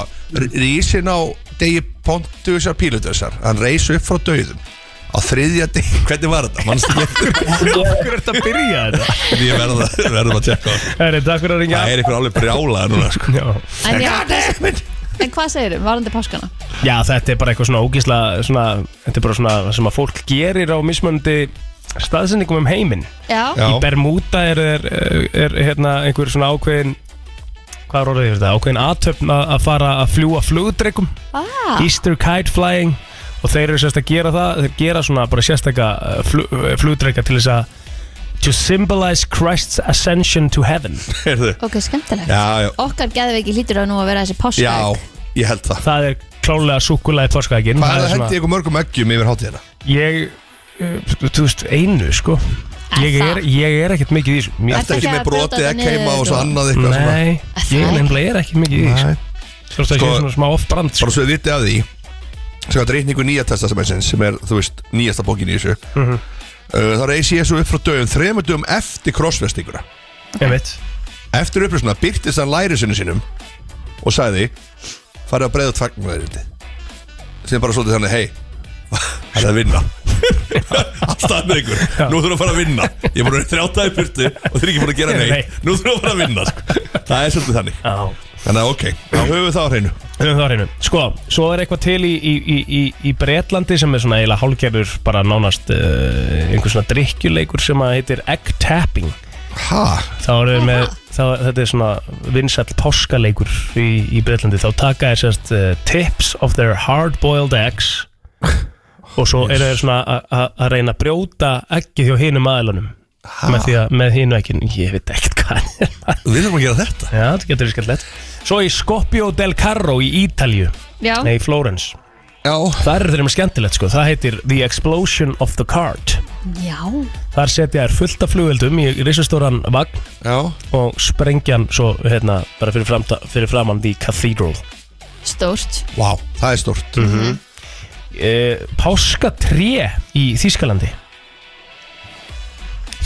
J: rísin á degi Pontusar Pílutusar Hann reis upp frá döðum Á þriðja degi, hvernig var þetta? Manstu ekki?
A: Hver er þetta að byrja þetta?
J: Ég verðum að, verðum að tjekka á það.
A: Herri, takk fyrir að ringja
J: Það er ykkur alveg brjálaða núna sko
A: Já.
B: En, já, en hvað segir um varandi páskana?
A: Já, þetta er bara eitthvað svona ógísla svona, Þetta er bara svona sem að fólk gerir á mismöndi staðsendingum um heiminn
B: Já,
J: Já.
A: Í Bermuda er, er, er hérna einhver svona ákveðin Hvað er orðið yfir þetta? Ákveðin aðtöfn að að fara að fljúa flugdreikum
B: Ah,
A: Easter kite flying Og þeir eru sérst að gera það Þeir gera svona bara sérstaka eh, flug, flugdreika til þess að To symbolize Christ's ascension to heaven
J: Heyrðu.
B: ok, skemmtilegt
J: Já, já,
B: Okkar geðveiki lítur að nú að vera þessi páska
J: já, ég held það
A: Það er klálega súkulega páskaðegin
J: Hvað er hendi ykkur mörgum eggjum yfir hátíðina?
A: Ég, eh, þú veist, einu sko Ég
B: það?
A: er, ég er ekkert mikið í þessu Mér-
J: Ertu
B: Ertu
J: ekki
B: ekki
J: með
B: að brjóta
J: brotið
B: þetta
J: egg heima
B: niður
J: og svo
B: og-
J: annað eitthvað svona?
A: Nei,
B: það
A: ég
B: ekki?
A: nefnilega er ekki mikið í þessu
J: Nei.
A: Svo að það
J: Sko-
A: sé svona smá off-brand sko.
J: Bara svo við vitið af því sem að reyningu nýja testamentsins sem er, þú veist, nýjasta bókin í þessu uh, þá reys ég svo upp frá dögum þremur dögum eftir krossvestinguna
A: Einmitt
J: eftir upplýsuna byrtist hann lærisinu sinum og sagði farið að breiða út fagnarðirindi sem bara svolítið þannig, hei það er að vinna alltaf með ykkur, nú þurfum að fara að vinna ég er búin að vera þrjátaði byrtu og þeir eru ekki búin að gera
A: Nei.
J: neitt nú þurfum að fara að vinna sko. það er svolítið þannig
A: Já
J: þannig að ok, þá höfum við það á hreinu
A: Höfum það á hreinu Sko, svo er eitthvað til í, í, í, í, í Bretlandi sem er svona eiginlega hálgerður bara nánast uh, einhver svona drikkjuleikur sem að heitir egg tapping
J: ha,
A: Þá eru við með, þá, þetta er svona vinsall páskaleikur í, í Bretlandi Þá taka þér sérst uh, tips of their hard-boiled eggs Og svo eru þeir svona að- að að reyna að brjóta eggið hjá hinum aðlunum Með því að, með hinu ekki, ég veit ekkert hvað hann er
J: við þurfum að gera þetta
A: Já, þetta getur skallett Svo í Scoppio del Carro í Ítalju
B: Já.
A: Nei, í Flórens
J: já,
A: Það er þeir með skemmtilegt sko Það heitir The Explosion of the Cart
B: já.
A: Þar setja þær fullt af flugveldum í risastóran vagn
J: já
A: og sprengja hann svo hérna, bara fyrir, framta, fyrir framann The Cathedral
B: stórt
J: Vá, það er stort
A: Mhm. e, Páska 3 í Þýskalandi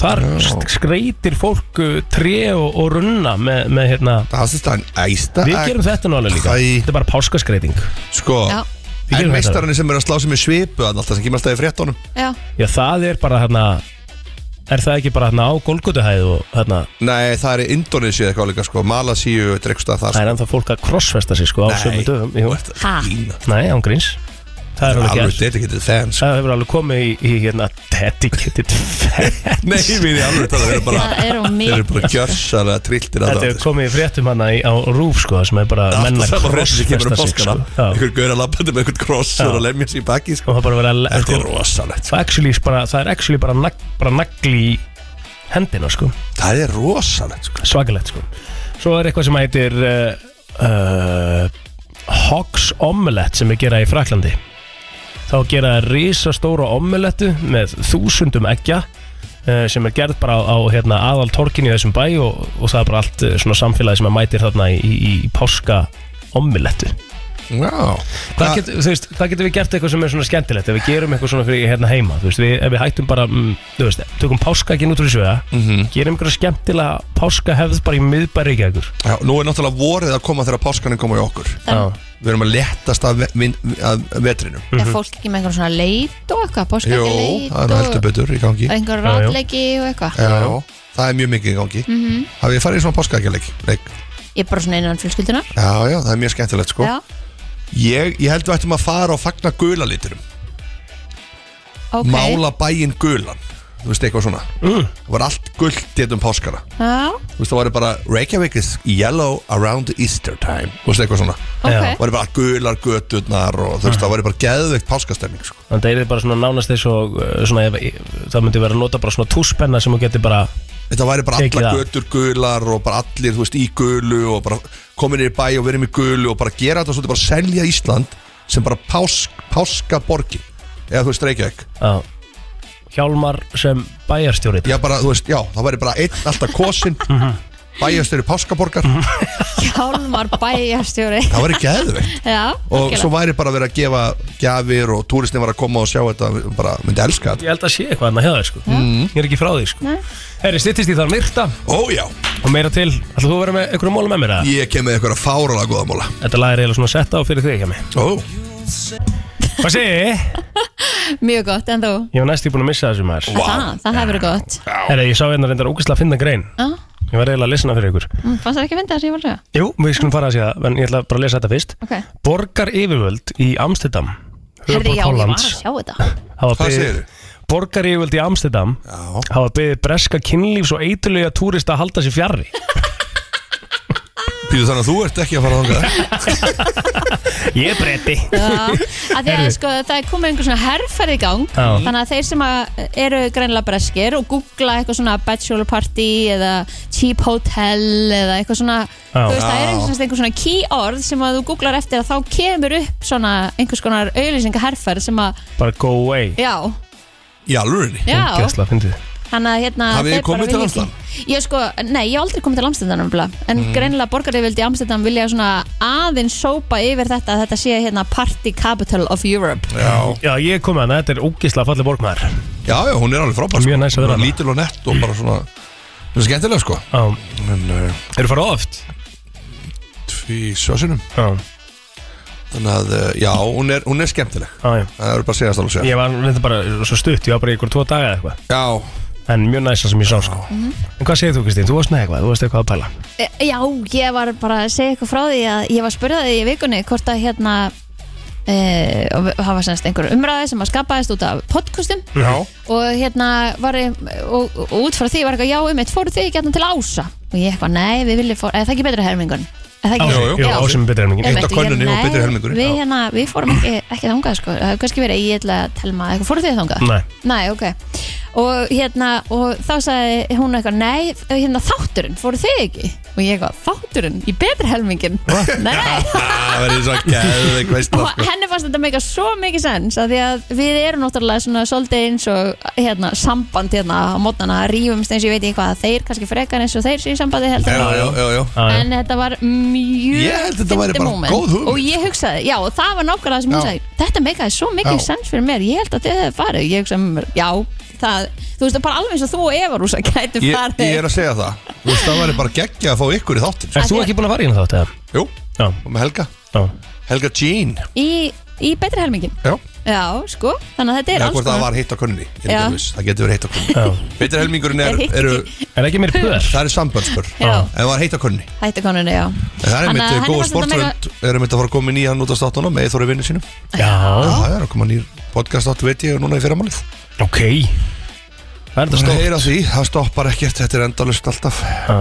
A: Þar sk- skreytir fólk eh, tré og, og runna með, með hérna
J: Það sést að hann æsta
A: Við gerum þetta nú alveg líka
J: Æ.
A: Þetta er bara páskaskreiting
J: Sko,
B: Já,
A: Við
J: en
A: gerum þetta
J: meistarinn sem er að slá sem er svipu að alltaf sem kemur alltaf í fréttónum
B: já,
A: Já, það er bara hérna Er það ekki bara hérna á Golgotahæð og hérna
J: Nei, það er í Indonési eitthvað líka sko Malasíu, dreiksta þar
A: Það er ennþá fólk að krossfesta sig sko á sömu dögum Jú.
B: Ha?
J: Alveg
A: Nei, án gríns Það er alveg gert
J: dedicated fans
A: Það hefur alveg komið í, í hérna dedicated fans
J: Nei, við erum alveg talað, þeir eru bara
B: það er hún
J: Þeir
B: mikið
J: eru bara gjörsalega trilltir að
A: Þetta
J: það
A: hefur komið í fréttum hana í, á rúf sko sem er bara menn
J: Alltaf
A: að
J: sama fréttin sem kemur um
A: krossfesta sig sko
J: páskana
A: Já.
J: Einhver gaur að labbandi með einhvern kross
A: Já.
J: og er að lemja sér í baki sko
A: Og það er bara verið að
J: Þetta er
A: sko,
J: rosalegt sko
A: það, er actually, bara, það er actually bara, nag, bara nagli í hendina sko
J: Það er rosalegt sko
A: Svakalegt sko Svo er eitthvað sem heitir uh, uh, Hogs omelette sem er gerað í Fraklandi Þá gera það risastóra omelettu með þúsundum eggja uh, sem er gerð bara á, á hérna, aðal torkinu í þessum bæ og, og það er bara allt uh, svona samfélagi sem að mætir þarna í, í, í páska omelettu
J: Já
A: Hvað getur, þú veist, hvað getum við gert eitthvað sem er svona skemmtilegt ef við gerum eitthvað svona fyrir hérna heima þú veist, við, ef við hættum bara, mm, þú veist tökum páska ekki út úr þessu
J: Mhm.
A: -hmm. gerum einhverja skemmtilega páska hefð bara í miðbæri ekki ekkur
J: Já, Nú er náttúrulega vorið að koma þegar páskanin koma í okkur
A: Já.
J: Við erum að letast að, ve- vin- að vetrinum
B: Er fólk ekki með einhverjum svona leit og eitthvað
J: Jó,
B: Páskakeleit
J: Mhm. það er nú heldur
B: og
J: betur í gangi
B: einhver
A: já.
B: rátleiki og eitthvað
J: Já, það er mjög mikið í gangi mm
B: Mhm.
J: -hmm. Hafið þið farið í svona páskaækjaleik? Leik.
B: Ég er bara svona innan fjölskyldunar
J: Já, já, það er mjög skemmtilegt sko
B: Já,
J: ég, ég held við ættum að fara og fagna gula liturum
B: ok Uh.
J: Mála bæinn gulan þú veist eitthvað svona það var allt gullt í um páskana
B: Já,
J: þú veist það var bara Reykjavík is yellow around Easter time þú veist eitthvað svona
B: Ok.
J: það var bara gular göturnar og þú
B: Ah.
J: veist það var bara geðveikt páskastemming sko.
A: Þannig að það er bara svona nánast eins og uh, svona, ef- það myndi vera að nota bara svona túspenna sem þú getur bara
J: þetta væri bara
A: Tekið
J: allar
A: af.
J: götur gular og bara allir þú veist í gulu og bara komin í bæ og verið með gulu og bara gera þetta svona bara selja Ísland sem bara pásk, páskaborgin eða þú veist Reykjavík
A: Já. Hjálmar sem bæjarstjóri
J: Já, bara, þú veist, já, það væri bara einn alltaf kosin
A: Mhm.
J: Bæjarstjóri Páskaborgar Það
B: Hjálmar bæjarstjóri
J: væri geðveikt
B: Já,
J: Og
B: algjörlega.
J: svo væri bara verið að gefa gjafir Og túristin var að koma og sjá þetta Bara myndi elska þetta
A: Ég held að sé eitthvað annað hjá þér sko Ég er ekki frá því sko Herri, styttist í þar myrta
J: Ó já
A: Og meira til, ætlum þú að vera með einhverju móla með mér að?
J: Ég kem með einhverja fárala góða móla
A: Þetta lag er eiginlega svona sett á fyrir þig hjá mig
J: Ó
A: Hvað segir ég?
B: Mjög gott, en þú?
A: Ég var næst í búin að missa þessu maður
B: Það, það hefur verið gott
A: Herri, ég sá hérna reyndar ógæslega að finna grein
B: Já,
A: Ég var eiginlega að lesna fyrir ykkur
B: mm, fannst það ekki að finna það sem ég var að segja?
A: Jú, við skulum fara að segja það En ég ætla bara að lesa þetta fyrst
B: Ok,
A: Borgar yfirvöld í Amsterdam
B: herði
A: höfuðborg
B: já, ég var að
A: Hollands,
B: sjá þetta
A: hafa
J: Hvað
A: beðið-
J: segirðu?
A: Borgaryfirvöld í Amsterdam hafa beðið breska kynlífs og eitulega túrista að halda sér fjarrri
J: Pítur þannig að þú ert ekki að fara þangað
A: Ég er bretti
B: Já, að því að
A: Heyrðu.
B: sko, það er komið einhver svona herferð í gang
A: Já.
B: þannig að þeir sem að eru greinlega breskir og googla eitthvað svona bachelor party eða cheap hotel eða eitthvað svona
A: Já.
B: þú veist, það er
J: Já.
B: einhvers, einhver svona key orð sem að þú googlar eftir að þá kemur upp svona einhvers konar auðlýsinga herferð sem að,
A: Bara go away
B: já,
J: Í alvörinni
B: já
A: Ógeðslega fyndið.
B: Þannig að hérna
J: Hafið þið
B: þeir bara
J: komið til
B: vilja ekki- Ég sko, nei, ég hef aldrei komið til Amstendam En mm. greinilega borgarriðvildi Amstendam vilja svona aðeins sópa yfir þetta að þetta sé hérna party capital of Europe
J: Já,
A: Já, ég kom að hana, þetta er ógislega fallið borgmaður
J: já, já, hún er alveg frábær
A: Mjög næs að vera
J: Hún er
A: þarna.
J: Lítil og nett og bara svona Það er skemmtilega sko
A: Já,
J: En uh,
A: eru farað oft?
J: tví sjósinum
A: Já,
J: Þannig að, uh, já, hún er, hún er skemmtileg
A: já, já
J: Það er bara að segja það alveg sér
A: Ég var þetta bara svo stutt, ég var bara í ykkur tvo daga eða eitthvað
J: Já,
A: En mjög næsa sem ég sá sko
B: Mhm.
A: En hvað segir þú Kristín? Þú varst með eitthvað, þú varst eitthvað að pæla
B: E, Já, ég var bara að segja eitthvað frá því að ég var spurðið í vikunni hvort að hérna e, og það var semst einhver umræði sem að skapaðist út af podcastum
J: já
B: og hérna var ég og, og út frá því var eitthvað, já, um eitt fóru þig hérna til Ása og ég eitthvað, nei, við viljum fór, eða það ekki betra helmingun eða það
A: Ási,
B: ekki,
J: jú,
A: jú, Ási með betri helminginn.
B: Einmitt,
J: Eitt af
B: og ég,
J: könnuninni og
B: nei,
J: betri helmingurinn,
B: Við
J: já.
B: hérna, við fórum ekki, ekki þangað sko, það hefur kannski verið að ég ætla að telma eitthvað, fóruð þið þangað?
A: Nei.
B: Nei, ok Og hérna, og þá sagði hún eitthvað, nei, hérna þátturinn, fóruð þið ekki? Og ég eitthvað, þátturinn, í betri helmingin Nei, nei
J: Það verður svo geðveik sko. veistla
B: Og henni fannst þetta meika svo mikið sens að því að við erum náttúrulega svona svolítið eins og hérna, samband hérna á mótnana rífumst eins og ég veit ekki hvað þeir kannski frekar eins og þeir séu í sambandi heldur
J: Já,
B: en-
J: já, já, já
A: Já, já.
B: en þetta var mjög
J: Ég held þetta væri
B: fyndið
J: bara
B: moment.
J: góð hugmynd.
B: og ég hugsaði, já, það var nákvæmlega það sem
J: Já.
B: hún sagði, þetta meikaði svo mikið
J: Já.
B: sens fyrir mér, ég held að þetta hefði farið ég hugsaði, með mér, já, það þú veist, það er bara alveg eins og þú og Eva Rúsa gæti
J: Ég,
B: farið
J: ég er að segja það Þú veist, það væri bara geggja að fá ykkur í þáttin
A: Erst þú ekki búin að fara í hérna þátt eða?
J: Jú,
A: Já,
J: og með Helga
A: já
J: Helga Jean
B: í, í betri helmingin
J: Já,
B: já, sko, þannig að þetta er
J: eða
B: alls
J: hvort það var hitt á könni Ég er
B: Já.
J: ekki viss, það getur verið hitt á
A: Já.
J: könni Vittir helmingurinn er,
B: Er hitt-
J: eru,
A: Er ekki mér pöður?
J: það er samböndspör
B: Já.
J: En það var hitt á könni
B: hættukonunni, já
J: En það er
B: Þannig að
J: mitt
B: henni
J: góð
B: fannst þetta
J: sportrönd Erum mitt að fara að koma í nýjan út af státtuna með Þóri vinnu sínum
B: Ah.
A: Já,
J: Það er að koma nýr podcast átt veit ég núna í fyrramálið
A: ok Það er þetta
J: Það
A: stórt
J: er að því, það stoppar ekkert, þetta er endalust alltaf
A: Já,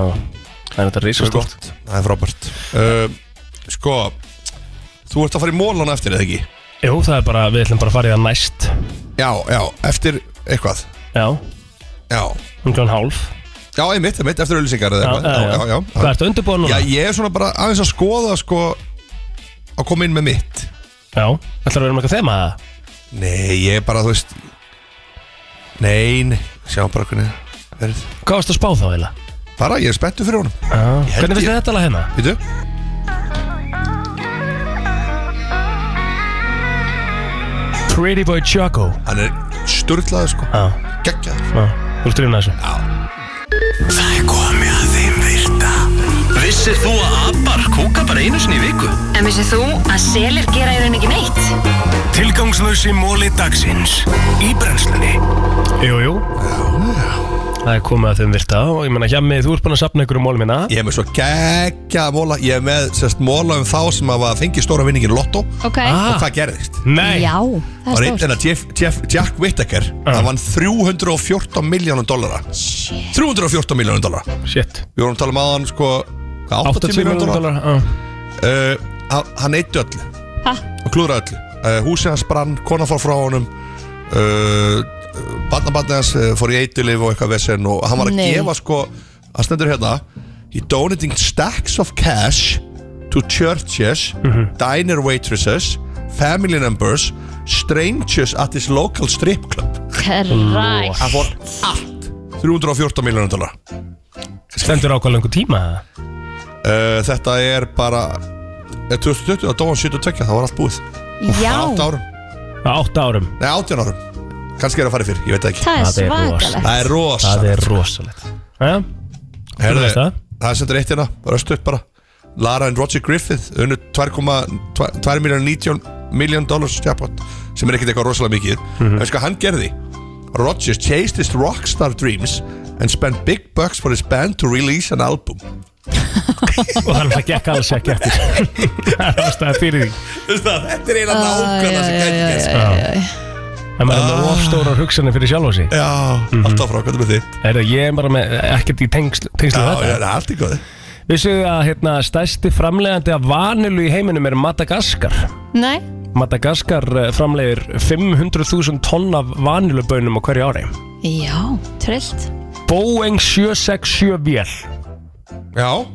A: það er þetta risastórt
J: Það er frábært uh, Sko, þú ert að fara í mólana eftir eða ekki?
A: Jú, það er bara, við ætlum bara að fara í það næst
J: Já, já, eftir eitthvað
A: Já,
J: Já,
A: um klón hálf
J: já, einmitt, einmitt, eftir auðlýsingar eða eitthvað Já, já, já,
A: Hvað ertu undirbúin
J: já
A: núna?
J: ég er svona bara aðeins að skoða sko að koma inn með mitt
A: Já, ætlar að vera með eitthvað þema það?
J: Nei, ég er bara, þú veist Nein, sjá bara hvernig verið
A: Hvað varst að spá þá eða?
J: Bara, ég er spenntu fyrir honum held
A: Hvernig finnst
J: ég-
A: þið þetta lag hérna?
J: Vítu?
A: Pretty Boy Choco
J: Hann er sturlaður sko
A: Já,
J: Gekkjaður
A: já, þú ert rífna þessu
E: Það er komið að þeim virta Vissir þú að abar kúka bara einu sinni í viku?
D: En vissið þú að selir gera í rauninni ekki neitt?
E: Tilgangslösi móli dagsins Í brennslunni
A: Jú, jú Það er komið að þeim virta og ég menna Hjami, þú ert búin að sapna ykkur um mólum minna
J: Ég er með svo geggja móla Ég er með sérst móla um þá sem hafa fengið stóra vinningin Lotto
B: Ok.
J: Og hvað gerðist
A: Nei
B: Já, það
J: Ah. Var
B: er
J: einn
B: stórt
J: enn að Jeff, Jeff, Jack Whittaker Það vann 314 miljónum dollara 314 miljónum dollara
A: Shit
J: Við vorum að tala um aðan sko hvað, 80 miljónum dollara uh, hann- Hann eittu öllu
B: Ha?
J: og klúðra öllu uh, húsið hans brann, konan fór frá honum uh, barnabarni hans uh, fór í eitulif og eitthvað vesen og hann var að
B: Nei.
J: gefa sko hann stendur hérna he donating stacks of cash to churches, diner waitresses family members strangers at his local strip club
B: Kræs
J: hann fór allt 314 miljonar dollar
A: Stendur á hvað lengur tíma það?
J: uh, þetta er bara eh, 2020, það dóan 72 það var allt búið
B: Já.
J: 8 árum
A: Á 8 árum
J: Nei, 18 árum Kannski er það farið fyrr, ég veit það ekki
B: Það er Það er svakalegt. rosalegt.
J: Það er rosalegt
A: Það er rosalegt Jæja,
J: Herðu,
A: veist það.
J: það sendur eitt hérna, röstu upp bara Lara and Roger Griffith unnu 2.19 million dollars jackpot sem er ekkert eitthvað rosalega mikið
A: Mhm.
J: en sko hann gerði Roger chased his rockstar dreams and spent big bucks for his band to release an album
A: Og það er alltaf gekk alls ekki eftir Það er ástæða fyrir því
J: Þú veist það, Þetta er eina nákvæmlega sem gæti gerst sko.
A: Það maður er með
J: Ah.
A: ofstórar hugsanir fyrir sjálf á sig
J: Já, alltaf frá, hvað er með þitt?
A: Er það Mhm. ég er bara með ekkert í tengslu
J: Já,
A: tengslu við
J: já,
A: þetta
J: það er allt í góði
A: Vissu þið að hérna, stærsti framleiðandi af vanilu í heiminum er Madagaskar
B: Nei,
A: Madagaskar eh, framleiðir 500.000 tonn af vanilubönum á hverju ári
B: já, trillt
A: Boeing 767 vél
J: Já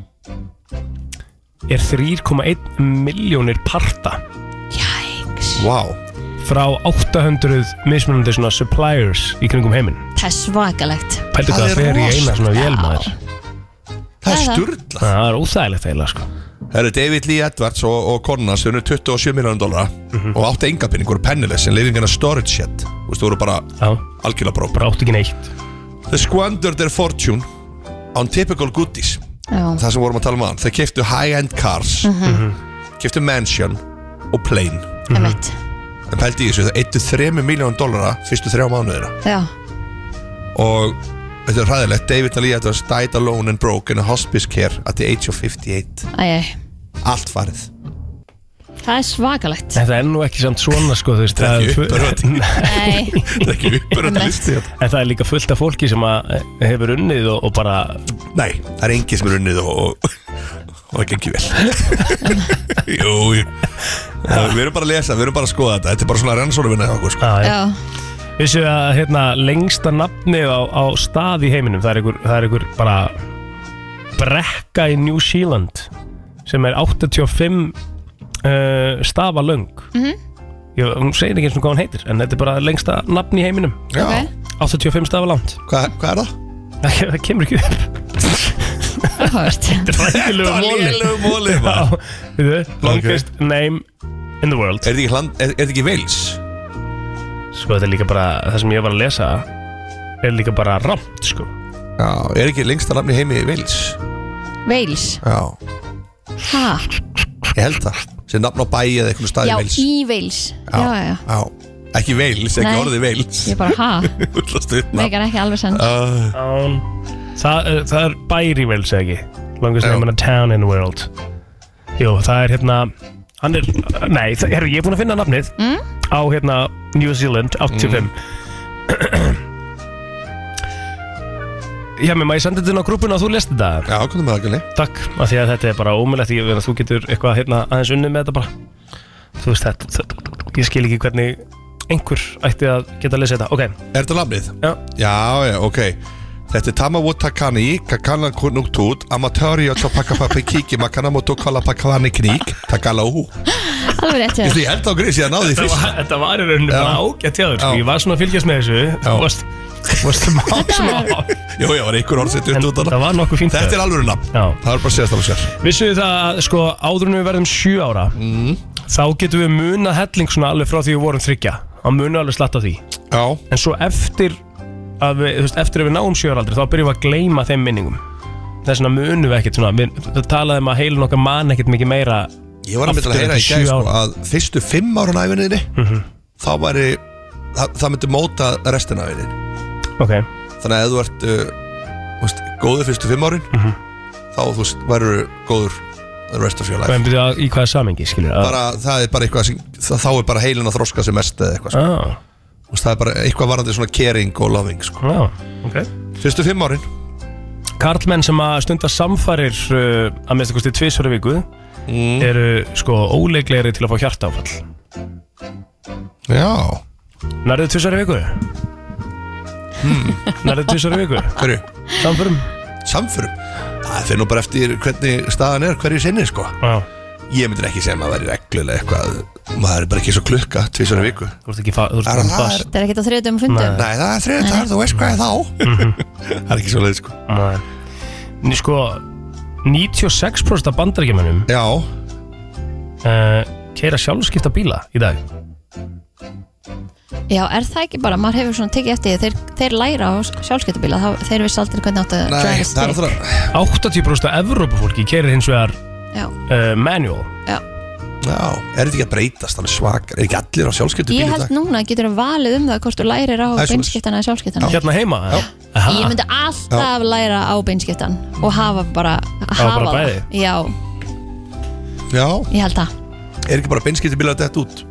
A: er 3,1 miljónir parta
B: Jæks
J: Vá
A: frá 800 mismunandi svona suppliers í kringum heiminn
B: Það er svakalegt
A: Pældu
J: Það
A: hvað það
J: er
A: fer í
J: rosa-
A: eina svona vélmaður
J: Það er
B: Það er það.
J: sturla
A: Það er óþægilegt eiginlega sko
J: Það eru David Lee Edwards og, og konuna sem er 27 miljónum dólara og áttu engapinning voru pennilis en living in a storage shed Þú veist, þú voru bara
A: Já,
J: algjörlega brók
A: bara áttu ekki neitt
J: They squandered their fortune on typical goodies
B: Já,
J: Það sem vorum að tala um aðan Þeir keftu high-end cars mm keftu mansion og plane
B: emitt
J: Mhm. En pældi í þessu, það eittu 3 miljónum dólara fyrstu þrjá mánuðina
B: Já,
J: og þetta er hræðilegt David Lee Edwards died alone and broke in a hospice care at the age of 58
B: æj, æj.
J: Allt farið
B: það er svakalegt
A: Þetta er nú ekki samt svona sko þú veist,
J: Það er ekki uppörvandi.
B: Nei,
J: Það er ekki uppurönd listi hérna.
A: En það er líka fullt af fólki sem að eh, hefur unnið og, og bara
J: Nei, það er enginn sem er unnið og, og, og það gengir vel Jú, jú. Það, Við erum bara að lesa, við erum bara að skoða þetta Þetta er bara svona rannsóruvinna hjá okkur sko.
A: að,
B: já,
A: Vissu að hérna, lengsta nafnið á, á stað í heiminum það er einhver, það er einhver bara brekka í New Zealand sem er 85 uh, stafa löng mm -hmm. Hún segir ekki eins og hvað hún heitir en þetta er bara lengsta nafn í heiminum
J: Já,
B: ok
A: 85 stafa langt
J: hvað, hvað er það?
A: Það, það kemur ekki upp
B: Áhört
A: Rækilegu
J: Þetta var
A: móli
J: lélegu móli maður.
A: Já, við þau, Longest name in the world
J: Er þetta ekki, hland, er, er þetta ekki veils?
A: Sko þetta er líka bara, það sem ég var að lesa er líka bara rámt sko
J: Já, er ekki lengsta nafni heimi veils?
B: Veils,
J: Já,
B: ha,
J: ég held það Sér nafn á bæi eða eitthvað staði
B: já,
J: veils
B: í Veils Já, já, já,
J: já Ekki veils, ekki
B: Nei.
J: orðið veils
B: ég bara ha
J: Megar
B: Megar ekki alveg sann
J: uh,
A: Án Það, er- það er bæri vel segi Longest
J: Já.
A: name in a town in the world Jú, það er hérna Hann er, nei, það, herru, ég er búinn að finna nafnið mm? Á hérna New Zealand 85 Já, mér maður ég sendi þetta inn á grúpuna og þú lest þetta
J: Já, komum með það ekki
A: Takk, af því að þetta er bara ómulegt Ég veit að þú getur eitthvað hérna aðeins unnið með þetta bara Þú veist þetta, þetta Ég skil ekki hvernig einhver ætti að geta að lesa þetta Ok,
J: Er þetta nafnið?
A: já,
J: Já, já, ok Þetta er Tamawotakani, Kakana Kunuktut, Amatöri og Topakapapa Kiki, Makanamoto Kalapakavani Kník, Takalahu.
B: Alveg rétt hjá
J: Ég
B: þér.
J: ég held á grís, ég náði því
A: þetta
J: fyrst.
A: var, þetta var í rauninu
J: Já.
A: bara ágætt hjá þér sko.
J: Já.
A: Ég var svona að fylgjast með þessu Þú varst, þú varst má, smá
J: Jú, ég var einhver orðsett
A: En
J: út út
A: það var nokkuð fínt
J: Þetta er alveg nafn.
A: Já.
J: Það er bara að Mhm. segja þetta á sér.
A: Vissu þið það að sko, áður en við verðum sjö ára Þá getum við munað helling svona alveg frá því við vorum þryggja Að muna alveg slatta því
J: Já,
A: En svo eftir að við, þú veist, eftir að við náum sjö ára aldrei Þá byrjum við að gleyma þeim minningum Þess vegna munum við ekkert svona við, Það talaði um að heilin okkar man ekkert mikið meira
J: ég var að mynda
A: Aftur
J: að heyra í
A: eftir
J: gæð,
A: sjö Mhm.
J: sko,
A: ára.
J: að fyrstu fimm árun æfinniðinni, þá væri, það, það myndi móta restina æfinniðinni.
A: Ok,
J: þannig að ef þú ert uh, þú veist, góður fyrstu fimm árin
A: Mhm.
J: þá þú veist, verður góður the rest of your life
A: Bæmdu það í hvaða samengi, skilur
J: bara, það er bara eitthvað sem, það, þá er bara heilin að þroska sem mest eða eitthvað sko.
A: ah.
J: Vist, það er bara eitthvað varandi svona caring og loving sko.
A: Já, ok
J: Fyrstu fimm árin
A: Karlmenn sem að stunda samfarir uh, að minnst kosti tvisvara viku eru sko óleiklegri til að fá hjartáfall
J: Já
A: Nærðu tvisvara viku? Hmm. Nærðu tvisvara viku?
J: Hverju?
A: Samförum
J: Samförum? Það fyrir nú bara eftir hvernig staðan er, hverju sinni sko.
A: Já.
J: Ég myndir ekki segja að maður verið reglulega eitthvað Maður er bara ekki svo klukka, tvisar í viku
A: Þú ert ekki fa- þú ert
J: Er
A: komin
J: það-
A: fast.
B: Það er ekkert á þriðutum og fundum
J: Nei, það er þriðið þar, þú veist hvað er þá Mhm. Það er ekki svo leið sko
A: Nei. Ný sko 96% af bandarækjumennum
J: Já
A: uh, keira sjálfskipta bíla í dag
B: Já, er það ekki bara, maður hefur svona tekið eftir því, þeir, þeir læra á sjálfskeittabíla þá þeir vissi aldrei hvernig áttu að drive a stick.
A: 80% af Evrópufólki keirir hins vegar
B: Já,
A: uh, manual
B: já.
J: Já, er þetta ekki að breytast, hann er svakar Er ekki allir á sjálfskyldu
B: Ég held núna að getur að valið um það hvort þú lærir á
J: Það er svoleiðis.
B: beinskiptana eða sjálfskiptana
A: Hérna heima Já. Hérna.
B: Ég myndi alltaf læra á beinskiptan og hafa bara hafa
A: bara
B: það.
A: bæði?
B: Já,
J: Já,
B: ég held það
J: er ekki bara beinskyldu bílar þetta út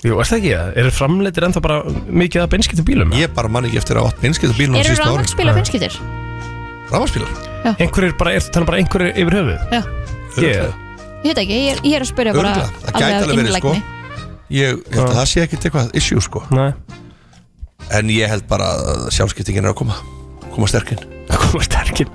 A: Jú, er það ekki það? Eru framleitir ennþá bara mikið að beinskipta bílum?
J: Ég bara man ekki eftir að átt beinskyldu bílar
B: Eru rafmaksbíla beinskiptir?
J: Rafmagsbílar?
A: Einhverjir bara, er það um bara einhverjir yfir höfuð?
B: Já,
A: Ég,
B: ég veit ekki, ég er, ég er að spyrja bara
J: Örgulega, það gæti alveg verið sko Ég held að það sé ekkert eitthvað issue sko
A: Nei.
J: En ég held bara að sjálfskiptingin er að koma Koma sterkinn
A: það komur sterkir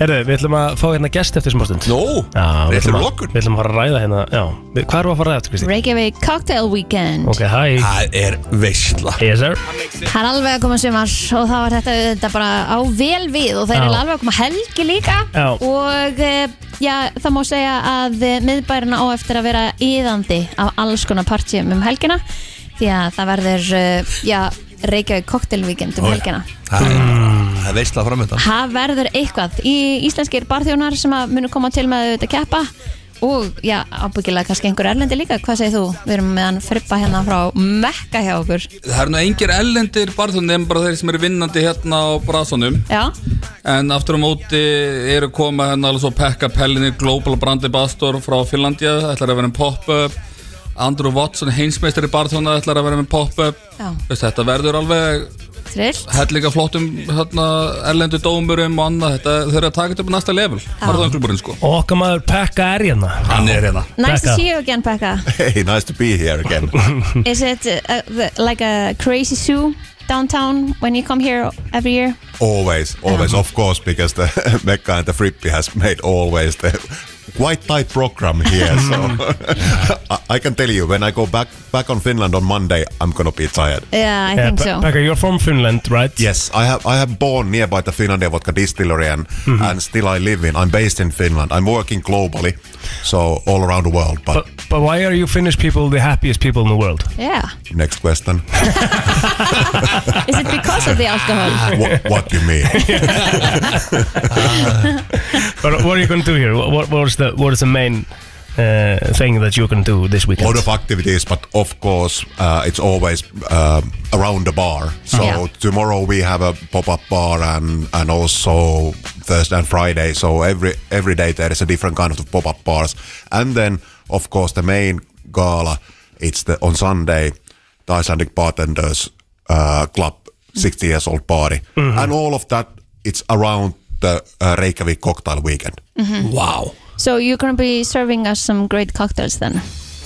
A: Herðu, við ætlum að fá hérna gest eftir sem ástund
J: Nó,
A: Já, við
J: rétt
A: ætlum,
J: fyrir
A: að,
J: lokun
A: við ætlum að fara að ræða hérna Já, við, hvað erum við að fara að ræða eftir, Kristi?
B: Reykjavík Cocktail Weekend
A: Ok, hæ
J: Það er veisla
A: Yes, sir
B: Það er alveg að koma sumar og það var þetta, þetta bara á vel við og það er
A: Já.
B: alveg að koma helgi líka
A: Já.
B: og eh, já, það má segja að eh, miðbærina á eftir að vera íðandi af alls konar partjum um helgina því að það verður eh, já, Reykjavík Cocktail Weekend
J: Ó,
B: um
J: já.
B: helgina
J: Það er bara- það er veisla framöndan
B: Það verður eitthvað í íslenskir barþjónar sem að munu koma til með þetta keppa og já, ábyggilega kannski einhver erlendi líka, hvað segir þú? Við erum með hann frippa hérna frá Mekka hjá okkur
L: Það eru nú engir ellendir barþjónir en bara þeir sem eru vinnandi hérna á brasunum
B: Já,
L: En aftur á móti eru koma hérna alveg svo Pekka Pellinir, Global Brand Ambassador frá Finlandia ætlar að vera með pop-up Andrew Watson, heinsmeistari barþjóna ætlar að vera með pop-up
B: já,
L: Veist, Þetta verður alveg
B: trill
L: hellinga flottum hérna, erlendu dómurum og annað Þetta þeir eru að taka þetta upp á næsta level Barþjónklúburinn sko
A: Og okkar maður Pekka er hérna
L: Hann er hérna
B: Nice to
A: Pekka.
B: see you again, Pekka
M: Hey, nice to be here again.
B: Is it uh, the, like a crazy zoo downtown when you come here every year?
M: always, always, of course, because the Mecca and the Frippy has made always the quite tight program here. so I, I can tell you, when I go back back on Finland on Monday, I'm gonna be tired.
B: Yeah, I think so
A: Pekka, you're from Finland, right?
M: Yes, I have I have born nearby the Finlandia vodka distillery, and and still I live in. I'm based in Finland. I'm working globally, so all around the world. But
A: But why are you Finnish people the happiest people in the world?
B: Yeah,
M: next question,
B: is it because of the alcohol?
M: what, what do you mean?
A: But what are you going to do here? What, what, what, is the, what is the main uh, thing that you're going to do this
M: A
A: weekend?
M: lot of activities, but of course, uh, it's always um, around the bar. So
B: Yeah.
M: tomorrow we have a pop-up bar, and and also Thursday and Friday. So every every day there is a different kind of pop-up bars, and then of course the main gala. It's the on Sunday, the Icelandic bartenders uh, club, 60 years old party, and all of that. It's around the uh, Reykjavik cocktail weekend.
A: Wow.
B: So you're going to be serving us some great cocktails then?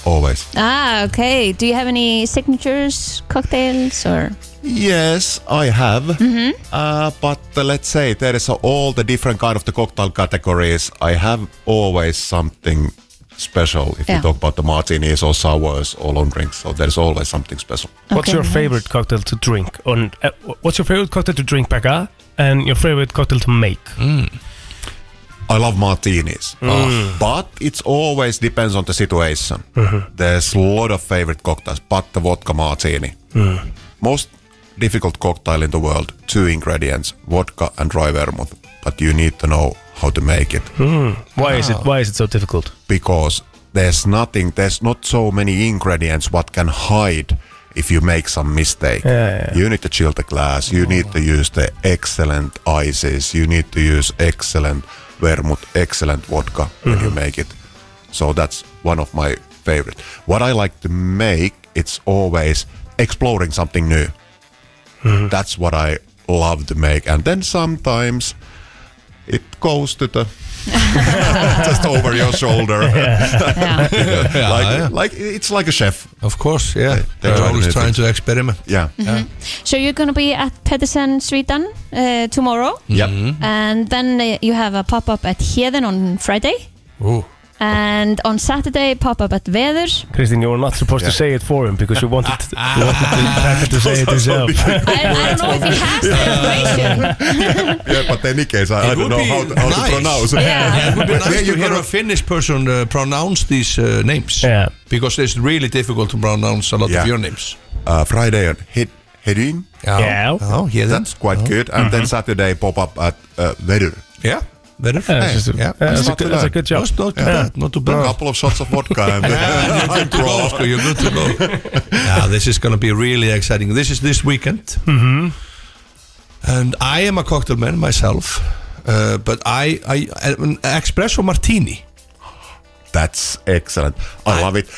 M: Always.
B: Ah, okay. Do you have any signatures, cocktails, or
M: Yes, I have. Uh, but uh, let's say there is uh, all the different kind of the cocktail categories. I have always something special. If
B: Yeah.
M: you talk about the martinis or sours or long drinks, so there's always something special.
A: What's
B: Okay,
A: your
B: nice.
A: favorite cocktail to drink? On, uh, what's your favorite cocktail to drink, Becca? And your favorite cocktail to make?
M: I love martinis, Uh, but it's always depends on the situation. There's a lot of favorite cocktails, but the vodka martini, most difficult cocktail in the world. Two ingredients: vodka and dry vermouth. But you need to know how to make it.
A: Why is it Why is it so difficult?
M: because there's nothing, there's not so many ingredients what can hide if you make some mistake. You need to chill the glass, you need to use the excellent ices, you need to use excellent vermouth, excellent vodka when you make it. So that's one of my favorite. What I like to make, it's always exploring something new. That's what I love to make. And then sometimes it goes to the just over your shoulder.
C: Yeah.
M: Yeah, like,
J: yeah.
M: like it's like a chef.
J: Of course, yeah.
M: they
J: They're
M: try
J: always
M: to do
J: trying to experiment.
M: Yeah.
B: So you're going to be at Pedersen, Sweden uh, tomorrow.
M: Yep.
B: And then uh, you have a pop up at Heden on Friday.
J: Ooh.
B: And on Saturday, pop up at Veður.
A: Christine, you were not supposed to say it for him because you wanted, you wanted the attacker to say it himself.
M: yeah, but any case, I,
J: It
M: I don't
J: would
M: know
J: be
M: how to, how to
J: nice.
M: pronounce.
J: Yeah, it would be
M: Where
J: nice
M: you
J: to hear
M: gonna-
J: a Finnish person uh, pronounce these uh, names. Yeah. Because it's really difficult to pronounce a lot
M: Yeah.
J: of your names.
M: uh, Friday at Hed- Hedin.
J: Yeah. Yeah. Oh, yeah, then.
M: That's quite
J: Oh.
M: good. And then Saturday pop up at uh, Vedur.
J: Yeah. Very
M: Yeah, it's just a- yeah, it's a
J: not
M: good-
J: too
M: it's a
J: bad.
M: good job.
J: That's not too
M: Yeah.
J: bad. Not too
M: A
J: bad.
M: couple of shots of vodka and
J: Yeah, you're
M: I'm
J: good to go,
M: crossed.
J: Oscar, You're good to go. yeah, this is going to be really exciting. This is this weekend.
M: Mm-hmm.
A: Mhm.
J: And I am a cocktail man myself, uh, but I, I, an espresso martini.
M: That's excellent. I love it.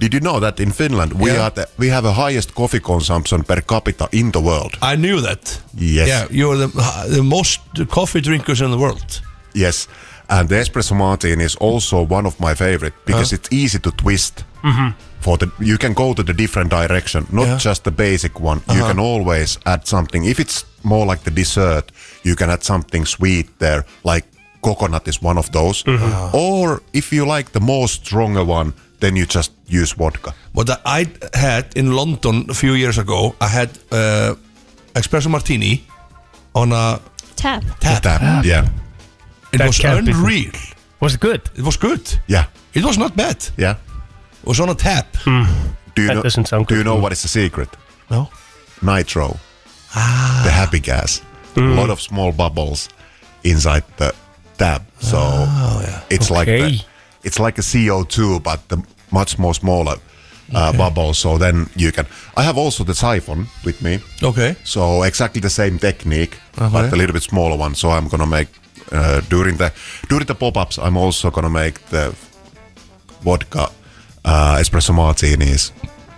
M: Did you know that in Finland we
J: Yeah.
M: are the, we have a highest coffee consumption per capita in the world?
J: I knew that.
M: Yes.
J: Yeah, you're the, the most coffee drinkers in the world.
M: Yes. And the espresso martini is also one of my favorite because it's easy to twist.
J: Mhm.
M: For the you can go to the different direction, not just the basic one. You
J: Uh-huh.
M: can always add something. If it's more like the dessert, you can add something sweet there, like coconut is one of those.
J: Mm-hmm.
M: Uh-huh. Or if you like the more stronger one, then you just use vodka.
J: What I had in London a few years ago, I had uh, espresso martini on a
B: Tap.
J: tap.
M: Tap, yeah.
J: It
M: Ah, That
J: was
M: can't be-
J: unreal.
A: Was it good?
J: It was good.
M: Yeah.
J: It was not bad.
M: Yeah.
J: It was on a tap.
M: Do you know, Do you know what is the secret?
J: No.
M: Nitro. The happy gas. A lot of small bubbles inside the tab. So it's like
C: Okay.
M: the, it's like a CO2, but the much more smaller uh, bubble. So then you can. I have also the siphon with me.
J: Okay.
M: So exactly the same technique, but
J: Okay.
M: a little bit smaller one. So I'm gonna make uh, during the during the pop-ups. I'm also gonna make the vodka uh, espresso martinis.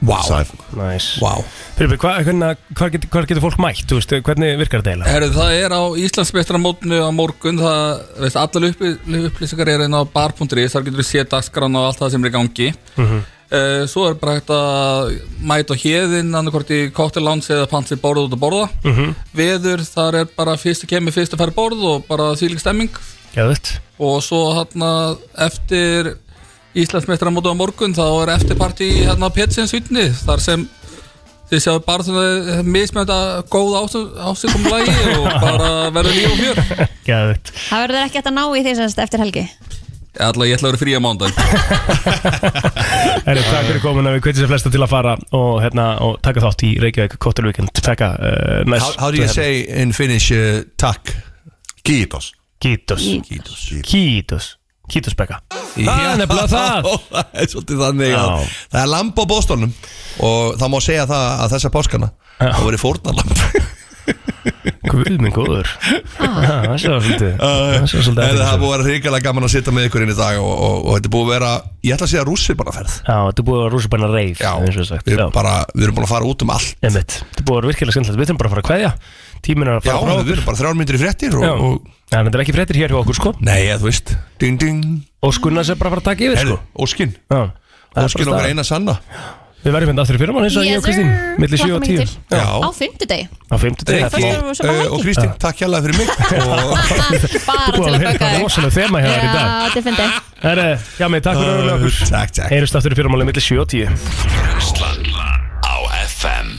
J: Wow.
M: Siphon.
A: Nice.
J: Wow.
A: Fyrir, hva, hvenna, hvar, getur, hvar getur fólk mætt? Þú Veist, hvernig virkar þetta eiginlega?
L: Herru, það er á Íslandsmestramótnu á morgun, það, veist, allar uppi, upplýsingar er einn á bar.is, þar getur við séð dagskrána og allt það sem er í gangi.
C: Mhm.
L: Uh, svo er bara hægt að mæta á hérðin, annarkvort í cocktail lounge eða pantið borða út að borða.
C: Mhm.
L: Veður, þar er bara fyrst að kemur, fyrst að fara borð og bara þýlik stemming.
A: Gæðvöld.
L: Og svo hérna eftir Íslandsmestramótu á morgun, þá er eftirparti hérna á Petsins vitni, þar sem Þið sjáu bara svona mismönda góð ásikum lægi og bara verður líf og fjör
A: Gæðvögt
B: Það verður ekki hægt að ná í því semst eftir helgi.
L: Alla ég ætla að vera frí á mándag
A: Herri, takk fyrir komin að við hvetjum sér flesta til að fara og, hérna, og taka þátt í Reykjavík Cocktail Weekend Pekka, uh,
J: How, how do you say in Finnish uh, takk?
M: Kiitos.
A: Kítos
J: Kítos
A: Kítos Kítos Pekka
J: Ah,
A: Það er nefnilega það
J: Það er svolítið þannig að
A: Já.
J: það er lamp á bóstónum og það má segja það að þessa páskana það voru fórnalamp
A: Guð minn góður Ah, Það er svo
J: Uh,
A: svolítið Það er svo
J: En
A: svolítið
J: það er
A: athyglisvert.
J: búið að vera hrikalega gaman að sitja með ykkur inn í dag og, og, og þetta er búið að vera, ég ætla að segja rússir bara ferð
A: Já, þetta er búið að vera rúsi bæna reif Já, við
J: erum, bara, við erum búin að fara út um allt
A: Einmitt. Þetta er búið að vera virkilega skemmtilegt Við þurfum bara að fara að kveðja Tíminn er að
J: Já,
A: fara frá
J: við erum bara þrjár myndir í fréttir
A: Já.
J: og, og
A: En þetta er ekki fréttir hér hjá okkur sko
J: Nei, ja, þú veist Ding, ding
A: Óskunnars er bara að fara að taka yfir sko
J: Óskin
A: Já Það er
J: Óskin
A: bara
J: okkar
A: staðan.
J: eina sanna
A: Við verðum hérna aftur í fyrirmann eins og ég og Kristín Millir 7 og 10
B: Á fimmtudegi.
A: Á 50
B: Nei, fyrst erum við saman
J: Eh, og Kristín, takk hérlega fyrir mig og
B: Ah, Bara til að bögga
A: Það er
B: þig.
A: rosalega þema
B: Já,
A: hér í hérna dag
B: þetta er fyndið.
A: Herre, já mig, takk fyrir að vera með okkur
J: Takk, takk
A: Heyrjumst aftur í fyrirmálið millir 7 og 10
C: Brenslan á FM